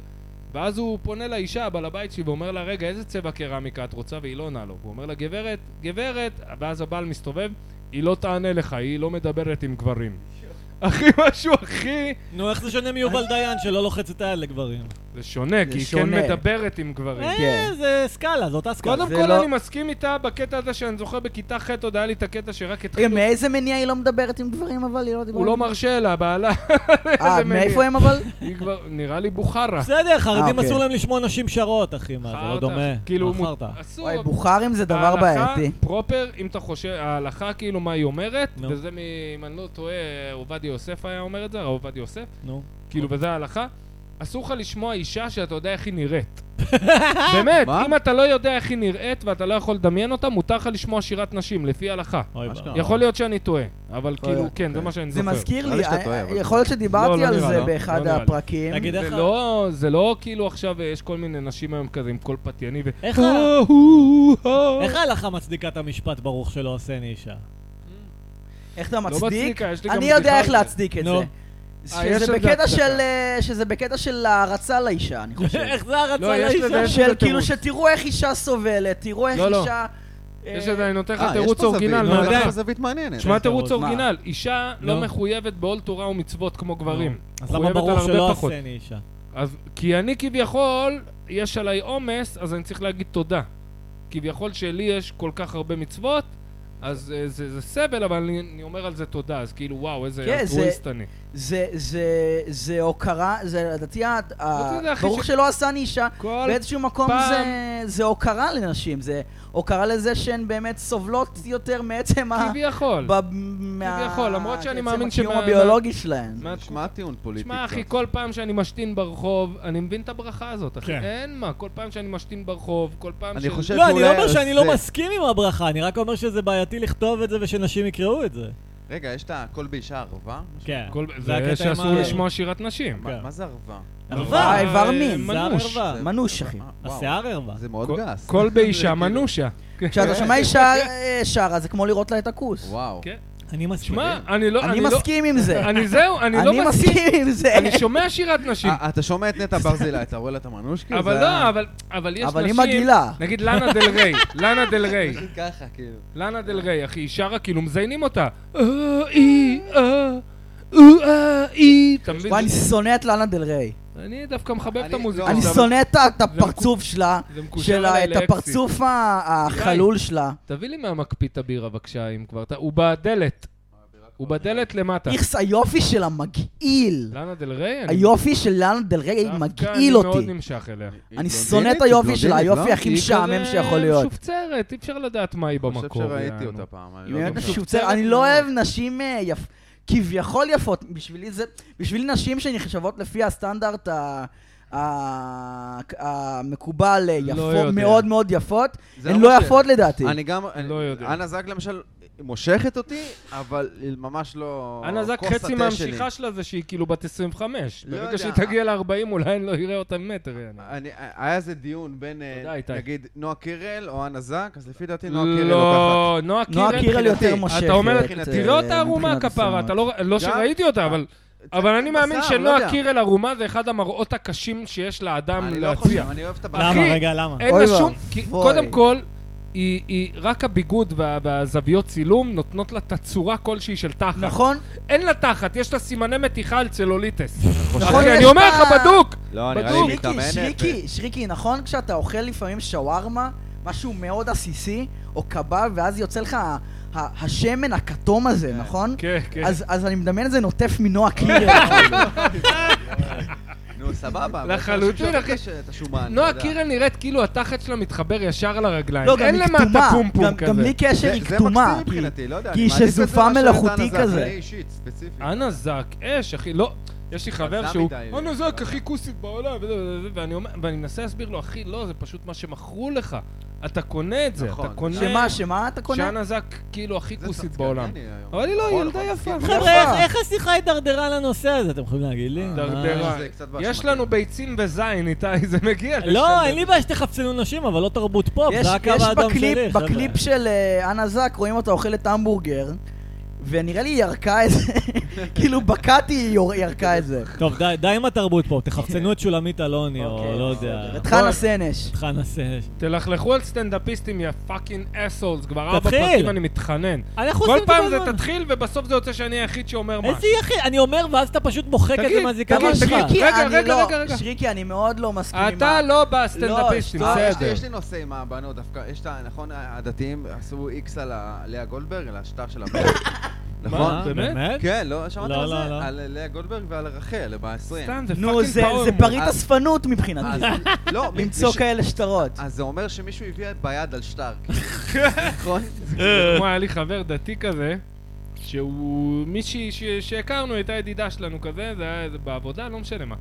S1: ואז הוא פונה לאישה, הבעל הבית שלי, ואומר לה, רגע, איזה צבע קרמיקה את רוצה? והיא לא עונה לו. הוא אומר לה, גברת, גברת, ואז הבעל מסתובב, היא לא תענה לך, היא לא מדברת עם גברים. אחי, משהו הכי...
S3: נו, איך זה שונה מיובל דיין שלא לוחץ את היד לגברים?
S1: זה שונה, כי היא כן
S2: שונה.
S1: מדברת עם גברים.
S3: אה, זה סקאלה, זו אותה סקאלה.
S1: קודם
S2: זה
S1: כל
S2: לא-
S1: אני מסכים איתה בקטע הזה שאני זוכר בכיתה ח' עוד היה לי את הקטע שרק
S2: רגע,
S1: התחילו...
S2: מאיזה מניע היא לא מדברת עם גברים, אבל היא לא דיברה?
S1: הוא לא
S2: עם-
S1: מרשה לה, בעלה, (laughs) מניע.
S2: אה, מאיפה הם אבל?
S1: היא כבר, נראה לי בוכרה.
S3: בסדר,
S4: אה,
S3: חרדים
S2: אוקיי.
S3: אסור להם לשמוע נשים שרות, אחי, מה, זה
S1: חרטא.
S3: לא דומה.
S1: כאילו,
S3: מה
S1: מו-
S3: חרטא?
S1: אסור.
S2: וואי, בוכרים זה דבר
S1: ההלכה
S2: בעייתי.
S1: פרופר, אם אתה חושב, ההלכה כאילו מה היא אומרת,
S3: נו.
S1: וזה מ... אם אני לא טועה, עובדיה יוסף היה אומר את זה, הרב עובדיה יוסף,
S3: נו.
S1: כאילו, וזה ההלכה. אסור לך לשמוע אישה שאתה יודע איך היא נראית. באמת,
S4: מה?
S1: אם אתה לא יודע איך היא נראית ואתה לא יכול לדמיין אותה, מותר לך לשמוע שירת נשים, לפי ההלכה.
S3: אוי
S5: אשכרה.
S3: ואבוי.
S1: יכול להיות שאני טועה, אבל
S2: יכול
S1: כאילו,
S2: להיות,
S1: כן, זה מה שאני
S2: זה
S1: זוכר.
S2: מזכיר
S4: נראה
S2: לי, אה,
S4: לי שאתה טועה, אבל-
S2: יכול להיות
S1: לא,
S2: שדיברתי
S1: לא
S2: על
S1: נראה,
S2: זה
S1: לא. לא
S2: באחד
S1: נראה לי.
S2: הפרקים.
S3: תגיד,
S1: זה
S3: איך ה-
S1: לא, זה לא כאילו עכשיו אה, יש כל מיני נשים היום כזה עם קול פתייני ו... אה,
S3: איך ה- איך ההלכה מצדיקה את המשפט ברוך שלא עושני אישה?
S2: איך אתה
S1: לא
S2: מצדיק?
S1: מצדיקה, יש לי גם
S2: אני יודע
S1: בדיחה
S2: איך
S1: על זה.
S2: להצדיק את
S3: נו.
S2: זה.
S1: אה, יש
S2: שזה
S1: לזה
S2: בקטע
S1: הצדקה.
S2: של, אה, שזה בקטע של הערצה לאישה, אני חושב.
S3: (laughs) איך זה הרצה
S1: לא, יש לזה- (laughs)
S3: לאישה?
S1: יש
S2: של
S1: לזה
S2: כאילו
S1: תירוץ.
S2: שתראו איך אישה סובלת, תראו איך
S1: לא, לא.
S2: אישה... אה,
S1: יש לזה, אני נותן לך
S4: אה, יש פה
S1: תירוץ
S4: זווית,
S1: אורגינל
S4: לא,
S3: מה,
S1: מההלכה.
S4: יש
S3: יודע.
S4: פה זווית מעניינת.
S1: שמע
S3: יש
S1: תירוץ
S3: תירוץ, מה?
S1: אורגינל, אישה לא
S3: נו.
S1: מחויבת בעול תורה ומצוות כמו גברים.
S3: אז למה
S1: מחויבת על
S3: ברוך
S1: הרבה
S3: שלא
S1: פחות.
S3: עושני אישה?
S1: אז כי אני כביכול, יש עליי עומס, אז אני צריך להגיד תודה. כביכול שלי יש כל כך הרבה מצוות, אז אה, זה זה סבל, אבל אני אני אומר על זה תודה, אז כאילו וואו, איזה
S2: כן, זה-
S1: אלטרואיסט אני.
S2: זה, זה, זה הוקרה, זה לדעתי, ה- ה-
S1: זה הכי
S2: ברוך
S1: ש-
S2: שלא עשני אישה,
S1: כל
S2: באיזשהו מקום
S1: פעם-
S2: זה, זה הוקרה לנשים, זה הוקרה לזה שהן באמת סובלות יותר מעצם ה...
S1: כביכול.
S2: ב- מה-
S1: כביכול, למרות שאני
S2: מעצם
S1: מאמין
S2: הקיום
S1: שמה-
S2: הביולוגי שלהן.
S1: מה-
S4: שמע טיעון פוליטי.
S1: שמע אחי,
S4: קצת.
S1: כל פעם שאני משתין ברחוב, אני מבין את הברכה הזאת, אחי.
S3: כן.
S1: אין מה, כל פעם שאני משתין ברחוב, כל פעם
S4: אני חושב
S3: לא, אני לא
S4: שאולי
S3: אומר שאני לא
S4: זה-
S3: מסכים עם הברכה, אני רק אומר שזה בעייתי לכתוב את זה ושנשים יקראו את זה.
S4: רגע, יש את הקול באישה ערבה?
S3: כן.
S1: כל-
S3: הקטע עם
S1: זה שאסור
S3: ה-
S1: לשמוע שירת נשים.
S4: מה-
S3: כן.
S4: מה זה ערווה?
S3: ערווה.
S2: אה, איבר מין.
S1: אה,
S3: זה כן,
S1: מנוש.
S3: הערווה.
S4: זה-
S2: מנוש, אחי.
S4: אה, וואו,
S3: השיער ערווה.
S4: זה מאוד
S1: כן. כל-
S4: גס.
S1: כל
S4: זה
S1: באישה
S4: (laughs) כאילו-
S1: מנושה.
S2: כשאתה שומע אישה אה, שרה, זה כמו לראות לה את הכוס.
S4: וואו.
S1: כן.
S3: אני מסכים.
S1: שמע, אני לא...
S2: אני
S1: לא-
S2: מסכים עם זה.
S1: אני זהו, אני לא
S2: אני
S1: מסכים.
S2: מסכים עם זה.
S1: אני שומע שירת נשים.
S4: אה, אתה שומע את נטע ברזילי, אתה רואה לה את המנוש כאילו?
S1: אבל
S4: זה
S1: לא,
S4: היה-
S1: אבל- אבל יש נשים...
S2: אה, אבל היא מגעילה.
S1: נגיד לאנה דל ריי, לאנה דל ריי,
S4: פשוט ככה, כאילו.
S1: לאנה דל ריי, אחי, היא שרה כאילו מזיינים אותה. אה, אי, אה, אה, אה, אי, אתה מבין?
S2: וואי, אני שונא את לאנה דל ריי.
S1: אני דווקא מחבב את
S4: אני-
S1: המוזיקה.
S4: לא,
S2: אני
S1: אבל-
S2: שונא את ה- את
S1: מקו-
S2: הפרצוף שלה,
S1: זה מקושר
S2: שלה,
S1: עליי
S2: את
S1: לאקסיט.
S2: הפרצוף ה- החלול שלה.
S1: תביא לי מהמקפיא את הבירה בבקשה, אם כבר. אתה- הוא בדלת. הוא בדלת למטה.
S2: איכס, היופי שלה מגעיל.
S1: לאנה דל ריי? אני-
S2: היופי של לאנה דל ריי
S1: דווקא
S2: מגעיל
S1: אני מאוד
S2: אותי.
S1: נמשך אליה.
S2: אני
S4: היא
S2: שונא את
S4: בלונדינית?
S2: היופי
S4: היא
S2: שלה,
S4: בלונדינית,
S2: היופי
S4: לא?
S2: הכי משעמם שיכול
S1: היא
S2: להיות.
S1: כזה משופצרת, אי אפשר לדעת מה היא
S4: אני
S1: במקור.
S4: חושב שראיתי
S1: יענו.
S4: אותה פעם. אני
S2: היא
S4: לא
S2: באמת
S4: זוכר.
S2: משופצרת, אני לא אוהב נשים אה, יפ- כביכול יפות. בשבילי זה, בשבילי נשים שנחשבות לפי הסטנדרט ה... ה- המקובל אה,
S1: לא
S2: יפות,
S1: יודע.
S2: מאוד מאוד יפות,
S4: זה
S2: הן לא
S4: מה ש-
S2: יפות לדעתי.
S4: אני גם, אני-
S1: לא יודע.
S4: אנה זק למשל מושכת אותי, אבל היא ממש לא...
S1: אנה זק,
S4: כוס התה
S1: חצי
S4: שלי.
S1: מהמשיכה שלה זה שהיא כאילו בת 25.
S4: לא
S1: ברגע
S4: יודע.
S1: שהיא תגיע ל-40 אולי אני לא אראה אותה ממטר. יענו.
S4: אני, היה איזה דיון בין, אה,
S1: תודה, איתי.
S4: נגיד, נועה קירל או אנה זק, אז לפי דעתי נועה קירל לוקחת.
S1: לא, נועה
S2: נועה
S1: קירל.
S2: קירל יותר
S4: מבחינתי.
S2: מושכת.
S1: אתה אומר,
S4: מבחינתי,
S1: תראה אותה
S2: אה,
S1: ערומה
S2: מבחינת
S1: כפרה,
S2: הסמנות.
S1: אתה לא- לא שראיתי אותה, אבל... אבל אני מאמין
S4: בשר, אה, לא
S1: שנועה
S4: יודע.
S1: קירל ערומה זה אחד המראות הקשים שיש לאדם
S4: אני לא
S1: להציע.
S4: חושב, אני אוהב את הבחור.
S3: למה?
S1: אחי,
S3: רגע, למה?
S1: אין
S2: אוי
S1: לה שום...
S2: ואבוי.
S1: כי קודם כל, היא, היא, רק הביגוד וה, והזוויות צילום נותנות לה תצורה כלשהי של תחת.
S2: נכון?
S1: אין לה תחת, יש לה סימני מתיחה על צלוליטס.
S2: נכון,
S1: אחי,
S2: יש
S1: אני אומר
S2: לה-
S1: לך, בדוק!
S4: לא, נראה לי
S1: בדוק.
S4: היא
S2: שריקי,
S4: מתאמנת.
S2: שריקי, שריקי, נכון כשאתה אוכל לפעמים שווארמה, משהו מאוד עסיסי, או קבב, ואז יוצא לך ה- ה- השמן הכתום הזה, נכון?
S1: כן, כן.
S2: אז, אז אני מדמיין את זה נוטף מנועה
S3: (laughs)
S2: קירל.
S4: נו, סבבה. אבל
S1: לחלוטין,
S4: אתה חושב
S1: אחי.
S4: שאתה שומן,
S1: נועה
S4: אתה יודע.
S1: קירל נראית כאילו התחת שלה מתחבר ישר לרגליים.
S2: לא, גם
S1: אין
S2: היא
S1: למטה
S2: כתומה.
S1: פומפום
S2: גם,
S1: כזה.
S2: גם בלי קשר
S4: זה-
S2: היא
S4: זה
S2: כתומה.
S4: מקסים מבחינתי, לא יודע.
S2: כי
S4: אני
S2: היא
S4: מעדיף את זה
S2: שזופה
S4: מאשר את
S2: מלאכותי
S4: אנה זק,
S2: כזה.
S4: אני אישית, ספציפית.
S1: אנה זק, אש, אחי, לא. יש לי חבר
S4: חזק
S1: שהוא,
S4: מדי.
S1: אנה זק הכי כוסית בעולם, וזה, וזה, וזה, ואני אומר- ואני מנסה להסביר לו, אחי, לא, זה פשוט מה שמכרו לך. אתה קונה את זה,
S4: נכון.
S1: אתה קונה...
S2: שמה, שמה אתה קונה?
S1: שאנה זק כאילו הכי
S4: זה
S1: כוסית
S4: צחקני
S1: בעולם.
S4: היום.
S1: אבל היא לא,
S4: נכון,
S1: ילדה
S4: נכון,
S1: יפה.
S4: מסכים.
S3: חבר'ה, איך- איך השיחה הידרדרה לנושא הזה? אתם יכולים להגיד לי?
S1: דרדרה.
S4: אה, זה קצת באשמתי.
S1: יש לנו ביצים וזין, איתי, (laughs) זה מגיע
S3: מה?
S1: לשם.
S3: לא, אין לי בעיה שתחפשנו נשים, אבל לא תרבות פופ,
S2: יש,
S3: זה הקו
S2: יש
S3: האדום
S2: בקליפ,
S3: שלי. חבר'ה.
S2: בקליפ של אה, אנה זק רואים אותה אוכלת המבורגר, ונראה לי היא ירקה את זה, (laughs) כאילו בקעתי היא יור- ירקה את זה.
S3: טוב, די- די עם התרבות פה,
S2: (laughs)
S3: תחפצנו את שולמית אלוני, או
S2: אוקיי,
S3: לא
S2: בסדר.
S3: יודע.
S2: את חנה סנש.
S3: אותך נעשה...
S1: תלכלכו על סטנדאפיסטים, יא פאקינג אסולס, כבר ארבע
S3: תתחיל.
S1: פרקים אני מתחנן.
S3: אנחנו
S1: כל
S3: עושים
S1: פעם זה
S3: אותו דבר.
S1: תתחיל, ובסוף זה יוצא שאני היחיד שאומר משהו.
S3: איזה יחיד, אני אומר, ואז אתה פשוט מוחק את זה
S1: תגיד,
S3: מהזיכרון
S1: תגיד,
S3: שלך.
S1: תגיד.
S2: שריקי,
S1: רגע,
S2: אני
S1: רגע,
S2: לא-
S1: רגע, רגע.
S2: שריקי, אני מאוד לא מסכים עם
S1: אתה
S2: ה-
S1: לא בסטנדאפיסטים,
S2: לא,
S4: אה, יש לי-
S1: בסדר.
S4: יש לי נושא עם הבנות דווקא, יש את ה... נכון, הדתיים עשו איקס על ה- לאה גולדברג, על השטר של הבן.
S1: (laughs)
S4: נכון?
S1: מה? באמת?
S4: כן, לא שמעת
S3: לא,
S4: על
S3: לא, לא.
S4: זה? על לאה גולדברג ועל רחל, ב-20.
S1: סתם, זה
S2: נו,
S1: פאקינג
S2: זה
S1: פרעון.
S2: זה פריט
S4: אז-
S2: אספנות
S1: (laughs)
S2: מבחינתי.
S4: לא, מי-
S2: למצוא
S4: מישהו-
S2: כאלה שטרות.
S4: אז זה אומר שמישהו הביא ביד על שטר, כאילו,
S1: (laughs)
S4: נכון?
S1: זה כמו היה לי חבר דתי כזה, שהוא... מישהי ש... שהכרנו הייתה ידידה שלנו כזה, זה היה איזה בעבודה, לא משנה מה.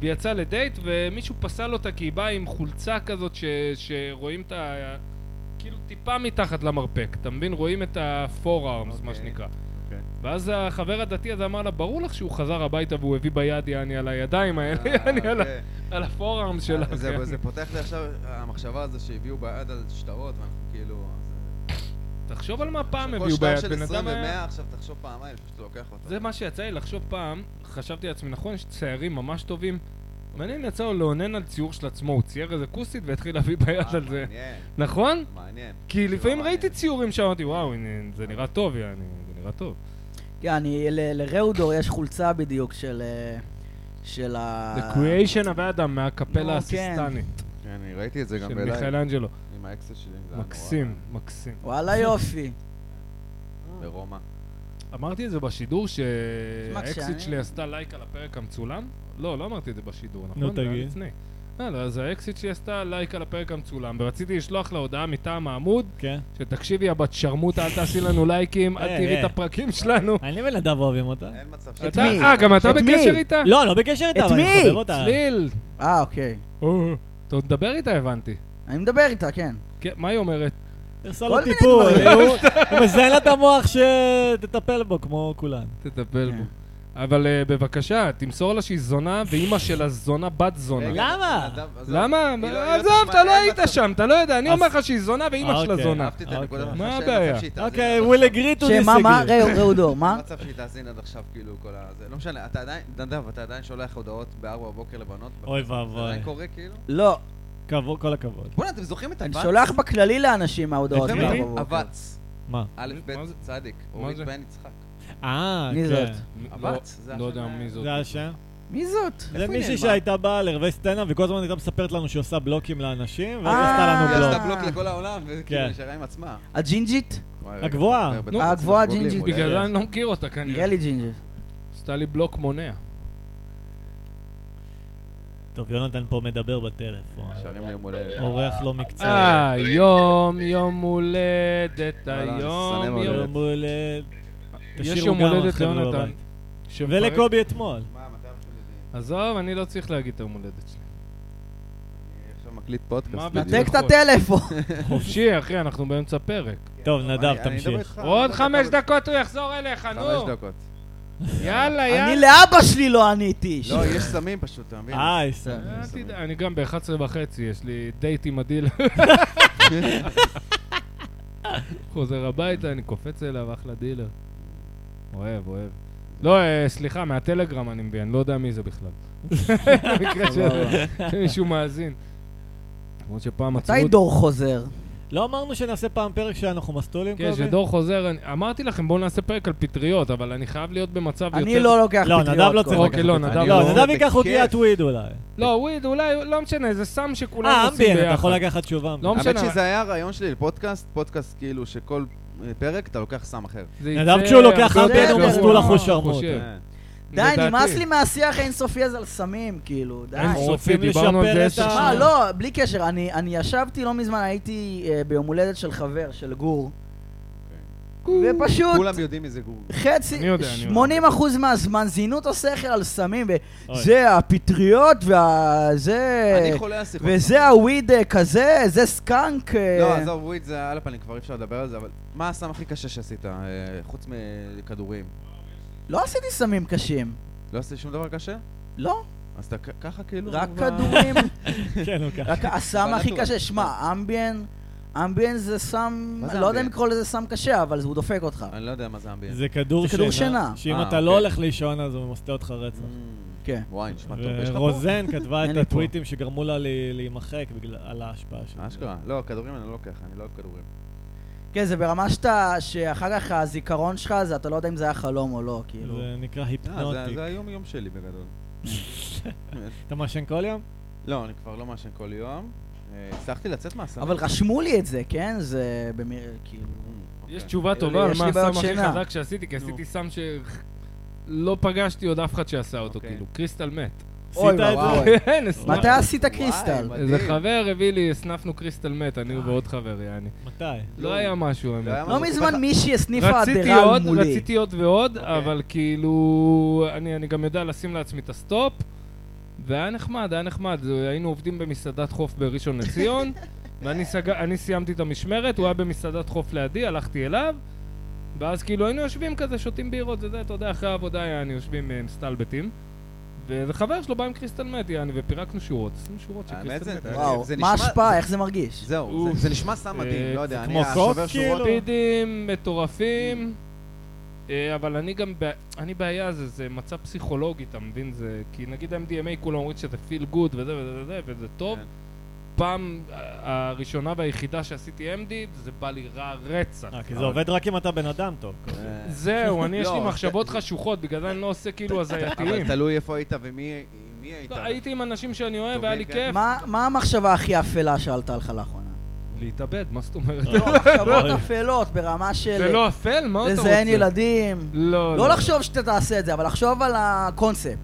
S1: והיא יצאה לדייט, ומישהו פסל אותה כי היא באה עם חולצה כזאת ש... שרואים את ה... כאילו טיפה מתחת למרפק, אתה מבין? רואים את ה-4arms, מה
S4: אוקיי.
S1: שנקרא.
S4: אוקיי.
S1: ואז החבר הדתי הזה אמר לה, ברור לך שהוא חזר הביתה והוא הביא ביד יעני על הידיים האלה, יעני על ה-
S4: אה,
S1: על ה-4arms
S4: זה-
S1: שלך.
S4: זה- זה פותח לי עכשיו המחשבה הזו שהביאו ביד על שטרות, ואנחנו כאילו...
S1: תחשוב על מה פעם
S4: עכשיו,
S1: הביאו
S4: כל
S1: ביד,
S4: שטר של
S1: בן אדם
S4: 20
S1: היה...
S4: ו-100, עכשיו תחשוב פעמיים לפני שאתה לוקח אה, אותו.
S1: זה מה שיצא לי לחשוב פעם, חשבתי לעצמי, נכון, יש ציירים ממש טובים? מעניין יצא לו לאונן על ציור של עצמו, הוא צייר איזה כוסית והתחיל להביא ביד
S4: אה,
S1: על זה.
S4: מעניין,
S1: נכון?
S4: מעניין.
S1: כי לפעמים
S4: מעניין.
S1: ראיתי ציורים שאמרתי, וואו, הנה, זה נראה טוב, יעני, זה נראה טוב.
S2: כן, אני- ל- לראודור יש חולצה בדיוק של... אה, של ה...
S4: אה,
S1: The creation of Adam
S2: נו,
S1: מהקפלה
S2: כן.
S1: הסיסטנית
S4: כן, אני ראיתי את אוקיי. זה גם
S1: של
S4: בעיניי,
S1: מיכאלנג'לו.
S4: עם האקסס שלי. זה היה נורא.
S1: מקסים, מקסים.
S2: וואלה יופי.
S4: ברומא.
S1: אמרתי את זה בשידור
S2: כשאני-
S1: שהאקסיט שלי עשתה לייק על הפרק המצולם? לא, לא אמרתי את זה בשידור, נכון?
S3: נו,
S1: זה היה
S3: תגיד.
S1: לפני. לא, לא, אז האקסיט שלי עשתה לייק על הפרק המצולם, ורציתי לשלוח לה הודעה מטעם העמוד,
S3: כן.
S1: שתקשיבי, הבת שרמוטה, אל תעשי לנו לייקים, אל
S3: אה,
S1: תראי
S3: אה.
S1: את הפרקים שלנו.
S3: אני ונדב אוהבים אותה.
S4: אין מצב ש...
S1: אתה-
S2: מי?
S1: אה, גם אתה
S2: את מי?
S1: בקשר איתה?
S3: לא, לא בקשר איתה,
S2: את
S3: אבל אני
S2: מי?
S3: חובב אותה.
S1: צליל.
S2: אה, אוקיי.
S1: אה, אתה עוד מדבר איתה, הבנתי.
S2: אני מדבר איתה, כן.
S1: כן, מה היא אומרת?
S3: תעשה
S2: כל
S3: לו
S2: מיני
S3: טיפול.
S2: דברים.
S3: הוא- הוא מזיין לה את המוח שתטפל בו, כמו כולן.
S1: תטפל
S2: כן.
S1: בו. אבל אה, בבקשה, תמסור לה שהיא זונה, ואימא שלה זונה בת זונה.
S4: רגע,
S3: למה?
S4: נדב, עזוב.
S1: לא למה?
S4: היא לא- היא
S1: עזוב,
S4: תשמע,
S1: אתה לא
S4: אין
S1: היית
S4: מצב. אה,
S1: שם, אתה לא יודע, אני
S3: אז-
S1: אומר לך שהיא זונה ואימא שלה
S3: אוקיי.
S1: זונה.
S4: אהבתי את הנקודה
S3: אוקיי.
S4: שלך,
S1: מה
S4: שאין
S1: הבעיה?
S4: מצב שהיא תאזין
S3: אוקיי,
S4: עד
S3: we'll
S4: עכשיו.
S3: agree to
S2: שמה, מה,
S3: disagree.
S2: ראו- ראודור, מה?
S4: (laughs) אין מצב שהיא תאזין עד עכשיו, כאילו, כל הזה. לא משנה, אתה עדיין, נדב, אתה עדיין שולח הודעות בארבע בבוקר לבנות?
S3: אוי
S4: זה עדיין
S3: ואבוי.
S4: קורה, כאילו?
S2: לא,
S3: כבוד- כל הכבוד.
S4: בוא'נה, אתם זוכרים את
S2: אני
S4: הבץ?
S2: שולח בכללי לאנשים מההודעות.
S1: לפעמים.
S2: מחר
S1: אני-
S2: בבוקר.
S4: הבץ.
S3: מה?
S4: א', ב',
S1: מה זה?
S4: צדיק. אורית
S1: זה?
S4: בן יצחק.
S3: אה,
S2: מי
S3: כן.
S2: זאת?
S1: לא-
S4: הבת, זה
S1: לא
S4: השם
S1: יודע
S4: ה-
S1: מי זאת.
S3: זה השם?
S2: מי זאת?
S3: זה
S4: איפה היא
S3: מישהי
S4: נעלמה?
S3: שהייתה באה לערבי סטנדאפ וכל הזמן הייתה מספרת לנו שהיא עושה בלוקים לאנשים, ואז
S2: אה,
S3: עשתה
S4: היא
S3: לנו
S4: עשתה
S2: אה.
S3: בלוק.
S4: בלוק לכל העולם, וכאילו
S3: לא. כן.
S4: נשארה עם עצמה.
S2: הג'ינג'ית?
S4: וואי, רגע,
S3: הגבוהה.
S4: אני מדבר
S1: נו,
S4: בטעות,
S2: הגבוהה,
S4: אנחנו גוגלים,
S2: ג'ינג'ית.
S4: אולי.
S1: בגלל זה אני לא מכיר אותה
S2: נראה
S1: כנראה.
S2: לי ג'ינג'ית.
S1: עשתה לי בלוק מונע.
S3: טוב, יונתן פה מדבר בטלפון.
S4: שרים לי יום הולדת.
S3: אורח לא מקצועי.
S1: אה, יום, יום הולדת,
S4: וואלה, אני שונא
S1: היום,
S4: מאוד.
S1: יום...
S3: יום הולדת.
S1: יש
S3: תשאירו
S1: יום
S3: גם
S1: הולדת
S3: החבר'ה
S1: ליונתן.
S3: בבית.
S1: שמפרק-
S3: ולקובי אתמול.
S4: מה, מתי אנחנו יודעים?
S1: עזוב, אני לא צריך להגיד את היום הולדת שלי.
S3: (laughs)
S4: אני עכשיו מקליט פודקאסט. כאילו.
S1: מה,
S4: בדיוק.
S2: נתק את הטלפון.
S1: חופשי, אחי, אנחנו באמצע פרק.
S3: טוב,
S4: אני-
S3: נדב,
S4: אני מדבר
S3: תמשיך.
S4: איתך,
S1: עוד
S4: אני
S1: חמש
S4: מדבר-
S1: דקות הוא יחזור אליך, נו.
S4: לא, חמש דקות.
S1: יאללה, יאללה.
S2: אני לאבא שלי לא עניתי.
S4: לא, יש סמים פשוט, אתה מבין?
S3: אה,
S4: (laughs)
S3: ישראל.
S4: לא-
S1: אל תדאג, אני גם ב-11 וחצי, יש לי דייט עם הדיל. חוזר הביתה, אני קופץ אליו, אחלה דילר. אוהב, אוהב. לא, אה, סליחה, מהטלגרם אני מבין, לא יודע מי זה בכלל. במקרה ש- שמישהו מאזין. למרות שפעם עצרו
S2: מתי
S1: אותי.
S2: דור חוזר?
S3: לא אמרנו שנעשה פעם פרק שאנחנו מסטולים,
S1: כן,
S3: קובי?
S1: שדור חוזר, אני- אמרתי לכם, בואו נעשה פרק על פטריות, אבל אני חייב להיות במצב יותר...
S2: אני לא לוקח
S3: לא,
S2: פטריות.
S3: נדב לא
S2: כל
S3: צריך
S2: הזמן.
S1: אוקיי, לא, נדב
S4: אני
S3: לא,
S1: לא.
S3: נדב ייקח אותי
S4: בכיף.
S3: הטוויד אולי.
S1: לא, וויד, אולי, לא משנה, זה סם שכולם
S3: אה,
S1: עושים
S3: אמביאן,
S1: ביחד.
S3: אתה יכול לקחת תשובה.
S1: לא
S3: אמביאן.
S1: משנה.
S4: האמת שזה היה הרעיון שלי לפודקאסט, פודקאסט כאילו שכל אה, פרק אתה לוקח סם אחר.
S1: זה
S3: נדב,
S1: יצא
S3: כשהוא לוקח
S1: הרבה
S2: הרבה,
S1: יותר
S2: הוא
S1: גרוע,
S2: מסלול אחוז
S1: אני
S3: שרמוט.
S1: חושב.
S4: כן.
S2: די,
S1: לדעתי.
S2: נמאס לי מהשיח האינסופי הזה על סמים, כאילו, די.
S1: אין
S3: אנחנו
S1: סופי,
S3: רוצים
S1: דיברנו על זה
S3: אה, לשפר
S1: עשר
S3: את ה- אה,
S1: שנים.
S2: שמע, לא, בלי קשר, אני, אני ישבתי לא מזמן, הייתי אה, ביום הולדת של חבר, של גור, ופשוט
S4: כולם יודעים מי זה גור.
S2: חצי,
S1: אני יודע, אני יודע.
S2: 80 אחוז מהזמן זינו את השכל על סמים,
S3: אוי.
S2: וזה הפטריות, וה... זה...
S4: אני חולה על שיחות.
S2: אה, וזה הוויד אה, כזה, זה סקאנק. אה,
S4: לא, עזוב, וויד זה על הפנים, כבר אי אפשר לדבר על זה, אבל מה הסם הכי קשה שעשית, אה, חוץ מכדורים?
S2: לא עשיתי סמים קשים,
S4: לא עשית שום דבר קשה?
S2: לא,
S4: אז אתה כ- ככה כאילו...
S2: רק
S4: ב-
S2: כדורים,
S4: (laughs)
S3: כן, הוא ככה.
S2: רק הסם הכי
S4: בנטורל.
S2: קשה. שמע, אמביאן, אמביאנס זה סם,
S5: מה זה
S2: לא יודע אם
S5: אמביאנס?
S2: לקרוא לזה סם קשה, אבל הוא דופק אותך.
S5: אני לא יודע מה זה אמביאנט.
S3: זה כדור
S2: זה כדור שינה.
S3: שאם
S5: אה,
S3: אתה
S5: אוקיי.
S3: לא הולך לישון אז הוא ממסטה אותך רצח.
S2: כן.
S5: Mm. וואי, נשמע טוב. יש לך פה?
S3: ורוזן כתבה
S2: אין
S3: את
S2: לי פה.
S3: הטוויטים שגרמו לה ל- להימחק בגלל- על ההשפעה שלו.
S5: אשכרה. לא, כדורים אני לא לוקח, אני לא אוהב כדורים.
S2: כן, זה ברמה שאתה, שאחר כך הזיכרון שלך, זה אתה לא יודע אם זה היה חלום או לא, כאילו.
S3: זה נקרא
S5: אה, זה-
S3: היפנוטיק.
S5: זה היום-יום שלי
S3: (laughs)
S5: בגדול.
S3: אתה מעשן כל יום?
S5: לא, אני כבר לא מעשן כל יום. אה, הצלחתי לצאת מהסמים.
S2: אבל רשמו לי את זה, כן? זה במי... כאילו...
S1: יש
S5: אוקיי.
S1: תשובה
S2: לי-
S1: טובה על
S2: יש
S1: מה
S2: לי בעיות
S1: הסם הכי
S2: שינה.
S1: חזק שעשיתי, כי
S3: נו.
S1: עשיתי סם שלא פגשתי עוד אף אחד שעשה אותו,
S5: אוקיי.
S1: כאילו, קריסטל מת.
S2: אוי
S3: עשית את
S1: (laughs)
S2: ואבוי.
S3: זה?
S1: כן, הסנפנו.
S2: מתי עשית
S5: וואי,
S2: קריסטל?
S5: מדהים.
S1: איזה חבר הביא לי, הסנפנו קריסטל מת, אני ועוד חבר, יעני.
S3: מתי?
S1: לא היה משהו,
S5: לא היה
S1: האמת.
S2: לא
S5: משהו כל
S2: מזמן
S5: כך-
S2: מישהי הסניפה
S1: רציתי
S2: אדרל
S1: עוד,
S2: מולי.
S1: רציתי עוד ועוד,
S5: אוקיי.
S1: אבל כאילו, אני אני גם יודע לשים לעצמי את הסטופ, והיה נחמד, היה נחמד. זה- היינו עובדים במסעדת חוף בראשון לציון, ואני סג- אני סיימתי את המשמרת, הוא היה במסעדת חוף לידי, הלכתי אליו, ואז כאילו היינו יושבים כזה, שותים בירות, זה זה, אתה יודע, אחרי העבודה יעני, יושבים אה, מסתלבטים. ואיזה חבר שלו בא עם קריסטל מת, יעני, ופירקנו שורות, עשינו שורות של
S5: האמת
S1: קריסטל
S5: זה-
S1: מת.
S2: וואו,
S5: זה
S2: מה
S5: נשמע-
S2: ההשפעה? איך זה מרגיש?
S5: זהו,
S1: אוף.
S5: זה- זה נשמע סם מדהים, לא יודע,
S3: אה, זה
S5: אני
S3: כמו
S5: השובר
S3: קוק,
S5: שורות.
S3: כאילו?
S1: ספידים מטורפים, אה, אבל אני גם, בע- אני בעיה, זה, זה מצע פסיכולוגי, אתה מבין? זה, כי נגיד ה-MDMA כולם אומרים שזה פיל גוד וזה וזה וזה, וזה טוב.
S5: כן.
S1: פעם ה- הראשונה והיחידה שעשיתי MD, זה בא לי רע רצח.
S3: אה, כי זה עובד רק אם אתה בן אדם טוב. כזה.
S4: כן.
S5: אה,
S1: זהו, אני יש לי
S5: לא,
S1: מחשבות
S5: ת-
S1: חשוכות, בגלל זה אני לא עושה כאילו הזייתיים.
S5: אבל תלוי איפה היית ומי עם מי היית.
S1: לא, הייתי עם אנשים שאני אוהב,
S5: טובים,
S1: היה לי
S5: כן.
S1: כיף.
S2: מה מה המחשבה הכי אפלה שעלתה לך לאחרונה?
S1: להתאבד, מה זאת אומרת?
S5: אה,
S2: לא, מחשבות אפלות ברמה
S1: זה
S2: של
S1: לא אפל? מה אתה רוצה?
S2: לזיין ילדים.
S1: לא,
S2: לא לחשוב שאתה תעשה את זה, אבל לחשוב על הקונספט.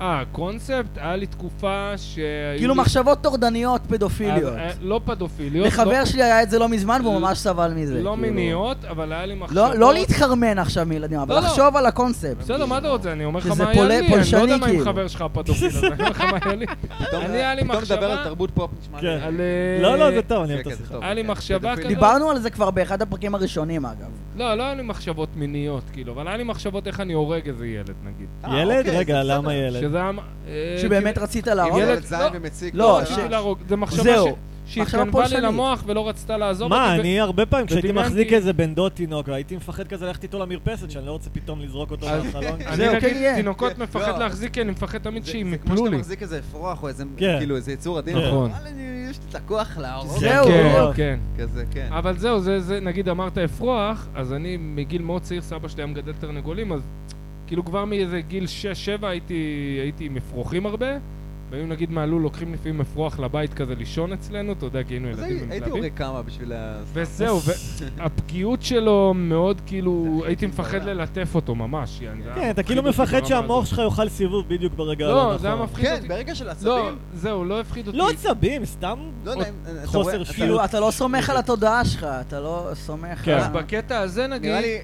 S1: אה, קונספט? היה לי תקופה שהיו...
S2: כאילו
S1: לי-
S2: מחשבות טורדניות פדופיליות.
S1: אבל, אה, לא פדופיליות.
S2: לחבר שלי היה את זה לא מזמן והוא
S1: לא-
S2: ממש סבל
S1: לא-
S2: מזה.
S1: לא
S2: כאילו.
S1: מיניות, אבל היה לי מחשבות.
S2: לא לא להתחרמן עכשיו מילדים, אבל
S1: לא, לא.
S2: לחשוב על הקונספט.
S1: בסדר, מה אתה רוצה? אני אומר לך
S2: שזה
S1: מה היה
S2: פול-
S1: לי, אני לא
S2: פולשני,
S1: יודע מה עם
S2: כאילו.
S1: חבר שלך הפדופיל הזה, אני אומר לך מה היה לי.
S5: פתאום-
S1: אני, היה לי מחשבה-
S5: פתאום לדבר על תרבות פופ נשמע לי.
S3: כן.
S1: על, אה,
S3: (laughs) לא, לא, זה טוב, אני אוהב את
S5: כן,
S3: השיחה.
S5: זה טוב.
S1: היה לי
S5: כן,
S1: מחשבה
S5: פדופיל.
S1: כזאת.
S2: דיברנו על זה כבר באחד הפרקים הראשונים אגב.
S1: לא, לא היה לי מחשבות מיניות, כאילו, אבל היה לי מחשבות איך אני הורג איזה ילד, נגיד.
S5: אה,
S3: ילד?
S5: אוקיי,
S3: רגע,
S5: זה בסדר.
S3: למה ילד?
S1: שזה היה... אה,
S2: שבאמת רצית להרוג?
S1: ילד-
S5: ילד זין
S1: לא.
S5: ומציק.
S2: לא,
S5: זה
S2: ש-
S1: רציתי
S5: רעש.
S1: להרוג. זה מחשבה
S2: זהו.
S1: ש- שהתגנבה לי
S2: פולשנית.
S1: למוח ולא רצתה לעזוב אותי.
S3: מה,
S1: ו-
S3: אני הרבה פעמים, כשהייתי
S1: ודמיינתי-
S3: מחזיק איזה בן דוד תינוק, הייתי מפחד כזה ללכת איתו למרפסת, שאני לא רוצה פתאום לזרוק אותו מהחלון.
S1: אני
S2: זהו, כן
S1: נגיד
S2: יהיה.
S1: תינוקות
S5: כן,
S1: מפחד
S5: לא.
S1: להחזיק, כי אני מפחד תמיד
S5: זה-
S1: שהם
S5: זה כמו
S1: יפלו
S5: שאתה
S1: לי.
S5: מחזיק איזה אפרוח או איזה,
S3: כן.
S5: כאילו, איזה יצור עדין.
S1: נכון.
S5: וואלה, אני- יש לי את הכוח להרוג.
S2: זהו,
S1: כן,
S3: לא.
S1: כן.
S5: כזה, כן.
S1: אבל זהו, זה, זה, נגיד אמרת אפרוח, אז אני מגיל מאוד צעיר, סבא שלי היה מגדל תרנגולים, אז כאילו כבר מאיזה גיל 6-7 הייתי, הייתי עם אפרוחים הרבה, והיו נגיד מהלול לוקחים לפעמים אפרוח לבית כזה לישון אצלנו, אתה יודע, כי היינו
S5: אז
S1: ילדים
S5: הי- הייתי
S1: ומתלהבים.
S5: הורג כמה בשביל ה...
S1: וזהו,
S5: (laughs)
S1: והפגיעות שלו מאוד כאילו,
S5: זה
S1: הייתי
S5: הכי
S1: מפחד
S5: בעולם.
S1: ללטף אותו ממש, יעני, זה היה
S3: כן, אתה כאילו
S1: מפחיד אותי
S3: מפחד
S1: ברמה
S3: שהמוח
S1: הזאת.
S3: שלך יאכל סיבוב בדיוק ברגע הלא נכון.
S1: לא, זה היה מפחיד
S5: כן,
S1: אותי.
S5: ברגע של
S1: לא,
S5: עצבים.
S1: זהו, לא הפחיד אותי.
S3: לא עצבים, סתם...
S5: לא יודע אם... אתה
S3: חוסר
S5: רואה- אתה-
S3: שפיות.
S2: כאילו, אתה לא סומך על התודעה שלך, אתה לא סומך
S3: כן.
S2: על...
S1: אז בקטע הזה נגיד,
S5: נראה לי,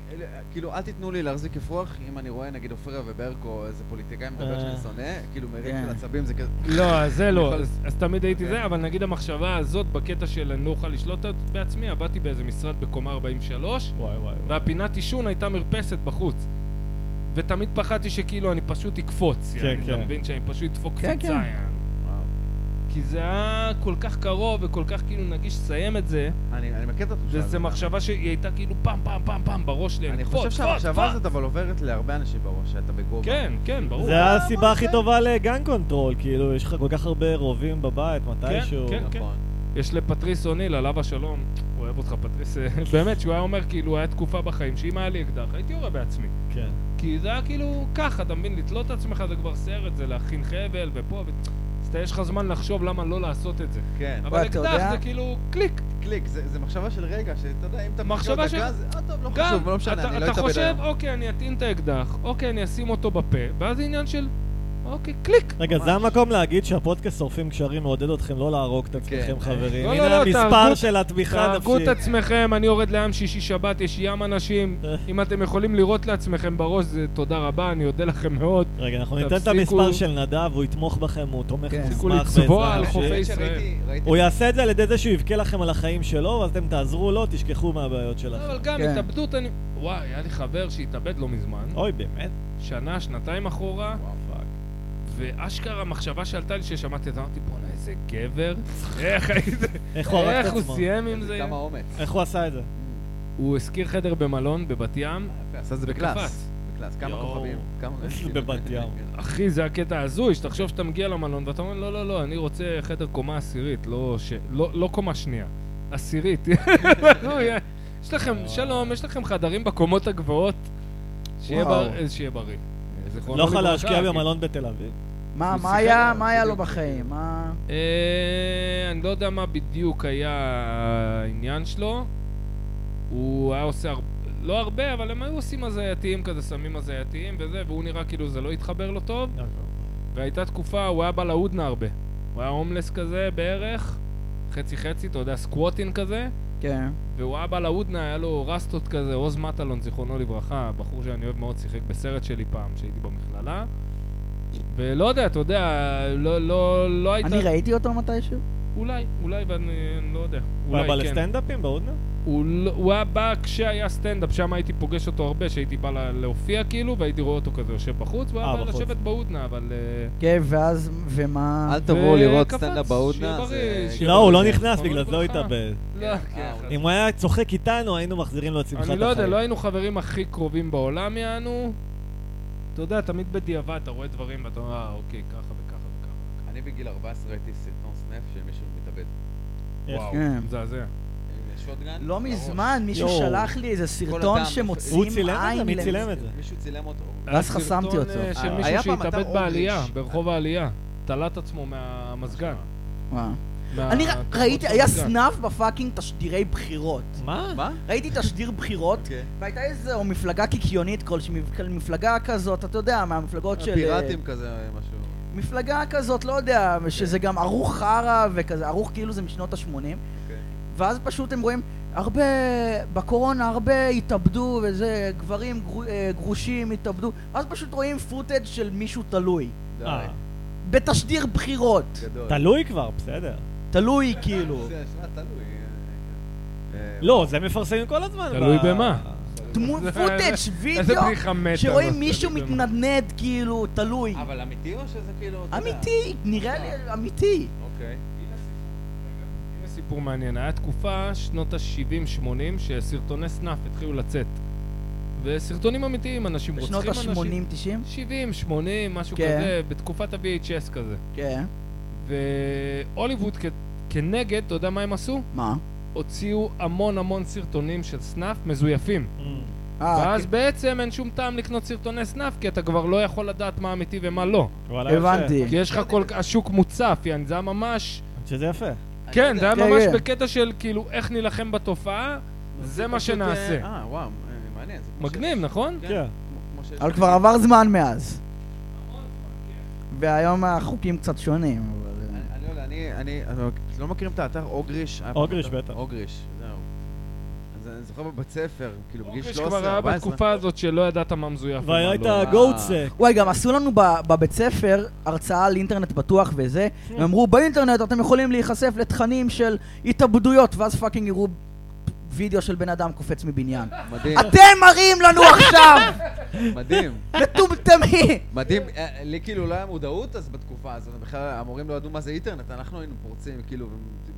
S5: כאילו, אל תיתנו לי להחזיק אפרוח אם אני רואה, נגיד, עופרה וברקו, איזה פוליטיקאי מדבר
S3: אה.
S5: שאני שונא, כאילו, מריב
S2: כן.
S5: של עצבים זה כזה...
S1: לא, אז זה לא,
S5: יכול-
S1: אז- אז תמיד הייתי
S5: אוקיי.
S1: זה, אבל נגיד המחשבה הזאת בקטע של אני לא אוכל לשלוט בעצמי, עבדתי באיזה משרד בקומה 43,
S3: וואי וואי. וואי.
S1: והפינת עישון הייתה מרפסת בחוץ. ותמיד פחדתי שכאילו אני פשוט אקפוץ,
S3: כן,
S1: יעני, אתה
S3: כן.
S1: מבין שאני פשוט אדפוק
S2: כן,
S1: קפיצה,
S2: כן.
S1: יעני. כי זה היה כל כך קרוב וכל כך כאילו נגיש לסיים את זה,
S5: אני אני מכיר את התחושה
S1: וזו מחשבה שהיא הייתה כאילו פעם פעם פעם פעם בראש שלי,
S5: אני
S1: אקפוץ,
S5: חושב
S1: קפוץ,
S5: שהמחשבה
S1: קפוץ.
S5: הזאת אבל עוברת להרבה אנשים בראש, שאתה בגובה.
S1: כן, כן, ברור.
S5: אה,
S3: זה הסיבה הכי טובה לגן קונטרול, כאילו, יש לך כל כך הרבה רובים בבית, מתישהו.
S1: כן,
S5: נכון.
S1: יש לפטריס אוניל, עליו השלום, הוא אוהב אותך פטריס, (laughs) אה, באמת, שהוא היה אומר כאילו, היה תקופה בחיים שאם היה לי אקדח, הייתי יורה בעצמי.
S3: כן.
S1: כי זה היה כאילו ככה, אתה מבין? לתלות את עצמך זה כבר סרט, זה להכין חבל ופה ו... אז אתה, יש לך זמן לחשוב למה לא לעשות את זה.
S5: כן.
S1: אבל
S2: אתה
S1: אקדח
S2: יודע-
S1: זה כאילו קליק.
S5: קליק, זה זה מחשבה של רגע, שאתה יודע, אם אתה...
S1: מחשבה
S5: מכיר אותה גז,
S1: של-
S5: אה, טוב, לא
S1: גם,
S5: חשוב, לא משנה,
S1: אתה,
S5: אני לא
S1: אתה
S5: אתאבד
S1: חושב,
S5: היום.
S1: אוקיי, אני אטעין את האקדח, אוקיי, אני אשים אותו בפה, ואז זה עניין של, אוקיי, קליק.
S3: רגע, זה המקום להגיד שהפודקאסט שורפים קשרים מעודד אתכם לא להרוג את עצמכם,
S5: כן.
S3: חברים.
S1: לא, לא,
S3: הנה
S1: לא,
S3: המספר
S1: תהרגו-
S3: של התמיכה
S1: תהרגו את
S3: הנפשית.
S1: עצמכם, אני יורד לים שישי-שבת, יש ים אנשים. אם אתם יכולים לירות לעצמכם בראש, זה תודה רבה, אני אודה לכם מאוד.
S3: רגע, אנחנו ניתן את
S1: תפסיקו-
S3: המספר של נדב, הוא יתמוך בכם, הוא תומך
S2: כן.
S3: מוסמך
S1: תפסיקו לצבוע
S3: בעזרה
S1: על
S3: נפשית.
S1: חופי
S5: האמת
S1: ישראל.
S5: שראיתי- ראיתי-
S3: הוא יעשה את זה על ידי זה שהוא יבכה לכם על החיים שלו, ואז אתם תעזרו לו, תשכחו מהבעיות שלכם.
S1: אבל גם
S2: כן.
S1: התאבדות, אני... וואי, היה לי חבר שהתאבד לא מזמן.
S3: אוי, באמת?
S1: שנה, שנתיים אחורה,
S5: וואו, פאק.
S1: ואשכרה המחשבה שעלתה לי ששמעתי, אז אמרתי, בואנה, איזה איזה
S3: (laughs)
S1: גבר. איך היית...
S3: איך הוא הרג את
S1: איך הוא
S3: עצמו?
S1: סיים עם
S4: איזה
S1: זה? אה.
S4: כמה אומץ.
S3: איך הוא עשה את זה?
S1: הוא השכיר חדר במלון בבת ים.
S4: יפה,
S6: עשה את זה בקלאס.
S1: קפץ.
S4: בקלאס, כמה
S3: יואו.
S4: כוכבים, כמה...
S1: (laughs)
S3: בבת ים.
S1: אחי, זה הקטע הזוי, שתחשוב שאתה מגיע למלון ואתה אומר, לא, לא, לא, אני רוצה חדר קומה עשירית, לא ש... לא לא קומה שנייה, עשירית. (laughs) הזוי, אה? יש לכם, שלום, יש לכם חדרים בקומות הגבוהות? שיהיה
S6: וואו.
S1: בר- שיהיה בריא. זיכרונו
S3: לא יכול
S1: לברכה,
S3: להשקיע
S1: כי-
S3: במלון בתל אביב.
S2: מה
S1: הוא
S2: מה
S1: שיחק
S2: היה
S1: עליו,
S2: מה היה לו
S1: בדיוק.
S2: בחיים? מה...
S1: אה, אני לא יודע מה בדיוק היה העניין שלו. הוא היה עושה, הר... לא הרבה, אבל הם היו עושים הזייתיים כזה, סמים הזייתיים וזה, והוא נראה כאילו זה לא התחבר לו טוב. והייתה תקופה, הוא היה בא להודנה הרבה. הוא היה הומלס כזה בערך, חצי חצי, אתה יודע, סקווטין כזה.
S2: כן.
S1: והוא היה בא להודנה, היה לו רסטות כזה, עוז מטלון, זיכרונו לברכה, בחור שאני אוהב מאוד, שיחק בסרט שלי פעם, שהייתי במכללה. ולא יודע, אתה יודע, לא, לא, לא הייתה...
S2: אני ראיתי אותו מתישהו?
S1: אולי, אולי, ואני אני לא יודע.
S3: הוא היה בא
S1: אולי כן.
S3: לסטנדאפים בהודנה?
S1: הוא לא- הוא היה בא כשהיה סטנדאפ, שם הייתי פוגש אותו הרבה, שהייתי בא לה- להופיע כאילו, והייתי רואה אותו כזה יושב בחוץ, והוא
S3: אה,
S1: היה בא
S3: בחוץ.
S1: לשבת בהודנה, אבל... אה,
S2: כן, ואז, ומה...
S4: אל תבואו לראות
S1: וקפץ,
S4: סטנדאפ
S1: שיהיה
S4: בהודנה,
S1: בריא,
S4: זה...
S1: שיהיה
S3: לא, הוא לא
S1: בריא.
S3: נכנס,
S1: זיכרונו
S3: בגלל זה הוא
S1: לברכה.
S3: התאבד.
S1: לא,
S4: אה,
S2: אוקיי.
S1: כן.
S3: אם הוא היה צוחק איתנו, היינו מחזירים לו את שמחת החיים.
S1: אני לא יודע, לא היינו חברים הכי קרובים בעולם, יענו. אתה יודע, תמיד בדיעבד אתה רואה דברים ואתה אומר, אה, אוקיי, ככה וככה וככה.
S4: אני בגיל 14 ראיתי סרטון סנאפ של מישהו מתאבד. אה,
S3: איך?
S1: וואו,
S2: כן.
S1: מזעזע.
S4: עם שוטגן?
S2: לא
S4: בראש.
S2: מזמן מישהו
S3: יואו.
S2: שלח לי איזה סרטון
S4: הדם-
S2: שמוצאים
S3: הוא
S2: עין...
S3: צילם את זה? מי
S2: למ-
S3: צילם את זה?
S4: מישהו צילם אותו.
S2: ואז חסמתי
S1: סרטון,
S2: אותו.
S1: אה, של
S4: אה,
S1: מישהו
S4: היה פעם אתר
S1: שהתאבד
S4: אוגריץ'.
S1: בעלייה, ברחוב העלייה. תלת עצמו מהמזגן.
S2: וואו.
S1: מה-
S2: אני ר- ראיתי, היה
S1: מהמזגן.
S2: סנאף בפאקינג תשדירי בחירות.
S3: מה?
S4: מה?
S2: ראיתי תשדיר בחירות,
S3: כן. אוקיי.
S2: והייתה איזו מפלגה קיקיונית כלשהי, מפ- מפלגה כזאת, אתה יודע, מהמפלגות
S3: אה,
S2: של...
S4: אה,
S2: אה,
S4: פיראטים כזה, אה, משהו.
S2: מפלגה כזאת, לא יודע, שזה גם ערוך חרא וכזה, ערוך כאילו זה משנות ה-80.
S4: אוקיי.
S2: ואז פשוט הם רואים, הרבה, בקורונה הרבה התאבדו וזה, גברים גרו- אה, גרושים התאבדו, ואז פשוט רואים פוטאג' של מישהו תלוי.
S4: די,
S3: אה,
S2: בתשדיר בחירות.
S4: גדול.
S3: תלוי כבר, בסדר.
S2: תלוי כאילו.
S4: זה השעה, תלוי. אה, אה,
S3: לא, זה מפרסמים כל הזמן.
S1: תלוי
S3: ב-
S1: במה.
S2: דמו-
S1: (laughs) זה-
S2: פוטאג',
S1: זה- איזה
S2: וידאו,
S1: בדיחה מתה.
S2: שרואים
S1: זאת,
S2: מישהו
S1: אני יודע.
S2: מתנדנד כאילו, תלוי.
S4: אבל אמיתי או שזה כאילו... אתה יודע?
S2: אמיתי, נראה לי אמיתי.
S4: אוקיי.
S1: הנה סיפור מעניין, היה תקופה, שנות ה-70-80, שסרטוני סנאף התחילו לצאת. וסרטונים אמיתיים, אנשים רוצחים
S2: בשנות
S1: אנשים.
S2: ה-80-90?
S1: 70, 80, משהו
S2: כן.
S1: כזה, בתקופת ה-VHS כזה.
S2: כן.
S1: והוליווד כ- כנגד, אתה יודע מה הם עשו?
S2: מה?
S1: הוציאו המון המון סרטונים של סנאף מזויפים.
S3: Mm.
S2: אה,
S1: ואז בעצם אין שום טעם לקנות סרטוני סנאף, כי אתה כבר לא יכול לדעת מה אמיתי ומה לא.
S3: וואלה, יפה.
S2: כן. הבנתי.
S1: כי יש לך כל... השוק מוצף, יעני, זה היה ממש...
S3: שזה יפה.
S1: כן, זה היה
S2: כן,
S1: ממש
S2: כן.
S1: בקטע של כאילו איך נילחם בתופעה, זה מה
S4: פשוט, אה,
S1: שנעשה.
S4: אה, וואו, אה, מעניין. זה כמו
S1: מגניב,
S4: ש-
S1: נכון?
S4: כן.
S3: כן.
S4: כמו ש-
S2: אבל כבר עבר זמן מאז. והיום החוקים קצת שונים, אבל... אה.
S4: אני- אני לא יודע, אני- אני... אני- לא מכירים את האתר אוגריש? היה פעם
S3: אוגריש,
S4: אתר-
S3: בטח.
S4: אוגריש, זהו. אז אני זוכר בבית ספר, כאילו בגיל 13-14.
S1: יש כבר היה בתקופה הזאת שלא ידעת מה מזויף. ומה
S3: והיית
S1: לא.
S3: גוטסק.
S2: וואי, גם עשו לנו ב- בבית ספר הרצאה על אינטרנט בטוח וזה,
S1: כן.
S2: הם אמרו, באינטרנט אתם יכולים להיחשף לתכנים של התאבדויות, ואז פאקינג יראו וידאו של בן אדם קופץ מבניין.
S1: כן.
S4: מדהים,
S2: אתם מראים לנו עכשיו!
S4: מדהים.
S2: מטומטמים!
S4: מדהים, אה, לי כאילו לא היה מודעות אז בתקופה הזאת, בכלל המורים לא ידעו מה זה אינטרנט, אנחנו היינו פורצים כאילו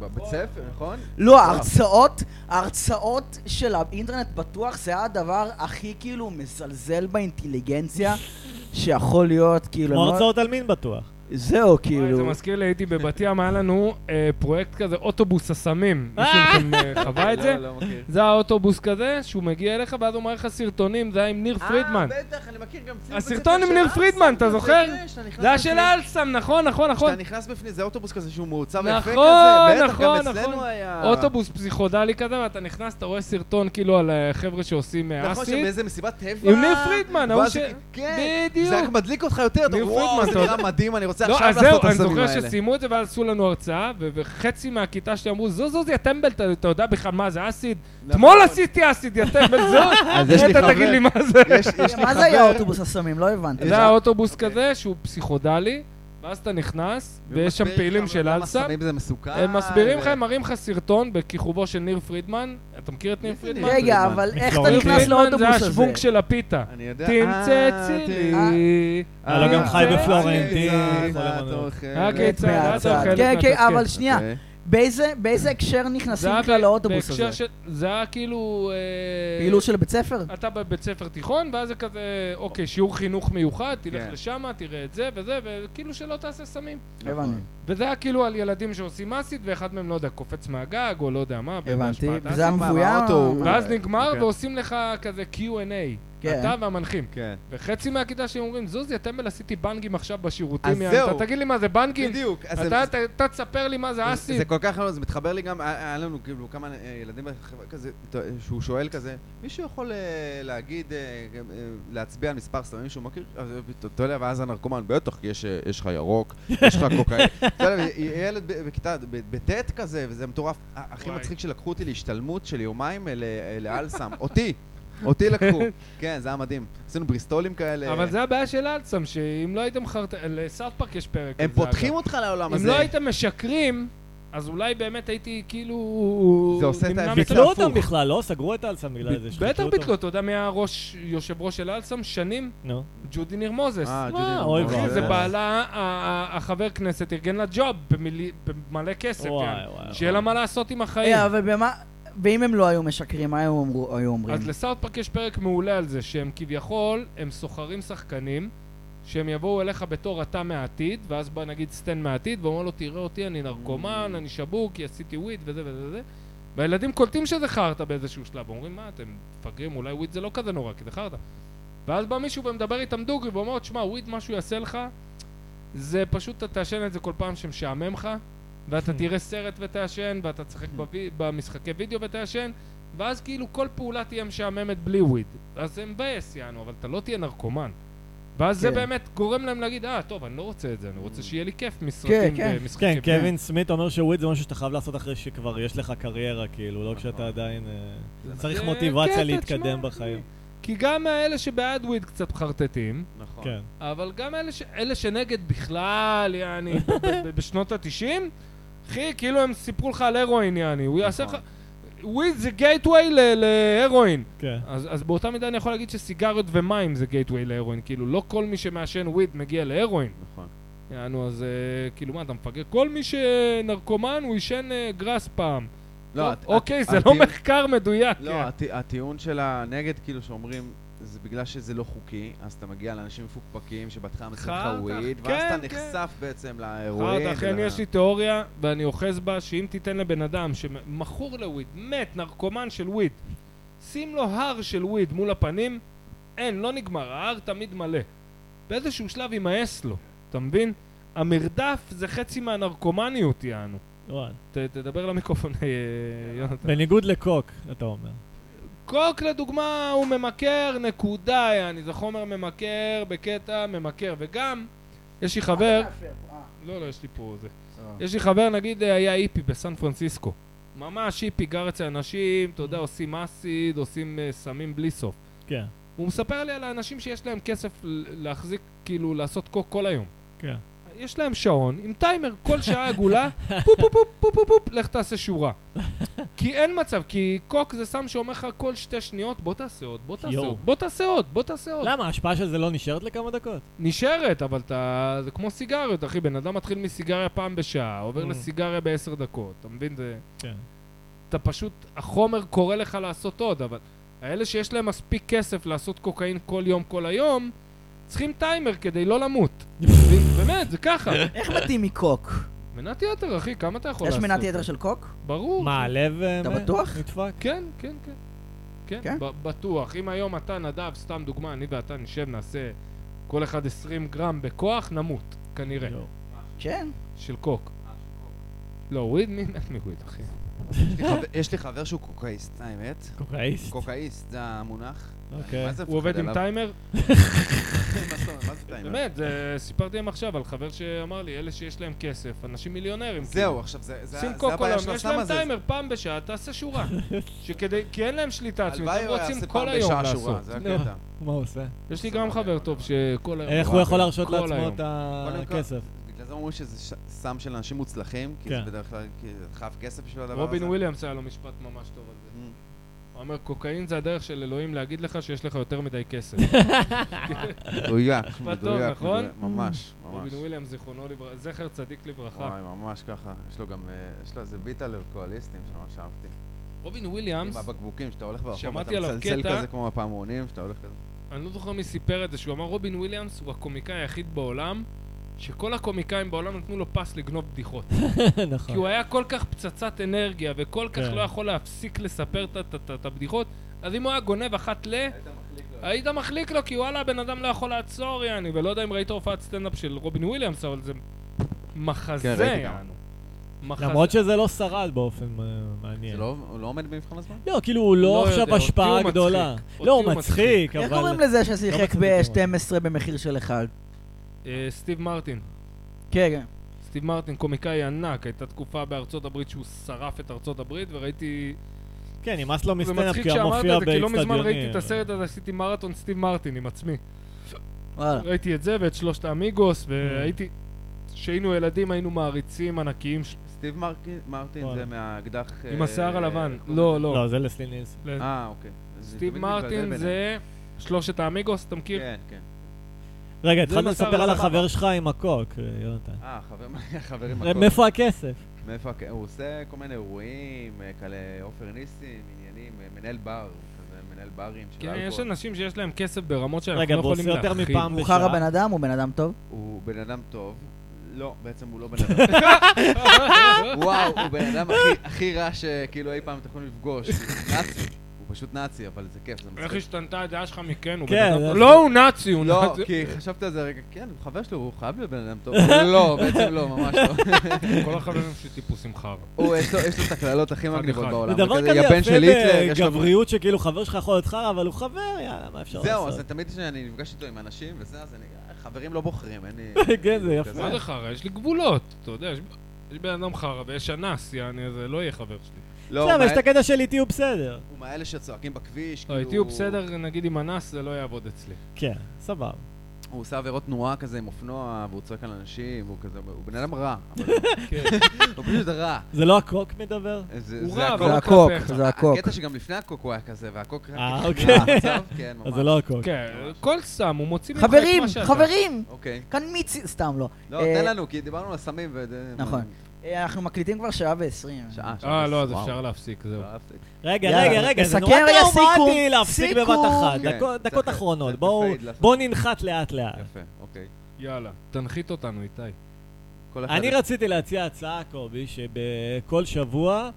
S4: בבית ספר, נכון?
S2: לא, ההרצאות, ההרצאות של האינטרנט בטוח זה היה הדבר הכי כאילו מזלזל באינטליגנציה שיכול להיות, כאילו...
S3: כמו
S2: לא-
S3: הרצאות על מין בטוח.
S2: זהו,
S1: וואי, זה
S2: כאילו.
S1: מזכיר לי, הייתי בבת ים, היה לנו אה, פרויקט כזה, אוטובוס הסמים. מישהו מכם
S2: (laughs)
S1: אה, חווה את זה?
S4: לא, לא מכיר.
S1: זה האוטובוס כזה, שהוא מגיע אליך, ואז הוא מראה לך סרטונים, זה היה עם ניר פרידמן.
S4: אה, בטח, אני מכיר גם צילום
S1: הסרטון
S4: בית
S1: עם
S4: ספר
S1: ניר
S4: של
S1: פרידמן, אתה
S4: אלסם,
S1: זוכר?
S4: כזה, שאתה נכנס
S1: זה היה
S4: בפנים.
S1: של אלסם, נכון, נכון, נכון.
S4: כשאתה נכנס בפנים, זה אוטובוס כזה שהוא מעוצב יפה כזה,
S1: נכון,
S4: בטח, גם
S1: נכון,
S4: אצלנו
S1: נכון.
S4: היה...
S1: אוטובוס פסיכודלי כזה, ואתה נכנס, אתה רואה סרטון כאילו על אה, חבר'ה שעושים אה,
S4: נכון,
S1: אסיד.
S4: שבאיזה מסיבת טבע...
S1: עם ניר פרידמן, ההוא
S4: ואז-
S1: ש...
S4: כן,
S1: בדיוק.
S4: זה רק מדליק אותך יותר, אתה
S1: ניר
S4: אומר, וואו,
S1: פרידמן,
S4: זה
S1: אתה יודע.
S4: נראה מדהים, אני רוצה
S1: לא,
S4: עכשיו
S1: אז
S4: לעשות
S1: זהו,
S4: את
S1: אני
S4: הסמים
S1: זוכר
S4: האלה.
S1: שסיימו את זה ואז עשו לנו הרצאה, ו- וחצי מהכיתה שלי אמרו, זוז, זוז, יא טמבל, אתה אתה יודע בכלל מה זה אסיד? אתמול עשיתי אסיד, יא טמבל, זוז,
S4: נכון. (laughs) אז יש לי
S1: אתה
S4: חבר-
S1: תגיד לי מה זה.
S4: יש- יש לי
S2: כן, מה זה היה
S1: (laughs)
S4: חבר-
S2: אוטובוס הסמים? לא הבנתי.
S1: זה היה אוטובוס
S4: אוקיי.
S1: כזה שהוא פסיכודלי, ואז אתה נכנס,
S4: והוא
S1: ויש שם
S4: מסביר
S1: פעילים
S4: לך
S1: של
S4: למה
S1: אלסם,
S4: סמים זה מסוכן. אה,
S1: הם מסבירים
S4: ו-
S1: לך, הם מראים לך סרטון בכיכובו של ניר פרידמן. אתה מכיר את ניר
S4: איזה
S1: פרידמן?
S4: ניר?
S2: רגע,
S3: פרידמן.
S2: אבל איך אתה
S3: פרידמן
S2: נכנס לאוטובוס
S1: פרידמן
S2: הזה?
S1: זה השוונק של הפיתה.
S4: אני יודע.
S1: תמצצי לי.
S3: אה, לא, גם חי
S1: אה,
S3: בפלורנטין,
S4: אה,
S3: כל
S4: אה,
S3: המנוי.
S4: תאכל.
S1: אה, כן,
S2: מת
S1: צעד,
S2: מהצד.
S1: אוכל,
S2: כן,
S1: אתה
S2: כן,
S1: כן.
S2: אבל שנייה,
S4: אוקיי.
S2: באיזה באיזה הקשר נכנסים
S1: היה
S2: בכלל
S1: ב-
S2: לאוטובוס
S1: בהקשר
S2: הזה?
S1: של- זה היה כאילו... אה,
S2: פעילות של בית ספר?
S1: אתה בבית ספר תיכון, ואז זה כזה, אוקיי, שיעור חינוך מיוחד, תלך
S4: כן.
S1: לשם, תראה את זה וזה, וכאילו שלא תעשה סמים.
S2: הבנתי.
S1: וזה היה כאילו על ילדים שעושים אסית, ואחד מהם, לא יודע, קופץ מהגג, או לא יודע מה,
S2: הבנתי.
S1: בהשפעת
S2: וזה היה
S1: אסיד.
S4: מה,
S2: מבוים?
S4: מהאוטו הוא-
S1: ואז נגמר,
S4: אוקיי.
S1: ועושים לך כזה Q&A.
S2: כן.
S1: אתה והמנחים.
S4: כן.
S1: וחצי מהכיתה שהם אומרים, זוזי, הטמבל עשיתי בנגים עכשיו בשירותים.
S4: אז
S1: יא,
S4: זהו.
S1: אתה תגיד לי מה זה בנגים?
S4: בדיוק. אז
S1: כן. אתה- אתה
S4: זה-
S1: אתה תספר לי מה זה
S4: זה
S1: אסית.
S4: כל כך, לא- זה מתחבר לי גם, היה היה לנו כאילו כמה אה, ילדים בחברה כזה, שהוא שואל כזה, מישהו יכול אה, להגיד, אה, גם, אה, להצביע על מספר סמים שהוא מכיר? אז, אה, אתה- אתה יודע, ואז הנרקומן, בטח, כי יש, אה, יש לך ירוק,
S1: (laughs)
S4: יש לך קוקאין. אתה יודע, י- ילד ב- בכיתה, ב- בט' כזה, וזה מטורף. ה- הכי
S1: וואי.
S4: מצחיק שלקחו אותי להשתלמות של יומיים אה, ל- אה, לאלסם, אותי.
S1: (laughs)
S4: אותי לקחו, כן, זה היה מדהים. עשינו בריסטולים כאלה.
S1: אבל זה הבעיה של אלצם, שאם לא הייתם חרט... לסארט פארק יש פרק. על
S4: הם
S1: זה,
S4: פותחים
S1: אגב.
S4: אותך לעולם
S1: אם
S4: הזה.
S1: לא הייתם משקרים, אז אולי באמת הייתי כאילו...
S4: זה עושה את
S1: נמנע
S4: האפקט
S1: מטעות.
S3: ביטלו אותם בכלל, לא? סגרו את אלסם בגלל זה.
S1: בטח
S3: שחיסלו אותם.
S1: ביטלו, אתה יודע מי היה ראש, יושב ראש של אלסם? שנים?
S3: נו.
S1: ג'ודי ניר מוזס.
S4: אה, ג'ודי
S3: וואו,
S4: ניר
S3: אוי
S4: מוזס.
S1: אחי, זה
S3: וואו.
S1: בעלה, ה- ה- החבר כנסת ארגן לה ג'וב במילי- במלא כסף,
S3: וואי,
S1: כן.
S3: וואי,
S1: שיהיה לה
S3: וואי.
S1: מה לעשות עם החיים.
S2: אה, אבל במה... ואם הם לא היו משקרים, מה היו אמרו- היו אומרים?
S1: אז לסאוט פארק יש פרק מעולה על זה, שהם כביכול, הם סוחרים שחקנים, שהם יבואו אליך בתור אתה מהעתיד, ואז בא נגיד סטן מהעתיד, ואומר לו, תראה אותי, אני נרקומן, אני שבור, כי עשיתי וויד וזה וזה וזה. והילדים קולטים שזה חרטא באיזשהו שלב, אומרים, מה, אתם מפגרים, אולי וויד זה לא כזה נורא, כי זה חרטא. ואז בא מישהו ומדבר איתם דוגרי, ואומר, תשמע, וויד, מה שהוא יעשה לך, זה פשוט, אתה תעשן את זה כל פעם שמשעמם לך,
S2: Hmm.
S1: ואתה תראה סרט ותעשן, ואתה תשחק בווי- במשחקי וידאו ותעשן, ואז כאילו כל פעולה תהיה משעממת בלי וויד. אז זה מבאס, יענו, אבל אתה לא תהיה נרקומן. ואז זה
S2: כן.
S1: באמת גורם להם להגיד, אה, טוב, אני לא רוצה את זה, אני רוצה שיהיה לי כיף
S2: כן,
S1: מסרטים
S2: כן.
S1: ומשחקים.
S3: כן, קווין סמיט אומר שוויד זה משהו שאתה חייב לעשות אחרי שכבר יש לך קריירה, כאילו, לא כשאתה עדיין... אה, צריך
S1: זה
S3: מוטיבציה
S1: קטע,
S3: להתקדם
S1: תשמע,
S3: בחיים.
S1: כי גם האלה שבעד וויד קצת חרטטים,
S4: נכון.
S3: כן.
S1: אבל גם אלה, ש... אלה שנגד בכלל, יעני, (laughs) ב- ב- בשנות התשעים, אחי, כאילו הם סיפרו לך על הרואין, יעני, הוא יעשה לך...
S4: נכון.
S1: וויד זה גייטווי ל- להרואין.
S3: כן.
S1: אז, אז באותה מידה אני יכול להגיד שסיגריות ומים זה גייטווי להרואין. כאילו, לא כל מי שמעשן וויד מגיע להרואין.
S4: נכון.
S1: יענו, אז אה, כאילו, מה, אתה מפגר? כל מי שנרקומן, הוא עישן אה, גראס פעם.
S4: לא,
S1: טוב,
S4: את-
S1: אוקיי,
S4: את-
S1: זה
S4: את-
S1: לא מחקר מדויק.
S4: לא,
S1: כן.
S4: הטי- הטיעון של הנגד, כאילו שאומרים, זה בגלל שזה לא חוקי, אז אתה מגיע לאנשים מפוקפקים שבהתחלה מציעים לך
S1: חרטא,
S4: וויד, ואז
S1: כן,
S4: אתה
S1: כן.
S4: נחשף בעצם לאירועים.
S1: אחרת, אכן
S4: ול-
S1: יש לי תיאוריה, ואני אוחז בה, שאם תיתן לבן אדם שמכור לוויד, מת, נרקומן של וויד, שים לו הר של וויד מול הפנים, אין, לא נגמר, ההר תמיד מלא. באיזשהו שלב יימאס לו, אתה מבין? המרדף זה חצי מהנרקומניות, יענו.
S3: וואי.
S1: ת- תדבר למיקרופון, אה, יונתן.
S3: בניגוד לקוק, אתה אומר.
S1: קוק לדוגמה הוא ממכר, נקודה, יעני, זה חומר ממכר, בקטע ממכר, וגם, יש לי חבר, לא, לא, יש לי פה זה. יש לי חבר, נגיד, אה, היה היפי בסן פרנסיסקו. ממש היפי, גר אצל אנשים, אתה יודע, עושים אסיד, עושים אה, סמים בלי סוף.
S3: כן.
S1: הוא מספר לי על האנשים שיש להם כסף ל- להחזיק, כאילו, לעשות קוק כל היום.
S3: כן.
S1: יש להם שעון עם טיימר, כל שעה עגולה, (laughs) פופ פופ פופ פופ פופ פופ, לך תעשה שורה. כי אין מצב, כי קוק זה סם שאומר לך כל שתי שניות, בוא תעשה עוד, בוא תעשה
S3: יואו.
S1: עוד, בוא תעשה עוד, בוא תעשה עוד.
S3: למה, ההשפעה של זה לא נשארת לכמה דקות?
S1: נשארת, אבל אתה... זה כמו סיגריות, אחי. בן אדם מתחיל מסיגריה פעם בשעה, עובר
S3: Mm.
S1: לסיגריה בעשר דקות. אתה מבין? זה...
S3: כן.
S1: אתה פשוט... החומר קורא לך לעשות עוד, אבל... האלה שיש להם מספיק כסף לעשות קוקאין כל יום, כל היום, צריכים טיימר כדי לא למות.
S3: (laughs)
S1: אתה מבין? באמת, זה ככה.
S2: איך מתים מקוק?
S1: מנת יתר, אחי, כמה אתה יכול
S2: יש
S1: לעשות?
S2: מנת יתר של קוק?
S1: ברור.
S3: מה, הלב... אה,
S2: אתה
S3: מה-
S2: בטוח?
S3: נדפק?
S1: כן, כן, כן. כן,
S2: כן?
S1: ב- בטוח. אם היום אתה, נדב, סתם דוגמה, אני ואתה נשב, נעשה כל אחד 20 גרם בכוח, נמות, כנראה.
S3: יואו.
S2: כן.
S1: של קוק. לא, וויד? מי מת מוויד, אחי?
S4: יש לי (laughs) חבר- יש לי חבר שהוא קוקאיסט, האמת.
S3: קוקאיסט.
S4: קוקאיסט, זה המונח.
S3: אוקיי.
S4: מה זה
S1: הוא
S4: מפחד
S1: עובד עם
S4: עליו? לא.
S1: טיימר?
S4: מה זאת אומרת? (laughs) מה זה טיימר?
S1: באמת, זה- סיפרתי להם עכשיו על חבר שאמר לי, אלה שיש להם כסף, אנשים מיליונרים. כאילו.
S4: זהו, עכשיו, זה זה-
S1: שים
S4: זה
S1: קוק עולם,
S4: הבעיה של
S1: יש
S4: הסם
S1: להם
S4: הזה.
S1: טיימר, פעם בשעה תעשה
S4: (laughs)
S1: שורה. שכדי, כי אין להם שליטה עצמית,
S4: הלוואי
S1: הם
S4: הוא
S1: לא רוצים
S4: יעשה פעם
S1: כל היום
S4: בשעה
S1: לעשות. לא,
S4: שורה,
S1: (laughs)
S4: זה הקטע.
S3: מה הוא עושה?
S1: יש לי גם חבר טוב שכל היום...
S3: איך אה, הוא יכול להרשות
S1: כל
S3: לעצמו
S1: היום.
S3: את
S4: קודם כל,
S3: הכסף?
S4: אומרים שזה ש- סם של אנשים מוצלחים, כי
S3: כן.
S4: זה בדרך כלל, כי זה חייב כסף בשביל הדבר הזה.
S1: רובין וויליאמס היה לו משפט ממש טוב על זה.
S4: Mm.
S1: הוא אומר, קוקאין זה הדרך של אלוהים להגיד לך שיש לך יותר מדי
S3: (laughs)
S1: כסף. (laughs)
S4: מדויק,
S1: משפט טוב,
S4: מדויק,
S1: נכון?
S4: מדויק, ממש, ממש.
S1: רובין וויליאמס, זיכרונו לברכה, זכר צדיק לברכה.
S4: וואי, ממש ככה. יש לו גם, אה, יש לו איזה ביט על אלכוהוליסטים שממש אהבתי.
S1: רובין
S4: עם
S1: וויליאמס,
S4: הבקבוקים, שאתה הולך ברחוב,
S1: שמעתי
S4: אתה
S1: עליו
S4: מצלצל
S1: קטע.
S4: כזה כמו הפעמונים, שאתה הולך כזה.
S1: אני לא זוכר מי סיפר את זה, שהוא אמר רובין וויליאמס הוא הקומיקאי היחיד בעולם, שכל הקומיקאים בעולם נתנו לו פס לגנוב בדיחות. כי
S3: (laughs) נכון.
S1: הוא היה כל כך פצצת אנרגיה, וכל כך
S3: כן.
S1: לא יכול להפסיק לספר את- את- את- את הבדיחות, אז אם הוא היה גונב אחת ל... היית מחליק לו, כי וואלה, הבן אדם לא יכול לעצור, יעני, ולא יודע אם ראית הופעת סטנדאפ של רובין וויליאמס, אבל זה מחזה,
S4: כן, ראיתי גם.
S1: יענו. מחזה.
S3: למרות שזה לא שרד באופן אה,
S4: זה
S3: מעניין.
S4: לא- הוא לא עומד במבחן הזמן?
S3: לא, כאילו הוא
S1: לא
S3: לא
S1: יודע,
S3: עכשיו השפעה
S1: אותי הוא
S3: גדולה.
S1: מצחיק.
S3: לא,
S1: אותי
S3: הוא
S1: הוא מצחיק.
S3: מצחיק,
S2: איך קוראים
S3: אבל... לא
S2: לזה ששיחק
S3: מצאתי
S2: ב-12 במחיר של אחד?
S1: אה, סטיב מרטין.
S2: כן, כן.
S1: סטיב מרטין קומיקאי ענק, הייתה תקופה בארצות הברית שהוא שרף את ארצות הברית, וראיתי...
S3: כן, נמאס לו
S1: זה
S3: מסטנדאפ
S1: מצחיק
S3: כי
S1: שאמרת
S3: המופיע
S1: את זה, כי לא מזמן ראיתי
S3: באצטדיונים.
S1: את הסרט הזה, עשיתי מרתון סטיב מרטין עם עצמי.
S3: אה.
S2: וואלה.
S1: ראיתי את זה ואת שלושת האמיגוס, והייתי... כשהיינו ילדים היינו מעריצים ענקיים ש-
S4: סטיב מרקי- מרטין
S3: וואלה.
S4: זה מהאקדח...
S1: עם
S4: אה,
S1: השיער הלבן.
S4: איך קוראים
S1: לא, לא.
S3: לא, זה לסלי נילס.
S1: ל-
S4: לזה? אה, אוקיי. אני
S1: סטיב
S4: תמיד מתבלבל
S1: מרטין
S4: ביניהם.
S1: זה כאילו- שלושת האמיגוס, אתה מכיר?
S4: כן, כן.
S3: רגע,
S1: זה
S3: התחלת
S1: מצב
S3: לספר על
S1: הסבבה.
S3: החבר שלך עם הקוק, אה, יונתן.
S4: אה, חבר- (laughs) חברים...
S3: אה,
S4: הכל.
S3: מאיפה הכסף?
S4: מאיפה... הכ- הוא עושה כל מיני אירועים, אה, כאלה עופר ניסים, עניינים, אה, מנהל בר, הוא כזה מנהל ברים של
S1: כן, יש
S4: אלכוהול.
S1: אנשים שיש להם כסף ברמות שאנחנו
S3: רגע,
S1: לא
S3: והוא
S1: יכולים
S3: עושה יותר
S1: להכיל.
S3: מפעם
S2: הוא חרא בן
S3: בשעה.
S2: אדם, הוא בן אדם טוב.
S4: הוא בן אדם טוב. לא, בעצם הוא
S1: (laughs)
S4: לא בן אדם. וואו, הוא בן אדם הכי- הכי רע שכאילו אי פעם אתם יכולים לפגוש. הוא נאצי. הוא פשוט נאצי, אבל זה כיף, זה
S1: איך
S4: מצחיק.
S1: השתנתה הדעה שלך מכן? הוא
S3: כן,
S1: בן אדם-
S3: זה-
S1: לא, הוא נאצי, הוא
S4: לא,
S1: נאצי.
S4: כי חשבתי על זה רגע, כן, הוא חבר שלו, הוא חייב להיות בן אדם טוב. (laughs) אבל לא, בעצם לא, ממש לא.
S1: (laughs) כל החברים שלי טיפוסים חרא.
S4: הוא, יש לו- יש לו את הקללות הכי מגניבות
S1: אחד.
S4: בעולם.
S3: זה דבר
S4: הוא
S3: כזה
S4: "יא בן של היטלר", יש
S3: יפה
S4: לו-
S3: בגבריות שכאילו חבר שלך יכול להיות חרא, אבל הוא חבר, יאללה, מה אפשר לעשות?
S4: זהו, אז תמיד כשאני נפגש איתו עם אנשים וזה, אז אני... "אה, חברים לא בוחרים, אין לי...
S3: (laughs)
S4: כאילו
S3: כן, זה יפה.
S4: כזה.
S1: מה זה חרא? יש לי גבולות, אתה יודע, יש- יש בן אדם חרא ויש אנס, יעני, זה לא יהיה חבר שלי.
S4: לא,
S3: בסדר,
S4: הוא
S3: אבל יש את
S4: מה-
S3: הקטע של איתי הוא בסדר.
S4: הוא מאלה שצועקים בכביש,
S1: לא,
S4: כאילו...
S1: איתי הוא בסדר, נגיד עם אנס, זה לא יעבוד אצלי.
S3: כן, סבבה.
S4: הוא עושה עבירות תנועה כזה עם אופנוע, והוא צועק על אנשים, הוא כזה... הוא בן אדם רע.
S1: (laughs)
S4: אבל לא.
S1: כן.
S4: הוא פשוט רע.
S3: זה לא הקוק מדבר?
S4: זה-
S1: הוא
S4: זה
S1: רע, אבל
S4: הכל.
S2: זה
S1: לא
S2: הקוק,
S1: כלפיך.
S2: זה הקוק.
S4: הקטע שגם לפני הקוק הוא היה כזה, והקוק רק...
S3: אה,
S4: החמיר
S3: אוקיי.
S4: המצב, כן,
S1: (laughs)
S4: ממש.
S3: אז זה לא הקוק.
S1: כן, כל סם, הוא מוציא ממך את
S2: חברים,
S1: מה שאתה.
S2: חברים!
S4: אוקיי.
S2: כאן מיצי... סתם לא.
S4: לא,
S2: אה,
S4: תן לנו, כי דיברנו על סמים ו...
S2: נכון. אה, אנחנו מקליטים כבר שעה ועשרים.
S4: שעה, שעה.
S1: אה, לא, אז
S4: וואו.
S1: אפשר אה. להפסיק, זהו.
S4: לא אהבתי.
S3: רגע,
S2: יאללה,
S3: רגע, רגע, זה
S2: נסכם,
S3: נורא
S2: רגע,
S3: טראומטי
S2: סיכום,
S3: להפסיק
S2: סיכום.
S3: בבת אחת.
S4: כן,
S3: דקות-
S4: צריך-
S3: דקות
S4: צריך
S3: אחרונות,
S4: לפייד,
S3: בואו-
S4: לעשות-
S3: בואו ננחת לאט לאט.
S4: יפה, אוקיי.
S1: יאללה, תנחית אותנו, איתי.
S4: כל אחד-
S3: אני רציתי להציע הצעה, קובי, שבכל שבוע,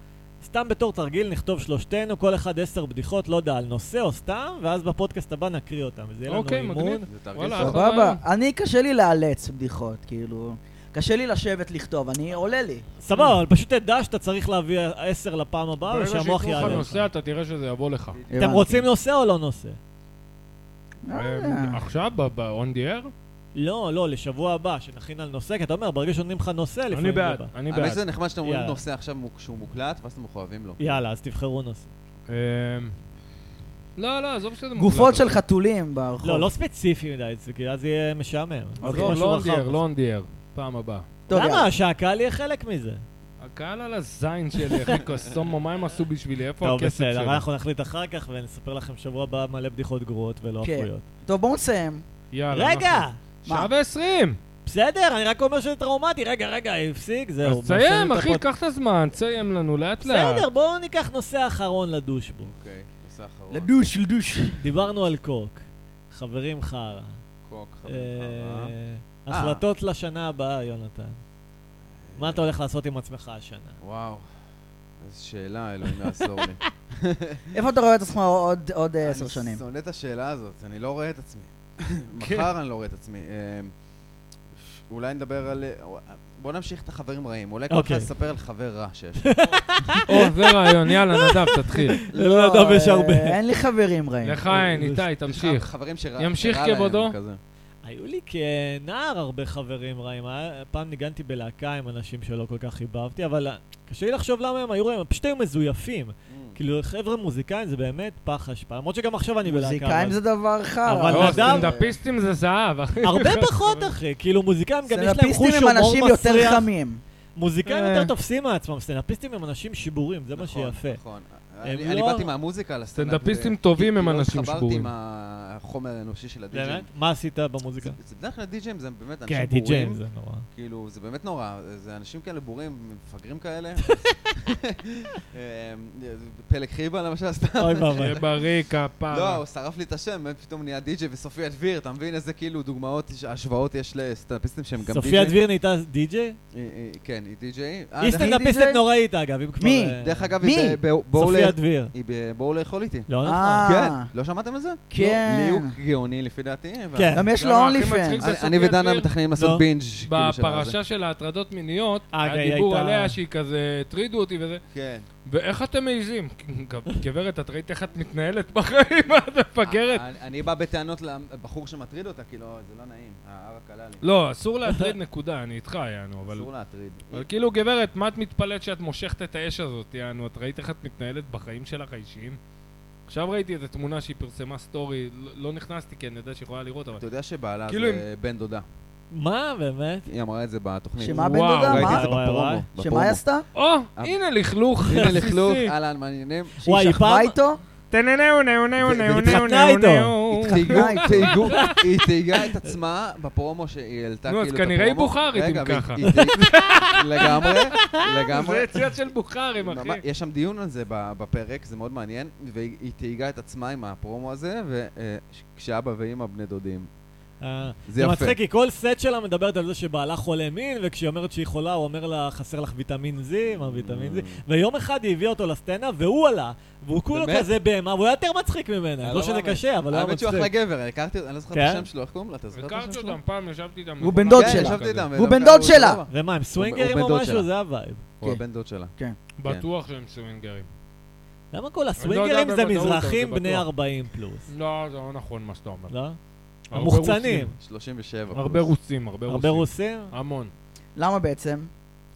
S3: סתם בתור תרגיל, נכתוב שלושתנו, כל אחד עשר בדיחות, לא יודע, על נושא או סתם, ואז בפודקאסט הבא נקריא אותם. זה יהיה לנו
S1: אוקיי,
S3: אימון.
S1: מגניב.
S4: זה תרגיל
S1: וואלה,
S4: טוב.
S1: אחלה רעיון.
S2: סבבה. אני, קשה לי לאלץ בדיחות, כאילו... קשה לי לשבת לכתוב, אני עולה לי.
S3: סבבה, אבל פשוט תדע שאתה צריך להביא עשר לפעם הבאה,
S1: ברגע
S3: ושהמוח
S1: שייתנו לך
S3: יעלה לך.
S1: נושא, אתה תראה שזה יבוא לך.
S3: אתם
S2: הבנתי.
S3: רוצים נושא או לא נושא?
S2: אה.
S1: אה, עכשיו, ב-on the air?
S3: לא, לא, לשבוע הבא, שנכין על נושא, כי אתה אומר, ברגע שנותנים לך נושא, לפעמים
S1: אני
S3: זה
S1: בעד,
S3: בא.
S1: אני
S4: האמת
S1: בעד.
S4: שזה נחמד שאתם אומרים
S3: יאללה.
S4: נושא עכשיו מוק- שהוא מוקלט, ואז אתם מחויבים לו.
S3: יאללה, אז תבחרו נושא.
S1: אמ, לא, לא, עזוב שזה מוקלט.
S2: גופות של חתולים ברחוב.
S3: לא, לא ספציפי מדי, זה- כי אז זה יהיה משעמם.
S1: עזוב,
S3: צריך אוקיי, משהו
S1: נכון. לא on the
S3: רחב.
S1: air, לא on the air. פעם הבאה.
S2: טוב, יאללה.
S3: למה? שהקהל יהיה חלק מזה.
S1: הקהל על הזין שלי,
S3: (laughs)
S1: אחי, קוסומו, מה הם עשו בשבילי? איפה
S3: טוב,
S1: הכסף
S3: בסדר,
S1: שלי?
S3: אבל אנחנו נחליט אחר כך ונספר לכם שבוע הבא מלא בדיחות גרועות ולא
S2: כן.
S3: אפויות.
S2: טוב, בואו נסיים.
S1: יאללה,
S3: רגע!
S1: אנחנו- שעה ועשרים!
S3: בסדר, אני רק אומר שזה טראומטי. רגע, רגע, הפסיק, זהו.
S1: אז תסיים,
S3: מסיים את
S1: אחי,
S3: הפוד-
S1: קח את הזמן, תסיים לנו לאט לאט.
S3: בסדר, בואו ניקח נושא אחרון לדוש בו.
S4: אוקיי, נושא אחרון.
S2: לדוש, לדוש.
S3: דיברנו על קוק. חברים חרא.
S4: קוק, חבר
S3: אה,
S4: חרא.
S3: החלטות לשנה הבאה, יונתן. מה אתה הולך לעשות עם עצמך השנה?
S4: וואו, איזו שאלה, אלוהים יעזור לי.
S2: איפה אתה רואה את עצמך עוד- עוד אה, עשר
S4: אני
S2: שנים?
S4: שונא את השאלה הזאת, אני לא רואה את עצמי. מחר אני לא רואה את עצמי. אה, אולי נדבר על... בוא נמשיך את החברים רעים. אולי כל אחד
S3: אוקיי.
S4: יספר על חבר רע שיש.
S1: או, זה רעיון, יאללה, נדב, תתחיל.
S3: (laughs) לא, טוב, יש
S2: אה,
S3: הרבה.
S2: אין לי חברים רעים.
S1: לך אין, איתי,
S4: יש לך
S1: תמשיך.
S4: (laughs) חברים שרע
S1: ימשיך
S4: שרע להם,
S1: כבודו.
S4: כזה.
S3: היו לי כנער הרבה חברים רעים. היה- פעם ניגנתי אה, בלהקה עם אנשים שלא כל כך חיבבתי, אבל אה, קשה לי לחשוב למה הם היו רעים, הם פשוט היו מזויפים. כאילו, חבר'ה מוזיקאים זה באמת פח אשפה. למרות שגם עכשיו אני בלהקה.
S2: מוזיקאים
S3: אבל-
S2: זה דבר חרא.
S3: אבל
S1: לא,
S3: אדם-
S1: סטנדאפיסטים זה זהב, אחי.
S3: (laughs) הרבה
S4: (laughs)
S3: פחות, אחי. כאילו, מוזיקאים גם יש להם חוש
S2: סטנדאפיסטים
S3: הומור
S2: הם
S3: מסריח.
S2: אנשים יותר חמים.
S3: מוזיקאים
S1: אה.
S3: יותר תופסים מעצמם, סטנדאפיסטים הם אנשים שבורים, זה מה שיפה.
S4: נכון.
S3: הם
S4: אני אני
S3: לא-
S4: באתי מהמוזיקה לסטנדאפ.
S1: סטנדאפיסטים
S4: ו-
S1: טובים
S4: כי-
S1: הם
S4: כי לא
S1: אנשים
S4: התחברתי
S1: שבורים.
S4: עם החומר האנושי של הדי-ג'ים.
S3: באמת? מה עשית במוזיקה?
S4: זה בדרך כלל די-ג'ים זה באמת אנשים
S3: כן,
S4: בורים.
S3: די.ג'יי זה
S4: (laughs)
S3: נורא.
S4: כאילו, זה באמת נורא, זה אנשים כאלה בורים, מפגרים כאלה. (laughs) אה, פלג חיבה למשל, סתם.
S3: אוי ואבוי.
S1: בריק,
S4: לא,
S3: אה.
S1: הפעם.
S4: הוא שרף לי את השם, פתאום נהיה די-ג'יי וסופיה דביר, אתה מבין איזה כאילו דוגמאות, השוואות יש לסטנדאפיסטים שהם גם די-ג'יי?
S3: סופיה דביר נהייתה די.ג'יי?
S4: אה, אה, כן, היא די-ג'יי. אה,
S3: היא
S4: דרך-
S3: סטנדאפיסטית
S2: די-ג'יי?
S3: נוראית, אגב. היא כבר,
S2: מי?
S3: אה,
S4: דרך אגב,
S2: מי?
S4: היא ב- ב- בואו
S3: סופיה
S4: ל-
S3: דביר.
S4: היא ב- בואו לאכול איתי.
S2: אה.
S3: לא נכון.
S4: כן, לא שמעתם על זה?
S2: כן.
S4: ליהוק גאוני לפי דעתי. אבל-
S3: כן.
S2: גם יש לו
S1: למה, לא, הכי
S2: אונלי
S1: מצחיק
S2: פנס.
S1: זה
S4: אני-
S1: סופיה
S4: אני ודנה
S1: דביר?
S4: מתכננים לעשות
S3: לא.
S4: בינג'. כאילו, של הזה.
S1: בפרשה של ההטרדות מיניות,
S3: אה,
S1: היה
S3: היא
S1: דיבור
S3: הייתה-
S1: עליה שהיא כזה, הטרידו אותי וזה.
S4: כן.
S1: ואיך אתם מעיזים? (laughs) גברת, את ראית איך את מתנהלת בחיים, (laughs) מה את מפגרת?
S4: אני- אני בא בטענות לבחור שמטריד אותה, כאילו, זה לא נעים. ההר הקלה לי.
S1: לא, אסור להטריד נקודה, אני איתך, יענו, אבל...
S4: אסור להטריד.
S1: אבל כאילו, גברת, מה את מתפלאת שאת מושכת את האש הזאת, יענו? את ראית איך את מתנהלת בחיים שלך האישיים? עכשיו ראיתי איזו תמונה שהיא פרסמה סטורי, לא- לא נכנסתי כי אני יודע שהיא יכולה לראות, אבל...
S4: אתה יודע שבעלה
S1: כאילו
S4: זה בן דודה.
S3: מה, באמת?
S4: היא אמרה את זה בתוכנית.
S2: שמה בן
S1: וואו,
S2: דודה?
S4: ראיתי
S2: אה, מה?
S4: את זה
S3: וואי, וואי.
S4: בפרומו.
S2: שמה
S4: בפרומו.
S2: היא עשתה?
S1: או, הנה לכלוך, (laughs)
S2: (laughs)
S4: הנה לכלוך, אה-
S1: בסיסי.
S4: אהלן, מה העניינים?
S2: שהיא
S3: וואי,
S2: שכבה
S3: פעם-
S2: איתו?
S1: טננאו, נאו, נאו, נאו,
S4: ו-
S1: נאו,
S3: והתחתנה
S1: נאו,
S3: איתו.
S1: נאו.
S4: תהיגו-
S2: איתו.
S4: תהיגו- היא תהיגה את עצמה בפרומו שהיא העלתה
S1: נו,
S4: כאילו
S1: אז
S4: את הפרומו.
S1: כנראה היא בוכרית,
S4: רגע,
S1: אם
S4: והיא-
S1: ככה.
S4: היא
S1: (laughs)
S4: תהיג- לגמרי, לגמרי.
S1: זה יציאות של בוכרים, אחי.
S4: ממש- אה, יש שם דיון על זה ב- בפרק, זה מאוד מעניין, והיא היא תהיגה את עצמה עם הפרומו הזה, אה, וכשאבא ואימא בני דודים.
S3: אה,
S4: זה יפה.
S3: מצחיק, כי כל סט שלה מדברת על זה שבעלה חולה מין, וכשהיא אומרת שהיא חולה, הוא אומר לה, חסר לך ויטמין Z, מה ויטמין
S1: Mm.
S3: Z, ויום אחד היא הביאה אותו לסצנה, והוא עלה, והוא כולו
S4: באמת?
S3: כזה בהמה, והוא היה יותר מצחיק ממנה,
S4: אני
S3: לא
S4: לא
S3: שזה
S4: מאמין.
S3: קשה, אבל הוא היה
S4: האמת שהוא אחלה
S3: מצחיק.
S4: גבר, הכרתי אותו, אני לא זוכר את
S3: כן?
S4: השם שלו, איך קוראים לו? אתה זוכר את השם
S1: הכרתי
S4: שלו?
S1: אותם פעם, ישבתי איתם.
S2: הוא בן
S1: במכונה.
S2: דוד
S4: כן,
S2: שלה.
S4: ישבתי איתם.
S2: הוא
S4: ודווקא
S2: בן דוד
S4: הוא
S2: שלה.
S4: סבבה.
S3: ומה, הם סווינגרים
S4: הוא
S3: או
S4: בן דוד
S3: משהו?
S4: שלה.
S3: זה הווייב.
S4: הוא
S2: כן.
S4: הבן דוד שלה.
S1: בטוח שהם סווינגרים.
S3: למה כל
S1: יודע
S3: הסווינגרים זה
S1: בוודאות, אבל
S3: מזרחים
S1: זה
S3: בני
S1: בטוח.
S3: 40 פלוס?
S1: לא, זה לא נכון מה שאתה אומר.
S3: לא?
S1: הרבה
S3: המוחצנים.
S4: 37. פלוס.
S1: הרבה רוסים, הרבה רוסים.
S3: הרבה רוסים?
S1: המון.
S2: למה בעצם?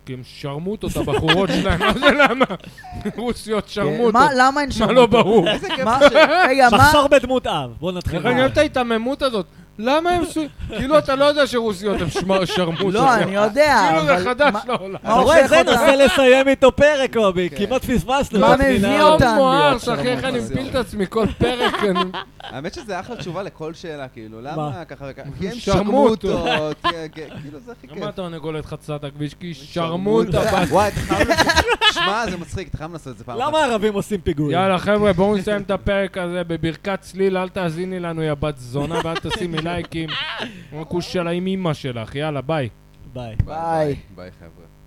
S1: כי הם שרמוט אותה
S2: (laughs)
S1: בחורות שלהם, מה זה למה? רוסיות שרמוט
S2: כן. אה, מה-
S1: אותה.
S2: למה אין שם?
S1: מה לא
S2: (laughs)
S1: ברור?
S4: איזה כיף
S2: מה?
S4: ש...
S2: רגע, מה?
S3: מחסור בדמות אב, בוא נתחיל.
S1: איך נכון, אני אוהב את ההיתממות הזאת? למה הם סו... כאילו אתה לא יודע שרוסיות הם שמר- שרמוט.
S2: לא,
S1: שלהם.
S2: אני יודע,
S1: כאילו זה
S2: אבל
S1: חדש
S2: מה-
S1: לעולם.
S2: מה
S3: אתה רואה,
S2: הופך
S3: זה
S2: אותם?
S3: ננסה לסיים איתו פרק, קובי, כמעט פספסנו.
S2: מה
S3: את הפינה.
S2: מביא
S1: לא, יום
S2: אותם להיות
S1: מואר,
S2: שרמוט?
S1: אחי, איך אני מפיל את עצמי כל פרק. אני-
S2: כן.
S4: האמת שזה אחלה תשובה לכל שאלה, כאילו, למה
S3: מה?
S4: ככה וככה? כי הם
S1: שרמוטות.
S4: שרמוטות, כן, כן, כאילו זה הכי כיף.
S1: למה התרנגולת חצתה את הכביש? כי היא שרמוטה. בת-
S4: וואי, אתה חייב לעשות... שמע, זה מצחיק, אתה חייב לעשות את זה פעם
S3: למה הערבים עושים פיגועים?
S1: יאללה חבר'ה, בואו נסיים את הפרק הזה בברכת צליל, אל תאזיני לנו יא בת זונה ואל תשימי לייקים. רק הוא שלה עם אימא שלך, יאללה ביי.
S3: ביי.
S4: ביי,
S2: ביי.
S4: ביי, חבר'ה.